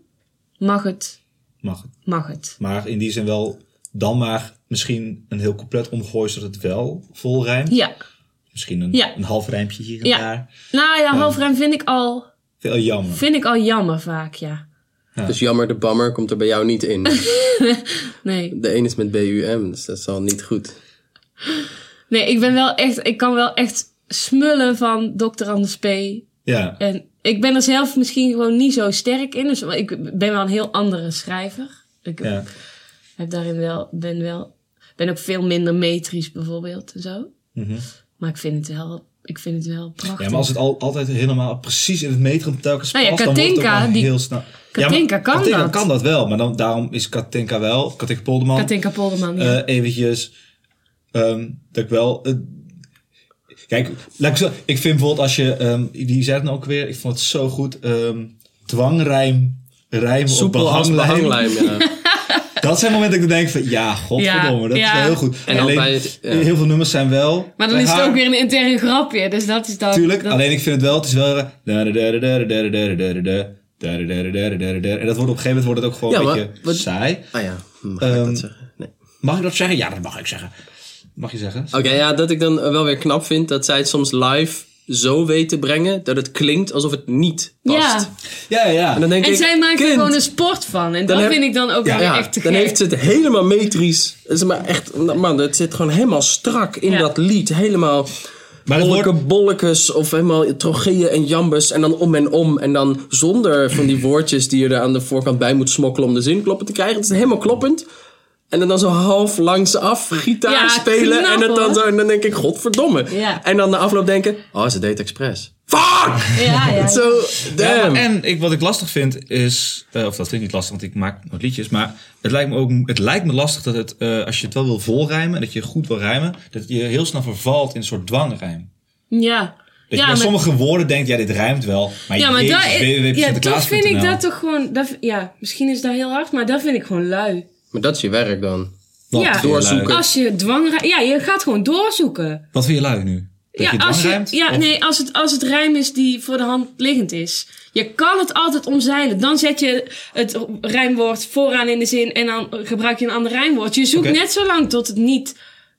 mag het, Mag het. mag het. Maar in die zin wel dan maar misschien een heel compleet omgooi zodat het wel vol rijmt. Ja. Misschien een, Ja. een half rijmpje hier en Ja. daar. Nou ja, halfruim vind ik al, Veel jammer. vind ik al jammer vaak, ja. Dus jammer, de bammer komt er bij jou niet in. Nee. De een is met BUM, dus dat is al niet goed. Nee, ik ben wel echt, ik kan wel echt smullen van Dr. Anders P. Ja. En ik ben er zelf misschien gewoon niet zo sterk in. Dus ik ben wel een heel andere schrijver. Ik ja. heb daarin wel, ben wel, ben ook veel minder metrisch bijvoorbeeld en zo. Mhm. Maar ik vind het wel, ik vind het wel prachtig. Ja, maar als het al, altijd helemaal precies in het metrum telkens Nou ja, past, dan wordt het ook Katinka, wel die- heel snel. Katinka maar kan Katinka dat. kan dat wel, maar dan, daarom is Katinka wel, Katinka Polderman, Katinka Polderman, ja. eh, eventjes, ehm, dat ik wel... eh, kijk, laat ik, zo, ik vind bijvoorbeeld als je, ehm, die zei het nou ook weer, ik vond het zo goed, ehm dwangrijm, rijm op Soepel als behanglijm. behanglijm, ja. Dat zijn momenten dat ik denk van, ja, godverdomme, dat Ja, is wel ja. heel goed. En dan Alleen, bij het- ja. heel veel nummers zijn wel... maar dan bij is het haar- ook weer een interne grapje. Dus dat is dan... Tuurlijk, dat- alleen ik vind het wel, het is wel... eh, En dat wordt op een gegeven moment wordt het ook gewoon Ja, een maar beetje wat- saai. Ah ja, mag ik Ehm, dat zeggen? Nee. Mag ik dat Oh. zeggen? Ja, dat mag ik zeggen. Mag je zeggen? Oké, ja, dat ik dan eh, wel weer knap vind dat zij het soms live zo weet te brengen dat het klinkt alsof het niet past. Ja. Ja, ja. En dan denk En ik, zij maakt er kind, gewoon een sport van. En dat heb- vind ik dan ook Ja. weer ja, echt te dan gek. heeft ze het helemaal metrisch. Het is maar echt, man, het zit gewoon helemaal strak in Ja. dat lied. Helemaal Maar het bolleke wordt, bollekes of helemaal trocheeën en jambes. En dan om en om. En dan zonder van die woordjes die je er aan de voorkant bij moet smokkelen om de zin kloppen te krijgen. Het is helemaal kloppend. En dan, dan zo half langs af gitaar Ja, spelen. knap, en, het dan hoor. zo, en dan denk ik, godverdomme. Ja. En dan de afloop denken, oh, ze deed het expres. Fuck! Ja, ja. Zo, Ja, damn. maar en ik, wat ik lastig vind is, eh, of dat vind ik niet lastig, want ik maak nooit liedjes, maar het lijkt me ook, het lijkt me lastig dat het, eh, als je het wel wil volrijmen, dat je goed wil rijmen, dat je heel snel vervalt in een soort dwangrijm. Ja. Dat ja, je bij maar- sommige woorden denkt, ja, dit rijmt wel, maar, ja, maar jezus, dat, ja, dat www.sinterklaas.nl. vind ik dat toch gewoon... Dat, ja, misschien is dat heel hard, maar dat vind ik gewoon lui. Maar dat is je werk dan. Wat ja. vind je lui? Doorzoeken. Als je dwang... Ja, je gaat gewoon doorzoeken. Wat vind je lui nu? Dat ja, je als dwangrijmt? ja Of- nee, als het, als het rijm is die voor de hand liggend is. Je kan het altijd omzeilen. Dan zet je het rijmwoord vooraan in de zin en dan gebruik je een ander rijmwoord. Je zoekt Oké. net zo lang tot het niet,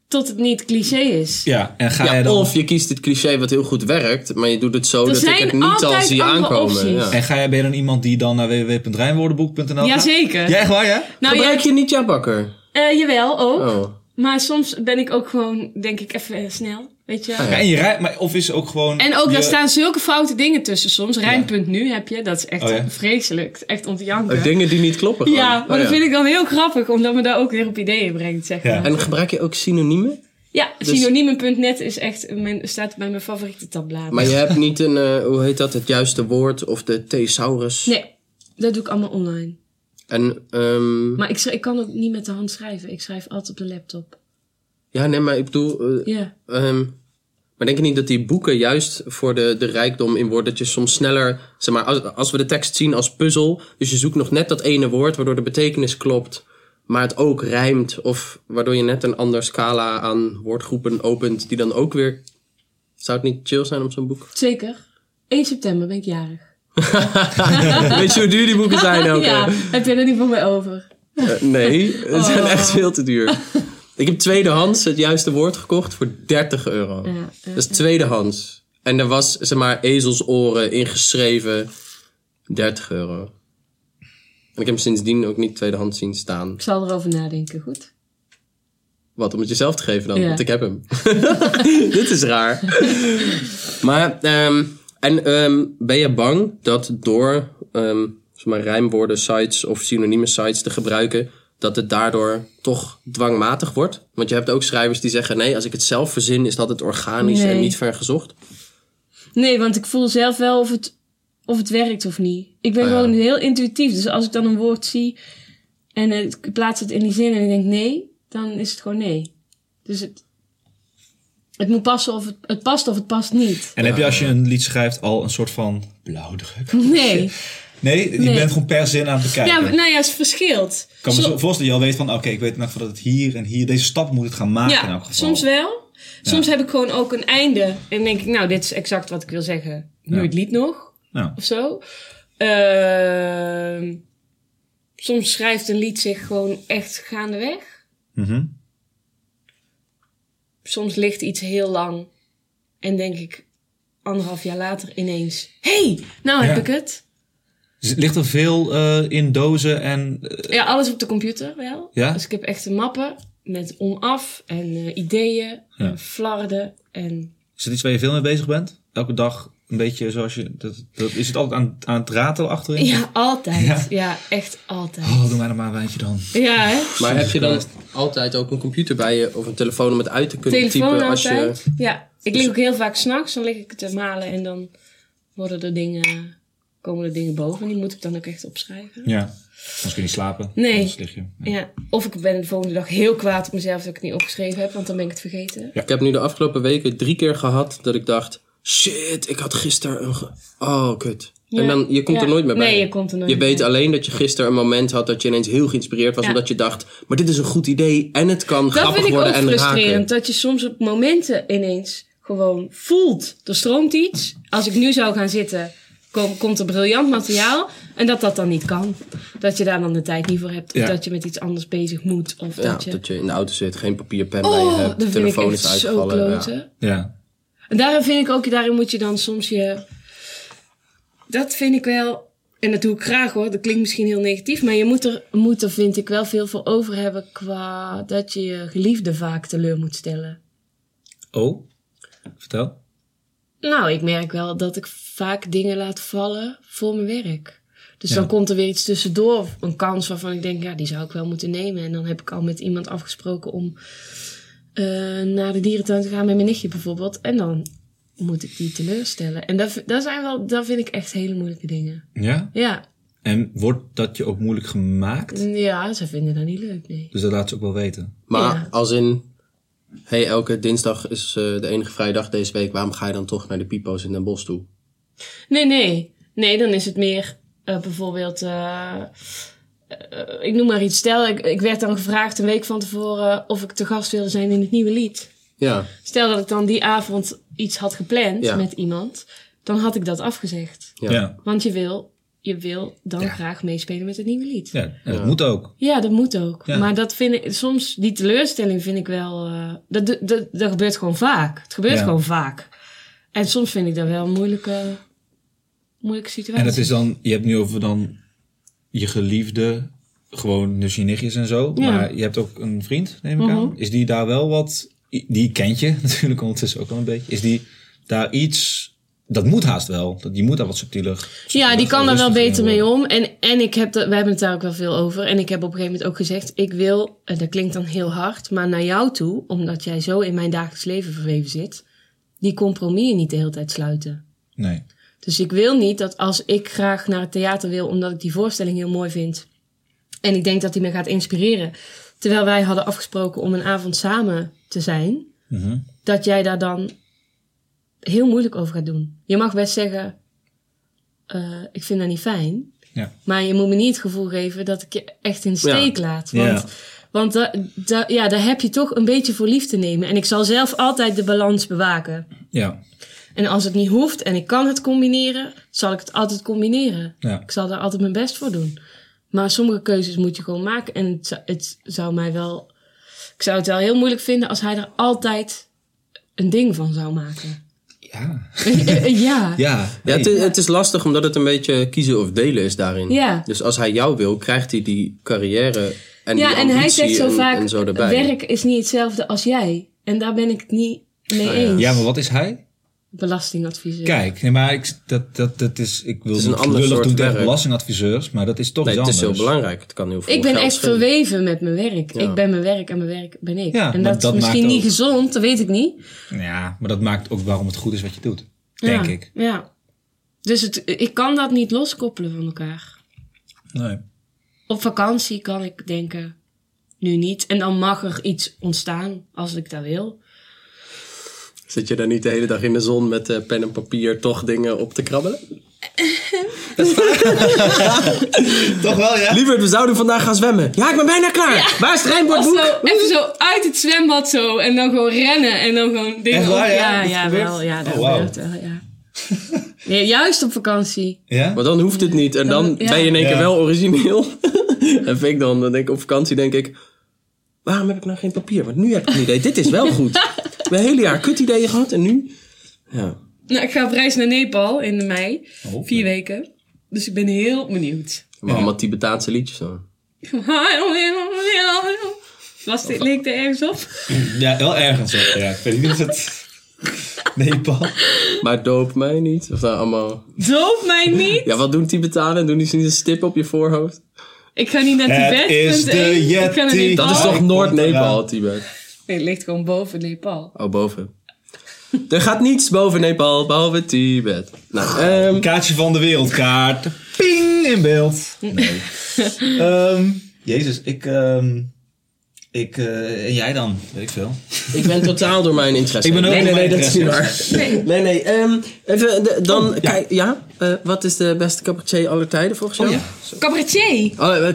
tot het niet cliché is. Ja, en ga Ja, jij dan... Of je kiest dit cliché wat heel goed werkt, maar je doet het zo Er dat ik zijn het niet al altijd zie andere aankomen. opties. Nou Ja. En ga jij, ben je dan iemand die dan naar www.rijmwoordenboek.nl gaat? Jazeker. Ja, echt waar, ja? Nou, Gebruik ja, je niet jouw bakker? eh, jawel, ook. Oh. Maar soms ben ik ook gewoon, denk ik, even eh, snel. Weet je wel. Oh, Ja, en je rijmt, maar of is ook gewoon... En ook, je- daar staan zulke foute dingen tussen soms. Rijmpunt nu heb je, dat is echt Oh ja. vreselijk. Echt om te janken. Oh, Dingen die niet kloppen. gewoon. Ja, Oh, maar dat vind ik dan heel grappig, omdat me daar ook weer op ideeën brengt, zeg Ja. maar. Ja, En gebruik je ook synoniemen? synoniemen.net is echt, mijn, staat bij mijn favoriete tabbladen. Maar je hebt niet een, eh, hoe heet dat, het juiste woord of de thesaurus. Nee, dat doe ik allemaal online. En, ehm, Maar ik, schrij- ik kan ook niet met de hand schrijven. Ik schrijf altijd op de laptop. ja, nee, maar ik bedoel, eh, Ja. ehm, maar denk je niet dat die boeken juist voor de, de rijkdom in woord, dat je soms sneller, zeg maar, als, als we de tekst zien als puzzel, dus je zoekt nog net dat ene woord waardoor de betekenis klopt, maar het ook rijmt, of waardoor je net een ander scala aan woordgroepen opent, die dan ook weer, zou het niet chill zijn om zo'n boek? Zeker. 1 september ben ik jarig. Weet je hoe duur die boeken zijn ook? ja, hè? heb je er niet voor mij over? Eh, nee, het Oh. zijn echt veel te duur. Ik heb tweedehands het juiste woord gekocht voor 30 euro. Ja, ja, dat is tweedehands. En er was, zeg maar, ezelsoren ingeschreven. 30 euro. En ik heb hem sindsdien ook niet tweedehands zien staan. Ik zal erover nadenken, goed? Wat, om het jezelf te geven dan? Ja. Want ik heb hem. Dit is raar. maar, ehm, en ehm, ben je bang dat door ehm, zeg maar, rijmwoorden sites of synonieme sites te gebruiken, dat het daardoor toch dwangmatig wordt? Want je hebt ook schrijvers die zeggen, nee, als ik het zelf verzin, is dat het organisch en Nee. niet vergezocht. Nee, want ik voel zelf wel of het, of het werkt of niet. Ik ben Ah, ja. gewoon heel intuïtief. Dus als ik dan een woord zie en eh, ik plaats het in die zin en ik denk nee, dan is het gewoon nee. Dus het, het moet passen of het, het past of het past niet. En heb je als je een lied schrijft al een soort van blauwdruk? Nee. Nee, je Nee. bent gewoon per zin aan het bekijken. Ja, maar- nou ja, het verschilt. Ik kan me Zo- zo voorstellen dat je al weet van, oké, ik weet nog dat het hier en hier, deze stap moet het gaan maken in ja, elk geval. soms wel. Soms heb ik gewoon ook een einde. En denk ik, nou, dit is exact wat ik wil zeggen. Nu Ja. het lied nog. Ja. of zo. Ehm, soms schrijft een lied zich gewoon echt gaandeweg. Mhm. Soms ligt iets heel lang en denk ik anderhalf jaar later ineens: hey, nou heb Ja. ik het. Dus Ligt er veel eh, in dozen en... eh, Ja, alles op de computer wel. Ja? Dus ik heb echt mappen met onaf en eh, ideeën, Ja. en flarden en. is het iets waar je veel mee bezig bent? Elke dag een beetje zoals je... Dat, dat, is het altijd aan, aan het ratelen achterin? Ja, altijd. Ja. Ja, echt altijd. Oh, doe mij dan maar een wijntje dan. Ja, hè? Maar heb je dan Christ. altijd ook een computer bij je of een telefoon om het uit te kunnen Telefoon typen? Als je, altijd. Ja, ik lig ook heel vaak s'nachts. Dan lig ik te malen en dan worden er dingen, komen er dingen boven. Die moet ik dan ook echt opschrijven. Ja. Anders kun je niet slapen. Nee. Anders lig je. Ja. Ja, of ik ben de volgende dag heel kwaad op mezelf dat ik het niet opgeschreven heb, want dan ben ik het vergeten. Ik heb nu de afgelopen weken drie keer gehad dat ik dacht... Shit, ik had gisteren een... ge- Oh, kut. Ja. En dan, je komt er Ja. nooit meer bij. Nee, je komt er nooit Je meer weet bij. alleen dat je gisteren een moment had dat je ineens heel geïnspireerd was. Ja. Omdat je dacht, maar dit is een goed idee en het kan Dat grappig vind ik ook worden en frustrerend, raken. dat je soms op momenten ineens gewoon voelt. Er stroomt iets. Als ik nu zou gaan zitten, kom- komt er briljant materiaal. En dat dat dan niet kan. Dat je daar dan de tijd niet voor hebt. Of Ja. dat je met iets anders bezig moet. Of Ja, dat je... dat je in de auto zit, geen papierpen bij je Oh, hebt. dat vind ik telefoon echt is zo uitgevallen. ja. kloten. Ja. En daarin vind ik ook, daarin moet je dan soms je. Dat vind ik wel. En dat doe ik graag hoor. Dat klinkt misschien heel negatief. Maar je moet er, moet er vind ik wel veel voor over hebben. Qua dat je je geliefde vaak teleur moet stellen. Oh, vertel. Nou, ik merk wel dat ik vaak dingen laat vallen voor mijn werk. Dus dan komt er weer iets tussendoor. of Een kans waarvan ik denk, ja, die zou ik wel moeten nemen. En dan heb ik al met iemand afgesproken om eh, naar de dierentuin te gaan met mijn nichtje bijvoorbeeld. En dan moet ik die teleurstellen. En dat, v- dat, zijn wel, dat vind ik echt hele moeilijke dingen. Ja? Ja, En wordt dat je ook moeilijk gemaakt? ja ze vinden dat niet leuk, nee. Dus dat laat ze ook wel weten. Maar Ja. als in, hey, elke dinsdag is eh, de enige vrije dag deze week. Waarom ga je dan toch naar de pipo's in Den Bosch toe? Nee, nee. Nee, dan is het meer eh, bijvoorbeeld. eh, eh, ik noem maar iets. Stel, ik, ik werd dan gevraagd een week van tevoren of ik te gast wilde zijn in het nieuwe lied. Ja, Stel dat ik dan die avond iets had gepland Ja. met iemand, dan had ik dat afgezegd. ja. Want je wil, je wil dan graag meespelen met het nieuwe lied. Ja, Ja, en dat moet ook. dat moet ook. Ja. Maar dat vind ik, soms, die teleurstelling vind ik wel. eh, dat, dat, dat gebeurt gewoon vaak. Het gebeurt Ja. gewoon vaak. En soms vind ik dat wel een moeilijke, moeilijke situatie. En dat is dan, je hebt nu over dan je geliefde, gewoon dus je nichtjes en zo. Ja. Mhm. Maar je hebt ook een vriend, neem ik aan. Is die daar wel wat, die kent je natuurlijk ondertussen ook al een beetje. Is die daar iets, dat moet haast wel. Dat- Die moet daar wat subtieler. Ja, die kan daar rustiger wel in beter mee worden. om. En, en ik heb dat, we hebben het daar ook wel veel over. En ik heb op een gegeven moment ook gezegd: ik wil, en dat klinkt dan heel hard, maar naar jou toe, omdat jij zo in mijn dagelijks leven verweven zit, die compromissen niet de hele tijd sluiten. Nee. Dus ik wil niet dat als ik graag naar het theater wil, omdat ik die voorstelling heel mooi vind. En ik denk dat die me gaat inspireren. Terwijl wij hadden afgesproken om een avond samen te zijn. Dat jij daar dan heel moeilijk over gaat doen. Je mag best zeggen, eh, ik vind dat niet fijn. Ja. Maar je moet me niet het gevoel geven dat ik je echt in de Ja. steek laat. Want, Ja. want da- da- ja, daar heb je toch een beetje voor lief te nemen. En ik zal zelf altijd de balans bewaken. Ja. En als het niet hoeft en ik kan het combineren, zal ik het altijd combineren. Ja. Ik zal daar altijd mijn best voor doen. Maar sommige keuzes moet je gewoon maken. En het, zou- het zou mij wel. Ik zou het wel heel moeilijk vinden als hij er altijd een ding van zou maken. Ja. ja. Ja. Ja, het, is, het is lastig omdat het een beetje kiezen of delen is daarin. Ja. Dus als hij jou wil, krijgt hij die carrière en Ja, die en hij ambitie zegt zo en, vaak: eh, en zo erbij. werk is niet hetzelfde als jij. En daar ben ik het niet mee eens. Oh Ja, maar wat is hij? Belastingadviseur. Kijk, nee, maar ik, dat, dat, dat is, ik wil is een niet ander lullig soort doen tegen werk. belastingadviseurs, maar dat is toch Nee, iets het is anders. heel belangrijk. Het kan heel veel Ik ben geld echt schelen. verweven met mijn werk. Ja. Ik ben mijn werk en mijn werk ben ik. Ja, en maar dat, dat is misschien maakt niet ook- gezond, dat weet ik niet. Ja, maar dat maakt ook waarom het goed is wat je doet. Denk ja, ik. Ja. Dus het, ik kan dat niet loskoppelen van elkaar. Nee. Op vakantie kan ik denken, nu niet. En dan mag er iets ontstaan als ik dat wil. Zit je daar niet de hele dag in de zon met eh, pen en papier toch dingen op te krabbelen? Toch wel, ja? Lieverd, we zouden vandaag gaan zwemmen. Ja, ik ben bijna klaar. Waar is het Of rijnbordboek? zo, even zo uit het zwembad zo. En dan gewoon rennen en dan gewoon dingen Echt waar, op- ja? Ja, Dat ja, gebeurt? wel. Ja, dat Oh, wauw. gebeurt wel, ja. Nee, juist op vakantie. Ja? Maar dan hoeft het niet. En dan Ja. ben je in één Ja. keer wel origineel. en vind ik dan, dan denk ik op vakantie denk ik... Waarom heb ik nou geen papier? Want nu heb ik een idee. Dit is wel goed. Ik heb een hele jaar kut ideeën gehad en nu... Ja. Nou, ik ga op reis naar Nepal in mei. Oh, Vier weken. Dus ik ben heel benieuwd. Maar allemaal Tibetaanse liedjes hoor. Was dit, leek er ergens op? Ja, wel ergens. op, Ja. Ik weet niet of het... Nepal. Ehm. Maar doop mij niet. Of nou allemaal... Doof mij niet! Ja, wat doen Tibetanen? Doen die ze niet een stip op je voorhoofd? Ik ga niet naar Het Tibet. is punt de één. Ik ga naar Yeti. Nepal. Dat is Oh, ik toch kom Noord-Nepal, eraan. Tibet? Nee, het ligt gewoon boven Nepal. Oh, boven. Er gaat niets boven Nepal, behalve Tibet. Ah, Nou, ehm... Kaartje van de wereldkaart. Ping in beeld. Nee. Ehm, Jezus, ik... ehm, ik eh, en jij dan? Weet ik veel. Ik ben totaal door mijn interesse. Ik ben ook nee, door nee, nee, mijn dat is niet waar. Nee. Nee, nee. ehm, even, de- dan, kijk, ja. eh, wat is de beste cabaretier aller tijden volgens jou? ja. Cabaretier. Oh, eh, kleinkunstenaar,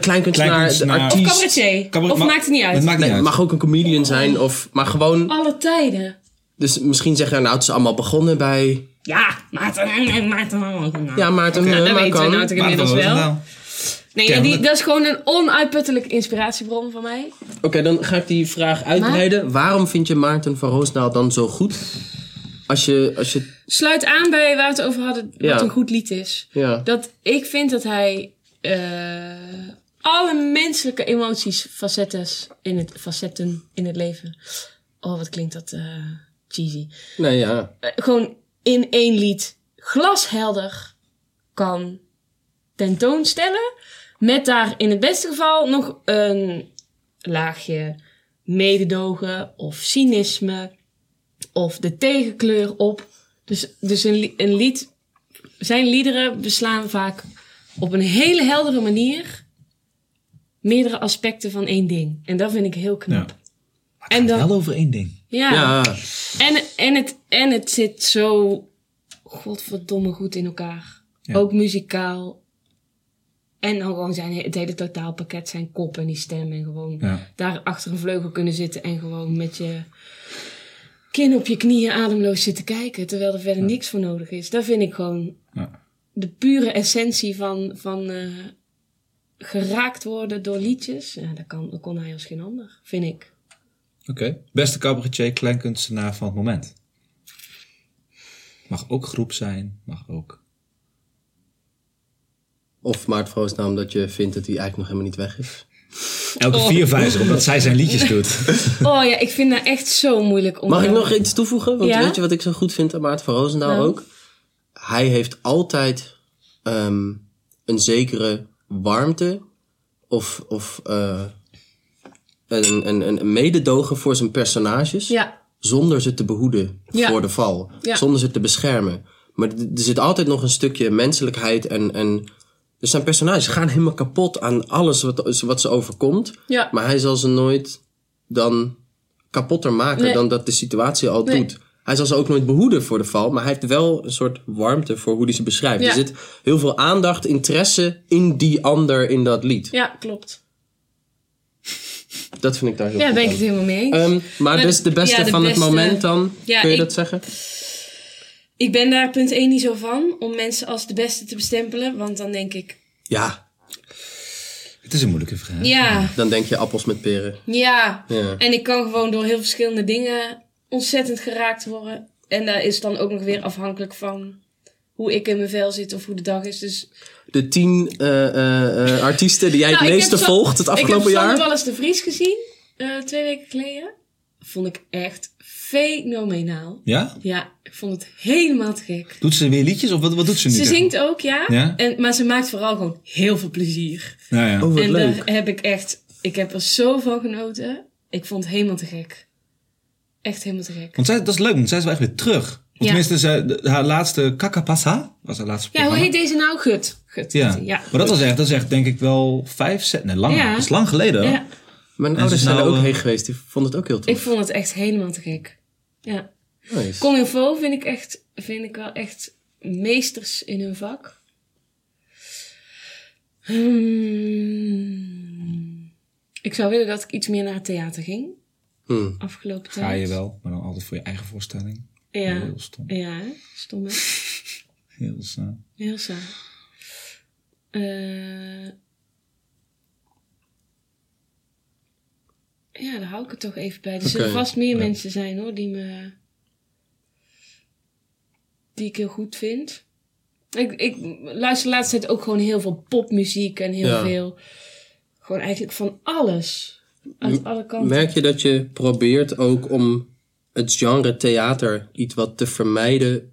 Kleinkunstenaar. de Of artiest. cabaretier. Cabaret- of ma- maakt het niet uit. Het maakt niet Nee, uit. mag ook een comedian zijn, of, maar gewoon. Alle tijden. Dus misschien zeggen, nou, het is allemaal begonnen bij. Ja, Maarten en Maarten van Roosendaal. Ja, Maarten, Ja, eh, dat maar weten we kan. nou toch inmiddels Maar van wel. Roosendaal. Nee, ja, die, Kennelijk. dat is gewoon een onuitputtelijke inspiratiebron van mij. Oké, dan ga ik die vraag uitbreiden. Waarom vind je Maarten van Roosnaal dan zo goed? Als je, als je, Sluit aan bij waar we het over hadden, wat Ja. een goed lied is. ja. Dat ik vind dat hij eh, alle menselijke emoties, facetten in, het, facetten in het leven. Oh, wat klinkt dat eh, cheesy. Nee, nou ja. Eh, gewoon in één lied glashelder kan tentoonstellen. Met daar in het beste geval nog een laagje mededogen of cynisme of de tegenkleur op. Dus, dus een, li- een lied, zijn liederen beslaan vaak op een hele heldere manier meerdere aspecten van één ding. En dat vind ik heel knap. En dan, Wel over één ding. Ja. en, en, het, en het zit zo godverdomme goed in elkaar. Ook muzikaal. En dan gewoon zijn, het hele totaalpakket, zijn kop en die stem. En gewoon Ja. daar achter een vleugel kunnen zitten en gewoon met je kin op je knieën ademloos zitten kijken. Terwijl er verder niks voor nodig is. Dat vind ik gewoon Ja. de pure essentie van, van eh, geraakt worden door liedjes. Ja, dat, kan, dat kon hij als geen ander, vind ik. Oké. Beste cabaretier, kleinkunstenaar van het moment. Mag ook groep zijn, mag ook. Of Maart Vroosnaam dat je vindt dat hij eigenlijk nog helemaal niet weg is. Elke Oh. vierwijzer, omdat zij zijn liedjes doet. Oh ja, ik vind dat echt zo moeilijk om... Mag ik dan- nog iets toevoegen? Want Ja? weet je wat ik zo goed vind aan Maart van Roosendaal Nou. ook? Hij heeft altijd ehm, een zekere warmte of, of eh, een, een, een- een mededogen voor zijn personages. Ja, Zonder ze te behoeden Ja. voor de val. Ja. Zonder ze te beschermen. Maar d- er zit altijd nog een stukje menselijkheid en... en dus zijn personages gaan helemaal kapot aan alles wat, wat ze overkomt. ja. Maar hij zal ze nooit dan kapotter maken Nee. dan dat de situatie al Nee. doet. Hij zal ze ook nooit behoeden voor de val, maar hij heeft wel een soort warmte voor hoe hij ze beschrijft. Ja. Er zit heel veel aandacht, interesse in die ander in dat lied. Ja, klopt. Dat vind ik daar heel Ja, goed ben ik aan. het helemaal mee eens. Ehm, maar Maar dus de- de beste ja, de van beste- het moment dan, Ja, kun je ik- dat zeggen? ik ben daar punt 1 niet zo van, om mensen als de beste te bestempelen. Want dan denk ik, Ja, Het is een moeilijke vraag. ja, dan denk je appels met peren. ja. Ja. En ik kan gewoon door heel verschillende dingen ontzettend geraakt worden. En daar is dan ook nog weer afhankelijk van hoe ik in mijn vel zit of hoe de dag is. Dus De tien eh, eh, eh, artiesten die jij Nou, het ik meeste heb Sa- volgt het ik afgelopen heb jaar. Sander Wallis de Vries gezien, eh, twee weken geleden. Vond ik echt fenomenaal. Ja? Ja, ik vond het helemaal te gek. Doet ze weer liedjes of wat, wat doet ze nu? Ze tegen- zingt ook, ja. Ja? En, maar ze maakt vooral gewoon heel veel plezier. Nou ja. Oh, wat en eh, leuk. daar heb ik echt... Ik heb er zo van genoten. Ik vond het helemaal te gek. Echt helemaal te gek. Want zij, dat is leuk, want zij is wel echt weer terug. Of Ja. Tenminste, zij, de- haar laatste Kakapasa was haar laatste Ja, hoe programma. heet deze nou? Gut. Gut. Ja. Ja. maar dat was echt, dat is echt denk ik wel vijf, zet, nee, lang. Ja. Dat is lang geleden. hoor. Ja, Mijn ze ouders is zijn er nou, ook eh, heen geweest, die vonden het ook heel ik tof. vond het echt helemaal te gek. Ja. Nice. Comme Faux vind ik echt... Vind ik wel echt meesters in hun vak. Hmm. Ik zou willen dat ik iets meer naar het theater ging. Hm. Afgelopen tijd. Ga je wel, maar dan altijd voor je eigen voorstelling. Ja. Heel stom. Ja, hè? stom hè? Heel snel. Heel saai. Eh, ja, daar hou ik het toch even bij. Er zullen Oké, vast meer mensen zijn hoor, die me... Die ik heel goed vind. Ik, ik luister de laatste tijd ook gewoon heel veel popmuziek en heel Ja. veel... Gewoon eigenlijk van alles. Uit M- alle kanten. Merk je dat je probeert ook om het genre theater iets wat te vermijden?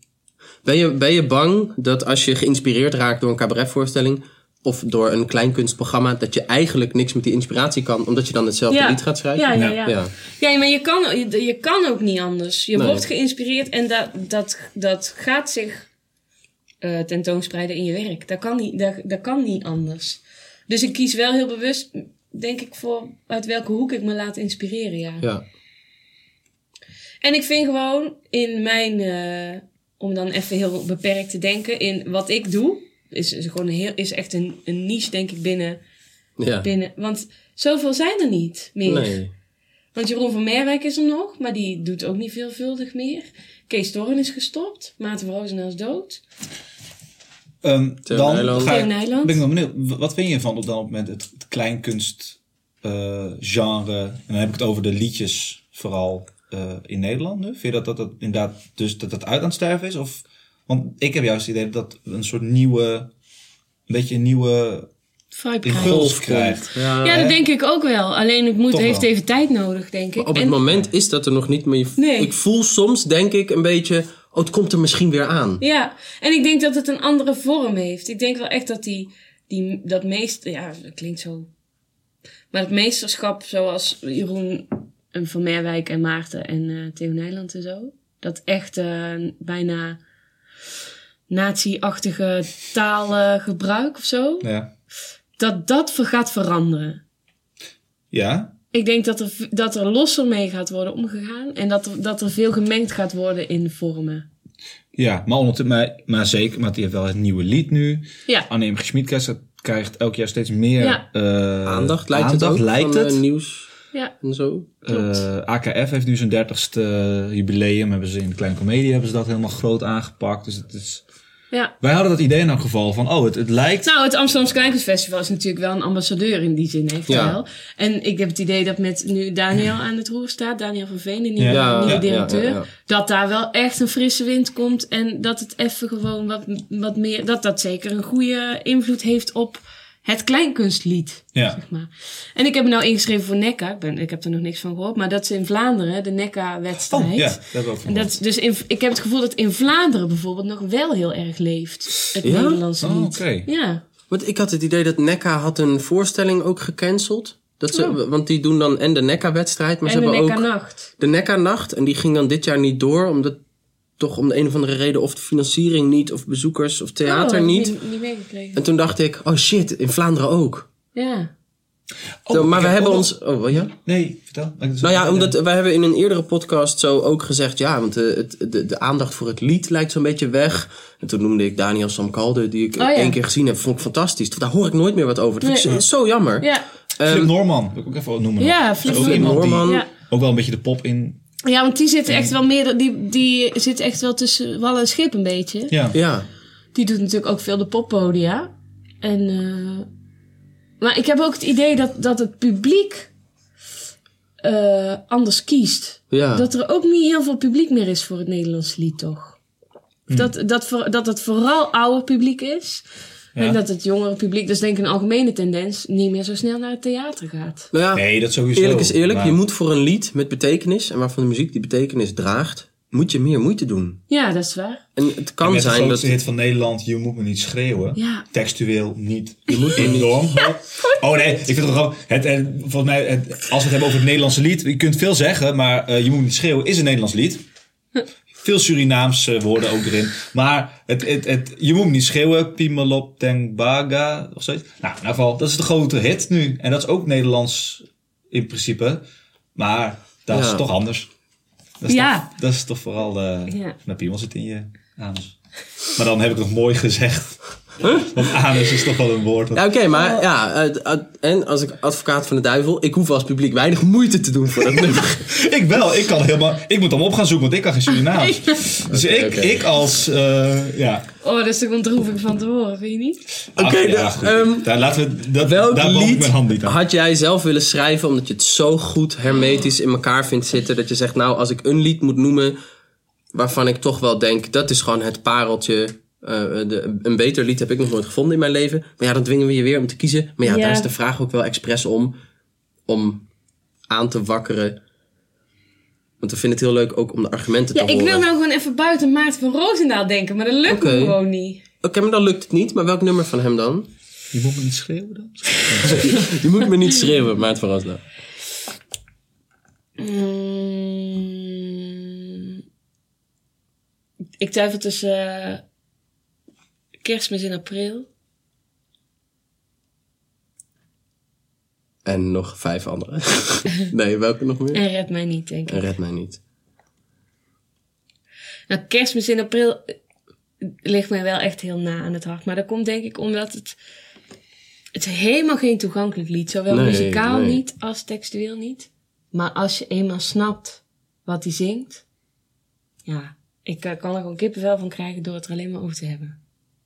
Ben je, ben je bang dat als je geïnspireerd raakt door een cabaretvoorstelling of door een kleinkunstprogramma, dat je eigenlijk niks met die inspiratie kan, omdat je dan hetzelfde Ja. lied gaat schrijven? Ja, ja, Ja. ja. ja. maar je kan, je, je kan ook niet anders. Je Nee. wordt geïnspireerd en dat, dat, dat gaat zich eh tentoonspreiden in je werk. Dat kan, niet, dat, dat kan niet anders. Dus ik kies wel heel bewust, denk ik, voor uit welke hoek ik me laat inspireren. Ja. Ja. En ik vind gewoon in mijn, eh, om dan even heel beperkt te denken, in wat ik doe, is, is, gewoon heel, is echt een, een niche, denk ik, binnen, Ja. binnen. Want zoveel zijn er niet meer. Nee. Want Jeroen van Merwijk is er nog, maar die doet ook niet veelvuldig meer. Kees Toren is gestopt. Maarten van Roosendaal is dood. Ehm, Theo dan Nijland. ga ik, Theo Nijland. ben ik wel benieuwd. w- Wat vind je van op dat moment het, het kleinkunst eh, genre? En dan heb ik het over de liedjes vooral. eh, in Nederland nu? Vind je dat dat, dat inderdaad dus dat dat uit aan het sterven is? Of, want ik heb juist het idee dat we een soort nieuwe, een beetje een nieuwe Vibe krijgen. impuls krijgt. Ja, Ja, dat denk ik ook wel. Alleen het moet, Toch heeft wel. even tijd nodig, denk ik. op het En- moment is dat er nog niet, maar je- Nee. ik voel soms, denk ik, een beetje... Oh, het komt er misschien weer aan. Ja, en ik denk dat het een andere vorm heeft. Ik denk wel echt dat die, die dat meest, ja, dat klinkt zo. Maar het meesterschap zoals Jeroen en van Merwijk en Maarten en eh, Theo Nijland en zo. Dat echt eh, bijna nazi-achtige taalgebruik of zo. Ja. Dat dat ver- gaat veranderen. Ja? Ik denk dat er, v- dat er losser mee gaat worden omgegaan. En dat er, dat er veel gemengd gaat worden in vormen. Ja, maar, ondertussen- maar, maar zeker, maar die heeft wel het nieuwe lied nu. Ja. Anne Schmid krijgt elk jaar steeds meer Ja. eh, Aandacht lijkt aandacht, het ook lijkt van het. eh, nieuws ja. en zo. Klopt. Eh, AKF heeft nu zijn 30ste jubileum. Hebben ze in de Kleine Comedie hebben ze dat helemaal groot aangepakt. Dus het is... ja. Wij hadden dat idee in elk geval van, oh, het, het lijkt... Nou, het Amsterdamse Kleinkunstfestival is natuurlijk wel een ambassadeur in die zin, heeft hij Ja. wel. En ik heb het idee dat met nu Daniel aan het roer staat, Daniel van Veen, de nieuwe, Ja. nieuwe Ja, directeur, ja, ja, ja. dat daar wel echt een frisse wind komt en dat het even gewoon wat, wat meer, dat dat zeker een goede invloed heeft op het kleinkunstlied. Ja. Zeg maar. En ik heb me nou ingeschreven voor NECA, ik, ben, ik heb er nog niks van gehoord, maar dat is in Vlaanderen, de NECA-wedstrijd. Oh, ja, dat hebben we ook van. En dat, is dus in, ik heb het gevoel dat in Vlaanderen bijvoorbeeld nog wel heel erg leeft. Het Ja? Nederlandse Oh, lied. oké. Ja. Want ik had het idee dat NECA had een voorstelling ook gecanceld. Dat ze, Want die doen dan en de NECA-wedstrijd, maar Oh. En ze de hebben nek aan ook nacht. de NECA-nacht. En die ging dan dit jaar niet door, omdat toch om de een of andere reden of de financiering niet, of bezoekers of theater Oh, niet. heb ik Niet meegekregen. En toen dacht ik, oh shit, in Vlaanderen ook. Ja. Oh, Zo, maar ik we heb hebben ook ons... Oh, ja? nog- Nee, vertel. Nou ja, omdat wij hebben in een eerdere podcast zo ook gezegd... ja, want de, het, de, de aandacht voor het lied lijkt zo'n beetje weg. En toen noemde ik Daniel Samkalde, die ik Oh ja. één keer gezien heb. Vond ik fantastisch. Daar hoor ik nooit meer wat over. Dat vind ik Nee. zo, zo jammer. Ja. Flip ehm, Norman, wil ik ook even noemen. Ja, Dat is Flip ook Norman. iemand die Norman. ja. ook wel een beetje de pop in... Ja, want die zit echt wel meer, die, die zit echt wel tussen wal en schip een beetje. Ja. Ja. Die doet natuurlijk ook veel de poppodia. En, eh, maar ik heb ook het idee dat, dat het publiek eh, anders kiest. Ja. Dat er ook niet heel veel publiek meer is voor het Nederlands lied, toch? Hm. Dat, dat, voor- dat het vooral ouder publiek is. Ja. En dat het jongere publiek, dat is denk ik een algemene tendens, niet meer zo snel naar het theater gaat. Nou ja, Nee, dat sowieso. eerlijk is eerlijk. Maar- Je moet voor een lied met betekenis... en waarvan de muziek die betekenis draagt... moet je meer moeite doen. Ja, dat is waar. En het Met kan de zijn dat... grootste hit van Nederland, Je moet me niet schreeuwen. Ja. Textueel niet. Je moet enorm. Oh nee, ik vind het wel grappig. Het, en volgens mij, het- als we het hebben over het Nederlandse lied. Je kunt veel zeggen, maar eh, Je moet me niet schreeuwen is een Nederlands lied. Veel Surinaamse eh, woorden ook erin. Maar het, het, het, je moet me niet schreeuwen. Pimelop Tengbaga of zoiets. Nou, in ieder geval, dat is de grote hit nu. En dat is ook Nederlands in principe. Maar dat is Ja. toch anders. Dat is, Ja. toch, dat is toch vooral... eh, Ja. nou, piemel zit in je anus. Maar dan heb ik nog mooi gezegd. Want anus is toch wel een woord. Ja, wat- Oké, maar ja, het- het- en als ik advocaat van de duivel, ik hoef als publiek weinig moeite te doen voor dat nummer. Ik wel, ik kan helemaal... Ik moet hem op gaan zoeken, want ik kan geen Surinaams. Dus ik, oké. ik als... eh, ja. Oh, dat is toch ontroerend van te horen, vind je niet? Oké, de- ehm, daar laten we... Dat, Welk daar boog ik lied mijn hand niet aan. had jij zelf willen schrijven omdat je het zo goed hermetisch in elkaar vindt zitten dat je zegt, nou, als ik een lied moet noemen waarvan ik toch wel denk, dat is gewoon het pareltje. eh, de, een beter lied heb ik nog nooit gevonden in mijn leven. Maar ja, dan dwingen we je weer om te kiezen. Maar ja, Ja. daar is de vraag ook wel expres om, om aan te wakkeren. Want we vinden het heel leuk ook om de argumenten Ja, te ik horen. wil nou gewoon even buiten Maarten van Roosendaal denken, maar dat lukt Oké. me gewoon niet. Oké, maar dan lukt het niet. Maar welk nummer van hem dan? Je moet me niet schreeuwen dan? Je moet me niet schreeuwen, Maarten van Roosdaal. Mm. Ik twijfel tussen eh, kerstmis in april. En nog vijf andere. nee, welke nog meer? En red mij niet, denk ik. En red mij niet. Nou, kerstmis in april eh, ligt mij wel echt heel na aan het hart. Maar dat komt denk ik omdat het... Het is helemaal geen toegankelijk lied. Zowel Nee, muzikaal nee. niet als textueel niet. Maar als je eenmaal snapt wat hij zingt... Ja, ik eh, kan er gewoon kippenvel van krijgen door het er alleen maar over te hebben.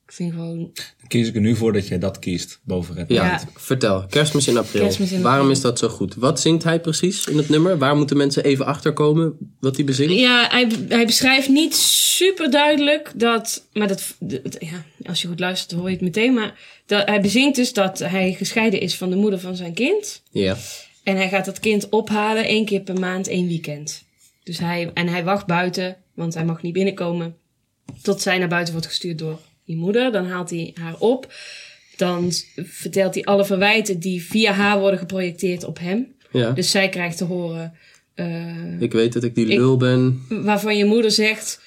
Ik vind gewoon... Dan kies ik er nu voor dat jij dat kiest boven Red. Ja, Ja. vertel. Kerstmis in april. Kerstmis in Waarom april. is dat zo goed? Wat zingt hij precies in het nummer? Waar moeten mensen even achterkomen wat hij bezingt? Ja, hij, hij beschrijft niet super duidelijk dat... Maar dat, dat- ja, als je goed luistert hoor je het meteen. Maar dat, hij bezingt dus dat hij gescheiden is van de moeder van zijn kind. Ja. En hij gaat dat kind ophalen één keer per maand, één weekend. Dus hij, en hij wacht buiten, want hij mag niet binnenkomen. Tot zij naar buiten wordt gestuurd door die moeder. Dan haalt hij haar op. Dan s- vertelt hij alle verwijten die via haar worden geprojecteerd op hem. ja. Dus zij krijgt te horen eh, ik weet dat ik die Ik- lul ben. waarvan je moeder zegt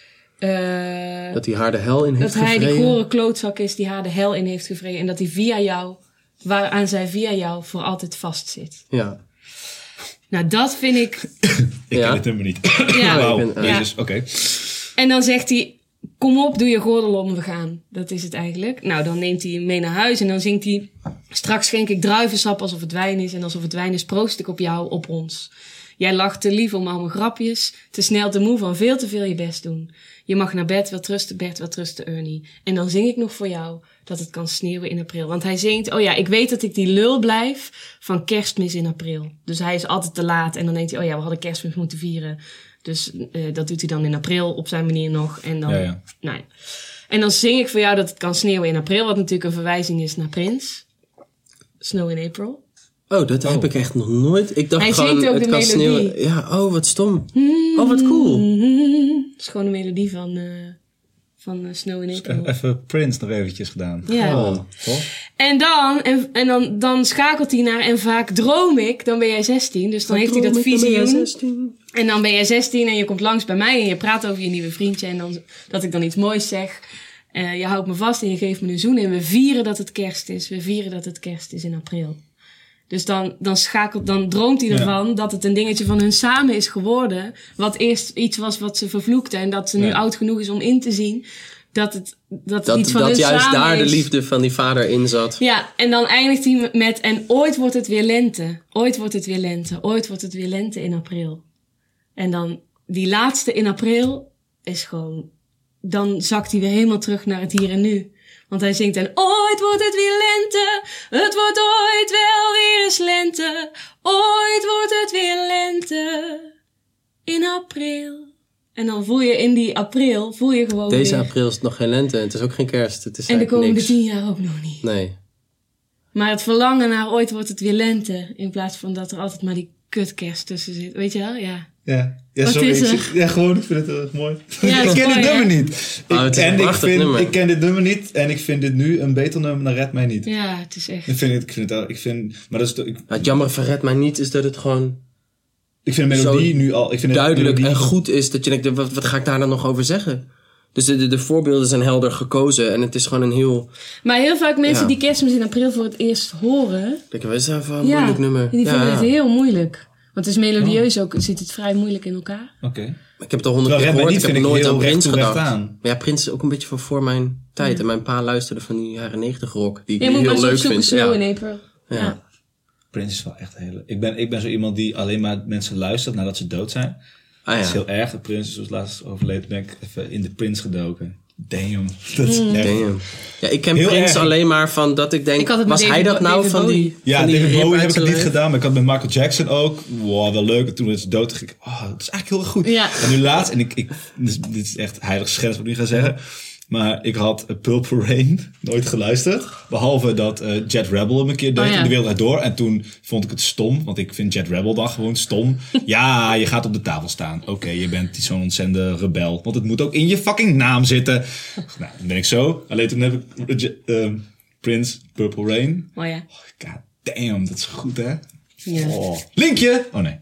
eh, Dat hij haar de hel in heeft dat hij die gevreden. gore klootzak is die haar de hel in heeft gevreden. En dat hij via jou, waaraan zij via jou voor altijd vastzit. Ja. Nou, dat vind ik. Ik Ja. ken het nummer niet. Ja, Wauw, ik ben- ja. Jezus, oké. En dan zegt hij: Kom op, doe je gordel om, we gaan. Dat is het eigenlijk. Nou, dan neemt hij hem mee naar huis en dan zingt hij: Straks schenk ik druivensap alsof het wijn is. En alsof het wijn is, proost ik op jou, op ons. Jij lacht te lief om al mijn grapjes. Te snel, te moe van veel te veel je best doen. Je mag naar bed, wel trusten Bert, wel trusten Ernie. En dan zing ik nog voor jou dat het kan sneeuwen in april. Want hij zingt, oh ja, ik weet dat ik die lul blijf van kerstmis in april. Dus hij is altijd te laat. En dan denkt hij, oh ja, we hadden kerstmis moeten vieren. Dus eh, dat doet hij dan in april op zijn manier nog. En dan, Ja, ja. Nou ja. en dan zing ik voor jou dat het kan sneeuwen in april. Wat natuurlijk een verwijzing is naar Prins. Snow in April. Oh, dat heb ik echt nog nooit. Ik dacht Hij gewoon, zingt ook het de kan melodie. Hmm. sneeuwen. Ja, oh, wat stom. Oh, wat cool. Mhm. Dat is gewoon een melodie van, eh, van eh, Snow in April. Even Prince nog eventjes gedaan. Ja. Oh. Toch? En dan, en, en dan, dan schakelt hij naar en vaak droom ik, dan ben jij 16. Dus dan heeft hij dat visioen. En dan ben jij 16 en je komt langs bij mij en je praat over je nieuwe vriendje. En dan, dat ik dan iets moois zeg. Eh, je houdt me vast en je geeft me een zoen. En we vieren dat het kerst is. We vieren dat het kerst is in april. Dus dan, dan schakelt, dan droomt hij ervan dat het een dingetje van hun samen is geworden. Wat eerst iets was wat ze vervloekte. En dat ze nu Ja. oud genoeg is om in te zien dat het, dat het Dat, iets van dat hun juist samen daar de is. liefde van die vader in zat. Ja, en dan eindigt hij met: En ooit wordt het weer lente. Ooit wordt het weer lente. Ooit wordt het weer lente in april. En dan die laatste in april is gewoon. Dan zakt hij weer helemaal terug naar het hier en nu. Want hij zingt en ooit wordt het weer lente. Het wordt ooit wel weer eens lente. Ooit wordt het weer lente. In april. En dan voel je in die april, voel je gewoon Deze weer. april is het nog geen lente. Het is ook geen kerst. Het is en de eigenlijk komende niks. tien jaar ook nog niet. Nee. Maar het verlangen naar ooit wordt het weer lente. In plaats van dat er altijd maar die kutkerst tussen zit. Weet je wel? Ja. Ja. Ja, Wat sorry, is ik er? zit- ja, gewoon, ik vind het heel erg mooi. het ik is ken mooi, dit hè? nummer niet. Oh, het ik, is een en ik, prachtig vind, nummer. ik ken dit nummer niet en ik vind dit nu een beter nummer dan Red Mij Niet. Ja, het is echt. Ik vind het, ik vind het, ik vind, maar dat is, de- ik, Nou, het jammer van Red mij niet is dat het gewoon ik vind de melodie Zo nu al, ik vind de duidelijk en melodie- goed is. Dat je denkt, wat, wat ga ik daar dan nog over zeggen? Dus de, de, de voorbeelden zijn helder gekozen. En het is gewoon een heel... Maar heel vaak mensen Ja. die kerstmis in april voor het eerst horen. Ik weet het even een ja, moeilijk nummer. Die vinden ja. Oh. het heel moeilijk. Want het is melodieus ook, zit het vrij moeilijk in elkaar. Oké. Ik heb het al honderd Terwijl keer Red Mij gehoord. Niet Ik heb vind ik nooit heel aan recht Prins toe, recht gedacht. aan. Maar ja, Prins is ook een beetje van voor mijn tijd. En mijn pa luisterde van die jaren negentig rock. Die ik Je nu moet maar heel zo leuk zoeken vind. snow ja. in april. Ja. Ja. Prince is wel echt een hele, ik ben, ik ben zo iemand die alleen maar mensen luistert nadat ze dood zijn. Dat Ah, ja. is heel erg. De Prins is zoals laatst overleden. Ben ik even in de Prins gedoken. Damn. Dat Mm. is echt... Damn. Ja, ik ken Heel Prins erg. alleen maar van dat ik denk, Ik had het met was hij David dat Bo- nou David van die... Bowie. Ja, van die David rip Bowie uit heb ik het zijn niet leven? gedaan, maar ik had met Michael Jackson ook. Wow, wel leuk. En toen is het dood, dacht ik, oh, dat is eigenlijk heel erg goed. Ja. En nu laatst, en ik, ik dit, dit is echt heilig schens wat ik nu ga zeggen. Maar ik had eh, Purple Rain nooit geluisterd. Behalve dat eh, Jet Rebel hem een keer deed Oh, ja. in de wereld Draait door. En toen vond ik het stom, want ik vind Jet Rebel dan gewoon stom. ja, je gaat op de tafel staan. Oké, je bent die- zo'n ontzettende rebel. Want het moet ook in je fucking naam zitten. Nou, dan ben ik zo. Alleen toen heb ik eh, Je- eh, Prince Purple Rain. Oh ja. God damn, dat is goed hè? Ja. Oh. Linkje! Oh nee.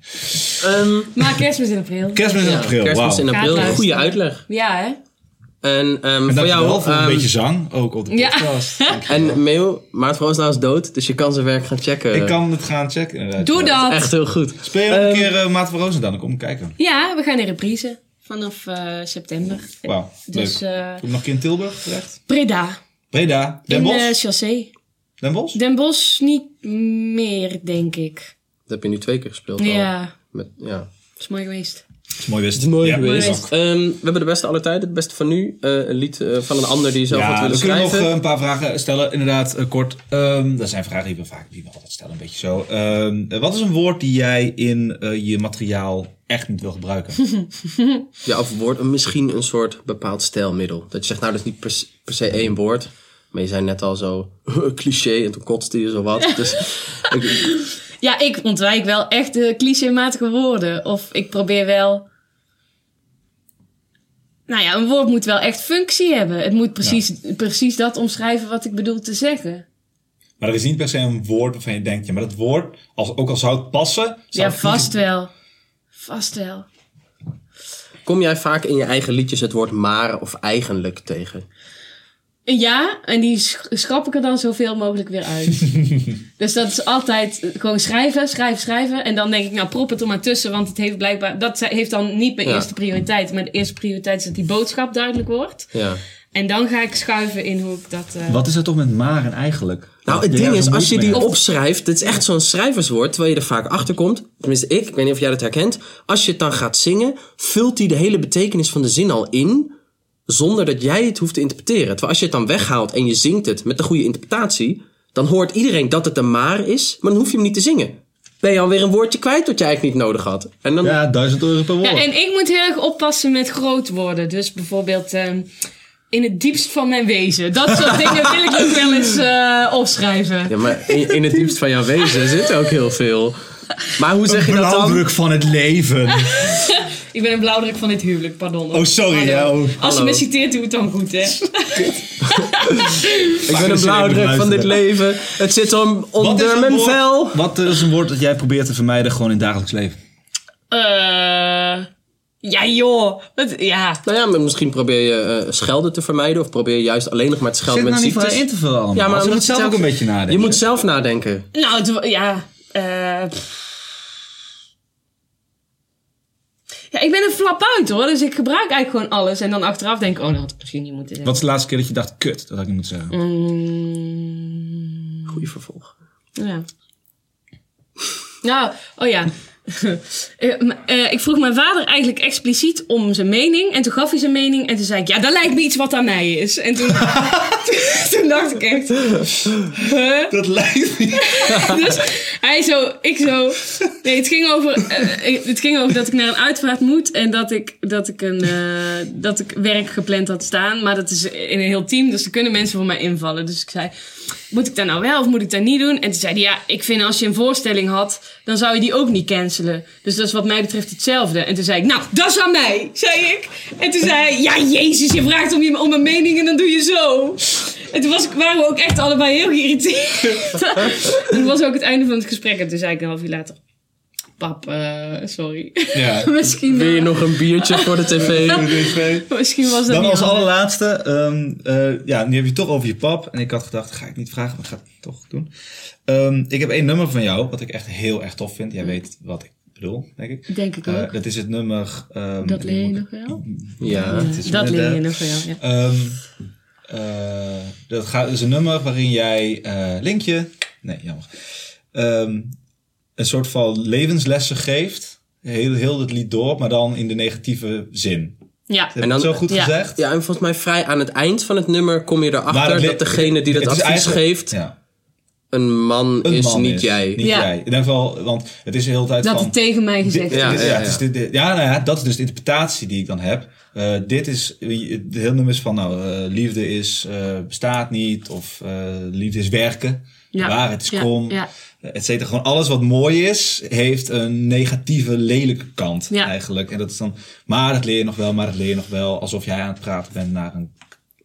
Ehm, Maar kerstmis in april. Kerstmis in ja, april, eh, Kerstmis wauw. in En april, Gaat een goede luisteren. uitleg. Ja, hè? En ehm voor dankjewel jou, voor een ehm, beetje zang, ook op de Ja. podcast. Dankjewel. en mail, Maarten Roosnaal is dood, dus je kan zijn werk gaan checken. Ik kan het gaan checken inderdaad. Doe Ja. dat! Echt heel goed. Ehm, Speel je nog een keer eh, Maat van Rozen dan, dan kom ik kijken. Ja, we gaan in reprise vanaf eh, september. Wauw, Dus leuk. eh Kom nog een keer in Tilburg terecht. Breda. Breda, Den In eh, Bosch. de Chassé. Den Bosch? Den Bosch niet meer, denk ik. Dat heb je nu twee keer gespeeld al. Ja, Met, ja. dat is mooi geweest. Dat is mooi wist. Het is mooi Ja, geweest. dank. Ehm, we hebben de beste aller tijden, het beste van nu. Eh, een lied eh, van een ander die je zelf had Ja, willen we kunnen nog schrijven. eh, een paar vragen stellen, inderdaad, eh, kort. Ehm dat zijn vragen die we, vaak, die we altijd stellen, een beetje zo. Ehm, eh, wat is een woord die jij in eh, je materiaal echt niet wil gebruiken? Ja, of woord, misschien een soort bepaald stijlmiddel. Dat je zegt, nou, dat is niet per, se- per se één woord. Maar je zei net al zo, cliché, en toen kotste je zo wat. Dus ik- Ja, ik ontwijk wel echt de clichématige woorden. Of ik probeer wel... Nou ja, een woord moet wel echt functie hebben. Het moet precies, precies dat omschrijven wat ik bedoel te zeggen. maar er is niet per se een woord waarvan je denkt, ja, maar dat woord, als, ook al zou het passen... zou ja, het niet- vast wel. Vast wel. kom jij vaak in je eigen liedjes het woord maar of eigenlijk tegen? Ja, en die sch- schrap ik er dan zoveel mogelijk weer uit. dus dat is altijd eh, gewoon schrijven, schrijven, schrijven. En dan denk ik, nou prop het er maar tussen, want het heeft blijkbaar... Dat ze- heeft dan niet mijn Ja. eerste prioriteit. Mijn eerste prioriteit is dat die boodschap duidelijk wordt. Ja. En dan ga ik schuiven in hoe ik dat... eh, Wat is dat toch met maar en eigenlijk? Nou, Ja, het ding daar is, heb als ik je die moeite mee. opschrijft, het is echt zo'n schrijverswoord, terwijl je er vaak achter komt. Tenminste, ik, ik weet niet of jij dat herkent. Als je het dan gaat zingen, vult die de hele betekenis van de zin al in, zonder dat jij het hoeft te interpreteren. Terwijl als je het dan weghaalt en je zingt het met de goede interpretatie, dan hoort iedereen dat het een maar is, maar dan hoef je hem niet te zingen. Ben je alweer een woordje kwijt dat je eigenlijk niet nodig had. En dan, Ja, 1000 euro per woord. Ja, en ik moet heel erg oppassen met groot worden. Dus bijvoorbeeld ehm, in het diepst van mijn wezen. Dat soort dingen wil ik ook wel eens eh, opschrijven. ja, maar in, in het diepst van jouw wezen zit ook heel veel. Maar hoe zeg je dat dan? Blauwdruk van het leven. Ik ben een blauwdruk van dit huwelijk, pardon. Oh, sorry. hè, Hallo. oh. Als je Hallo. me citeert, doe het dan goed, hè? Ik ben een blauwdruk van dit leven. Het zit om onder mijn vel. Wat is een woord dat jij probeert te vermijden gewoon in het dagelijks leven? Eh, ja, joh. Wat, ja. Nou ja, maar misschien probeer je eh, schelden te vermijden. Of probeer je juist alleen nog maar te Zit schelden nou met niet voor ziektes. in te vullen allemaal. Ja, maar Ze omdat moet zelf het ook een zelf- beetje nadenken. Je moet zelf nadenken. Nou, het, wa- ja. eh, pff. ja, ik ben een flap uit, hoor. Dus ik gebruik eigenlijk gewoon alles. En dan achteraf denk ik, oh, dat had ik misschien niet moeten zeggen. Wat is de laatste keer dat je dacht, kut, dat had ik niet moeten zeggen? Mm, Goeie vervolg. ja. Nou, oh ja. Eh, m- eh, ik vroeg mijn vader eigenlijk expliciet om zijn mening. En toen gaf hij zijn mening. En toen zei ik, ja, dat lijkt me iets wat aan mij is. En toen, toen dacht ik echt... huh? Dat lijkt niet. Dus hij zo, ik zo. Nee, het ging over, eh, eh, het ging over dat ik naar een uitvaart moet en dat ik, dat, ik een, eh, dat ik werk gepland had staan. Maar dat is in een heel team, dus er kunnen mensen voor mij invallen. Dus ik zei, moet ik dat nou wel of moet ik dat niet doen? En toen zei hij, ja, ik vind als je een voorstelling had, dan zou je die ook niet cancelen. Dus dat is wat mij betreft hetzelfde. En toen zei ik, nou, dat is aan mij, zei ik. En toen zei hij, ja, jezus, je vraagt om, je, om mijn mening en dan doe je zo. En toen was ik, waren we ook echt allebei heel geïrriteerd. en toen was ook het einde van het gesprek. En toen zei ik een half uur later, pap, eh, sorry. Ja. misschien, Wil je eh, nog een biertje voor de tv? misschien was dat Dan niet als handig. allerlaatste, ehm, eh, ja, nu heb je het toch over je pap. En ik had gedacht, ga ik niet vragen, maar ik ga het toch doen. Ehm, ik heb één nummer van jou, wat ik echt heel erg tof vind. Jij Hm. weet wat ik bedoel, denk ik. Denk ik ook. Eh, dat is het nummer... ehm, dat leer je moet ik- nog wel. Ja. het is dat met, leer eh, je nog wel, ja. Ehm, eh, dat gaat, is een nummer waarin jij eh, linkje. Nee, jammer. Ehm, een soort van levenslessen geeft. Heel, heel het lied door, maar dan in de negatieve zin. Ja. Heb En ik dan- het zo goed ja. gezegd? Ja, en volgens mij vrij aan het eind van het nummer kom je Maar erachter het le- dat degene die dat het is advies eigenlijk- geeft, ja, een man een is, man niet jij. Niet Ja. jij. In ieder geval, want het is de hele tijd Dat van... het tegen mij gezegd Dit- Ja, dit- ja, het is ja. dit- dit- ja, nou ja, dat is dus de interpretatie die ik dan heb. Eh, dit is, de hele nummer is van, nou, eh, liefde is, eh, bestaat niet, of eh, liefde is werken, Ja. waarheid is krom, Ja. et cetera. Gewoon alles wat mooi is, heeft een negatieve, lelijke kant Ja. eigenlijk. En dat is dan, maar dat leer je nog wel, maar dat leer je nog wel. Alsof jij aan het praten bent naar een,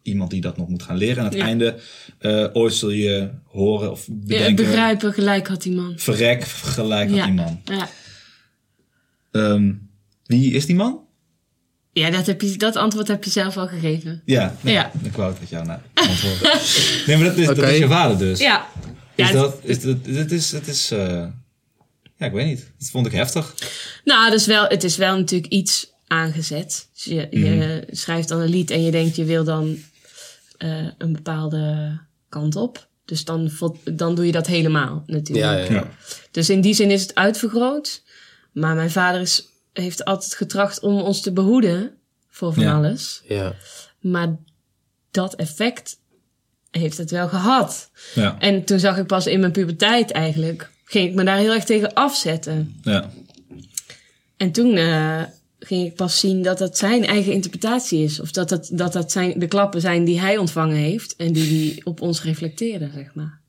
iemand die dat nog moet gaan leren. En aan het Ja. einde, eh, ooit zul je horen of Ja, bedenken, Begrijpen, gelijk had die man. verrek gelijk aan Ja. die man. Ja. Ehm, wie is die man? Ja, dat, heb je, dat antwoord heb je zelf al gegeven. Ja, nee, Ja. ik wou het met jou na antwoorden. nee, maar dat is, Oké. dat is je vader dus. Ja. Is ja dat, is, dat, dit is, het is, eh, ja, ik weet niet. Dat vond ik heftig. Nou, dus wel, het is wel natuurlijk iets aangezet. Dus je, je schrijft dan een lied en je denkt je wil dan eh, een bepaalde kant op. Dus dan, vol- dan doe je dat helemaal natuurlijk. Ja, ja. Ja. Dus in die zin is het uitvergroot. Maar mijn vader is heeft altijd getracht om ons te behoeden voor van Ja. alles. Ja. Maar dat effect heeft het wel gehad. Ja, En toen zag ik pas in mijn puberteit eigenlijk, ging ik me daar heel erg tegen afzetten. ja. En toen eh, ging ik pas zien dat dat zijn eigen interpretatie is. Of dat dat, dat, dat zijn, de klappen zijn die hij ontvangen heeft en die hij op ons reflecteren, zeg maar.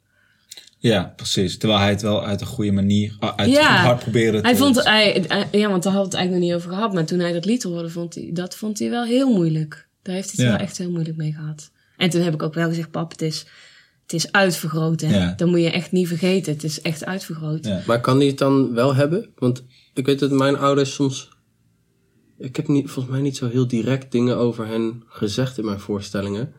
ja, precies. Terwijl hij het wel uit een goede manier, ah, uit Ja. het hard proberen Hij te- vond, hij, hij- ja, want daar had het eigenlijk nog niet over gehad. Maar toen hij dat lied hoorde, vond hij, dat vond hij wel heel moeilijk. Daar heeft hij het Ja. wel echt heel moeilijk mee gehad. En toen heb ik ook wel gezegd, pap, het is, het is uitvergroot. Hè? Ja. Dat moet je echt niet vergeten. Het is echt uitvergroot. Ja. Maar kan die het dan wel hebben? Want ik weet dat mijn ouders soms... Ik heb niet, volgens mij niet zo heel direct dingen over hen gezegd in mijn voorstellingen.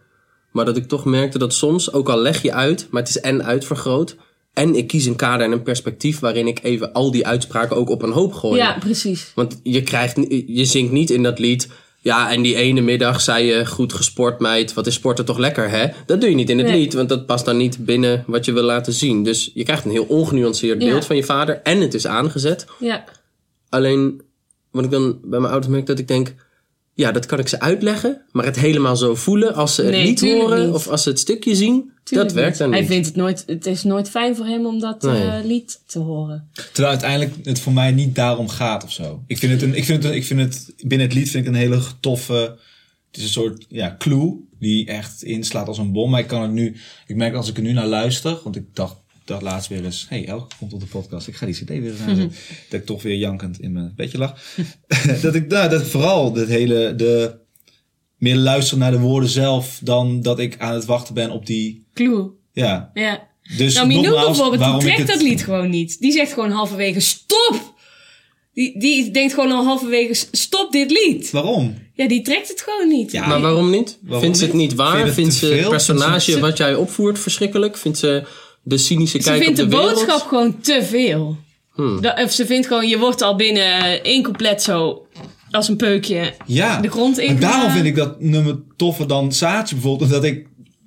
Maar dat ik toch merkte dat soms, ook al leg je uit, maar het is en uitvergroot... en ik kies een kader en een perspectief waarin ik even al die uitspraken ook op een hoop gooi. Ja, precies. Want je, krijgt, ni- je zingt niet in dat lied... Ja, en die ene middag zei je goed gesport meid, wat is sporten toch lekker hè? Dat doe je niet in het Nee. lied, want dat past dan niet binnen wat je wil laten zien. Dus je krijgt een heel ongenuanceerd Ja. beeld van je vader en het is aangezet. Ja, Alleen, wat ik dan bij mijn ouders merk, dat ik denk... Ja, dat kan ik ze uitleggen, maar het helemaal zo voelen als ze het Nee, niet tuurlijk horen niet. of als ze het stukje zien, tuurlijk dat werkt niet. dan hij niet. Vindt het, nooit, het is nooit fijn voor hem om dat Nee. eh, lied te horen. Terwijl uiteindelijk het voor mij niet daarom gaat of zo. Ik vind het, een, ik vind het, een- ik vind het binnen het lied vind ik een hele toffe. Het is een soort ja, clue die echt inslaat als een bom. Maar ik kan het nu. Ik merk als ik er nu naar luister. Want ik dacht, dacht laatst weer eens. hey, Elke komt op de podcast. Ik ga die CD weer eens aanzetten. dat ik toch weer jankend in mijn bedje lag. dat ik nou, dat vooral dat hele. De, meer luister naar de woorden zelf. dan dat ik aan het wachten ben op die. Clue. Ja. Ja. Dus nou, Minou nogmaals, bijvoorbeeld, die waarom ik trekt het- dat lied gewoon niet. Die zegt gewoon halverwege, stop! Die, die denkt gewoon al halverwege, "S- stop dit lied. Waarom? Ja, die trekt het gewoon niet. Ja. Maar waarom niet? Waarom vindt ze het niet? niet waar? Vind je Vindt, het te ze het veel? Vindt personage ze het- wat jij opvoert verschrikkelijk? Vindt ze de cynische ze kijk op vindt de, de, wereld? Hmm. boodschap gewoon te veel. Dat- of ze vindt gewoon, je wordt al binnen één couplet zo als een peukje Ja. de grond in. En daarom vind ik dat nummer toffer dan Saatje bijvoorbeeld. Omdat ik,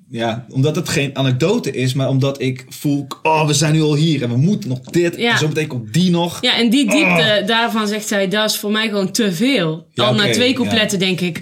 ja, omdat het geen anekdote is, maar omdat ik voel, oh, we zijn nu al hier en we moeten nog dit. Ja. En zo meteen komt die nog. Ja, en die diepte, daarvan zegt zij, dat is voor mij gewoon te veel. Ah. Ja, Al oké, na twee ja. coupletten denk ik,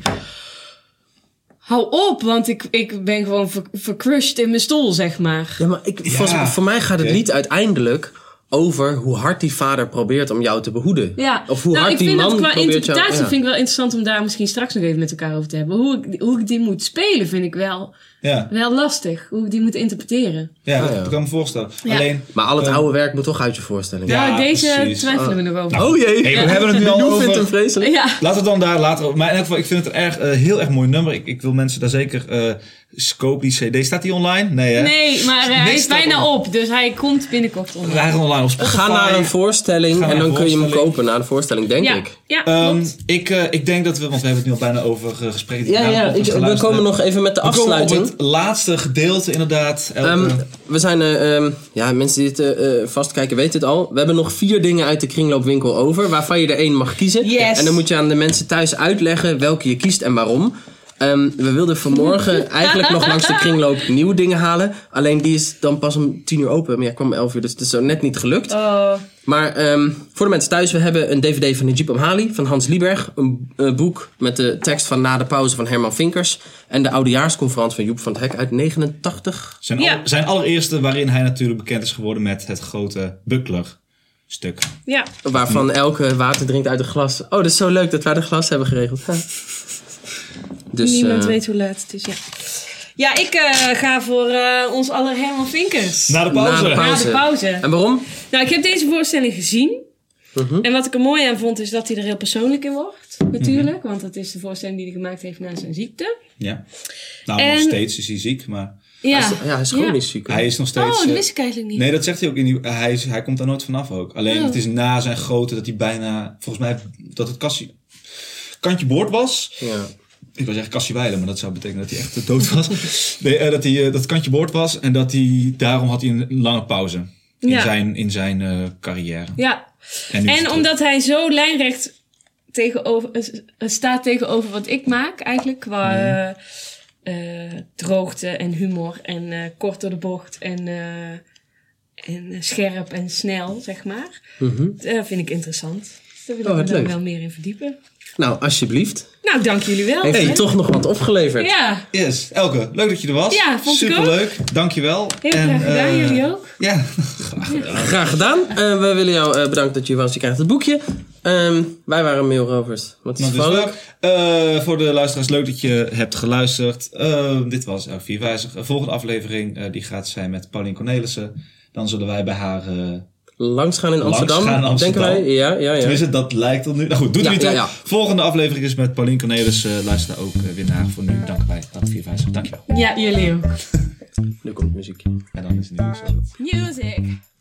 hou op, want ik, ik ben gewoon ver, vercrushed in mijn stoel, zeg maar. Ja, maar ik, volgens- voor mij gaat het Oké. lied uiteindelijk over hoe hard die vader probeert om jou te behoeden. Ja, Of hoe nou, hard ik die vind man dat qua probeert jou... interpretatie ja. vind ik wel interessant om daar misschien straks nog even met elkaar over te hebben. Hoe ik, hoe ik die moet spelen vind ik wel, Ja, wel lastig. Hoe ik die moet interpreteren. ja, dat Ah, ja. kan ik me voorstellen. Ja. Alleen, Maar al het oude werk moet toch uit je voorstelling. Ja, nou, deze precies. twijfelen we nog over. Oh jee. hey, we hebben het nu al Joe vindt hem over... vreselijk. Ja, Laten we het dan daar later over. Maar in elk geval, ik vind het een erg, eh, heel erg mooi nummer. Ik, ik wil mensen daar zeker... eh scope die CD. Staat die online? Nee, hè? nee, maar eh, hij Niks is bijna daarvan. op. Dus hij komt binnenkort online. Wij gaan online op Spotify. Ga naar een voorstelling Ga naar en een dan kun je hem voorstelling. kopen na de voorstelling, denk Ja, ik. ja Ehm, klopt. ik, eh, ik denk dat we, want we hebben het nu al bijna over eh, gesprekken die Ja, na de ja, podcast ik- we geluisterd komen hebben. nog even met de We komen op afsluiting. het laatste gedeelte inderdaad. Elke- Ehm, we zijn, eh, ehm, ja, mensen die het eh, eh, vastkijken weten het al. We hebben nog vier dingen uit de kringloopwinkel over, waarvan je er één mag kiezen. Yes. En dan moet je aan de mensen thuis uitleggen welke je kiest en waarom. Ehm, we wilden vanmorgen eigenlijk nog langs de kringloop nieuwe dingen halen. Alleen die is dan pas om tien uur open. Maar ja, ik kwam om elf uur, dus het is zo net niet gelukt. Oh, Maar ehm, voor de mensen thuis, we hebben een dvd van Najib Amhali van Hans Lieberg. Een eh, boek met de tekst van Na de pauze van Herman Vinkers. En de oudejaarsconferentie van Joep van het Hek uit 89. zijn, ja. aller- zijn allereerste waarin hij natuurlijk bekend is geworden met het grote Buckler-stuk. ja. Waarvan elke water drinkt uit een glas. Oh, dat is zo leuk dat wij de glas hebben geregeld. Ja. Dus, Niemand eh, weet hoe laat het is, ja. Ja, ik eh, ga voor eh, ons aller Herman Vinkers. Na de pauze. Na de pauze. Na de pauze. En waarom? Nou, ik heb deze voorstelling gezien. En wat ik er mooi aan vond, is dat hij er heel persoonlijk in wordt. Natuurlijk, want dat is de voorstelling die hij gemaakt heeft na zijn ziekte. Ja. Nou, En- nog steeds is hij ziek, maar Ah, Ja, Hij is- Ja, hij is chronisch ziek. hij is nog steeds... Oh, dat eh, wist ik eigenlijk niet. Nee, dat zegt hij ook in die... Hij, is, hij komt daar nooit vanaf ook. Alleen Oh. het is na zijn grote dat hij bijna... Volgens mij dat het kassie, kantje boord was. Ja. ik wil zeggen Kassiewijlen, maar dat zou betekenen dat hij echt eh, dood was. Nee, eh, dat hij eh, dat het kantje boord was en dat hij daarom had hij een lange pauze in Ja. zijn, in zijn eh, carrière. Ja, nu is en het omdat hij zo lijnrecht tegenover, eh, staat tegenover wat ik maak eigenlijk. Qua eh, eh, droogte en humor en eh, kort door de bocht en, eh, Mhm. en eh, scherp en snel, zeg maar. Dat vind ik interessant. Daar wil Oh, ik me wat dan leuk. wel meer in verdiepen. Nou, alsjeblieft. Nou, dank jullie wel. Heeft u toch nog wat opgeleverd? Ja, Yes, Elke, leuk dat je er was. Ja, vond ik ook. Superleuk, dankjewel. heel graag gedaan. eh, jullie ook. Ja, Graag gedaan. Eh, we willen jou eh, bedanken dat je hier was. Je krijgt het boekje. Ehm, wij waren Mail Rovers. Wat is dat het is vrolijk? leuk. Eh, voor de luisteraars, leuk dat je hebt geluisterd. Eh, dit was Elke Vierwijzig. De volgende aflevering eh, die gaat zijn met Pauline Cornelissen. Dan zullen wij bij haar... eh Langs gaan in Langs Amsterdam. gaan in Amsterdam. Denken wij? Ja, ja, ja. Tenminste, dat lijkt er nu. Nou goed, doet er Ja, niet ja, toe. ja. Volgende aflevering is met Pauline Cornelissen. Luister daar ook eh, weer naar. Voor nu, dank wij. Dank Vierwijzig. Dankjewel. Ja, jullie ook. Nu komt muziek. En dan is het nu zo. Music.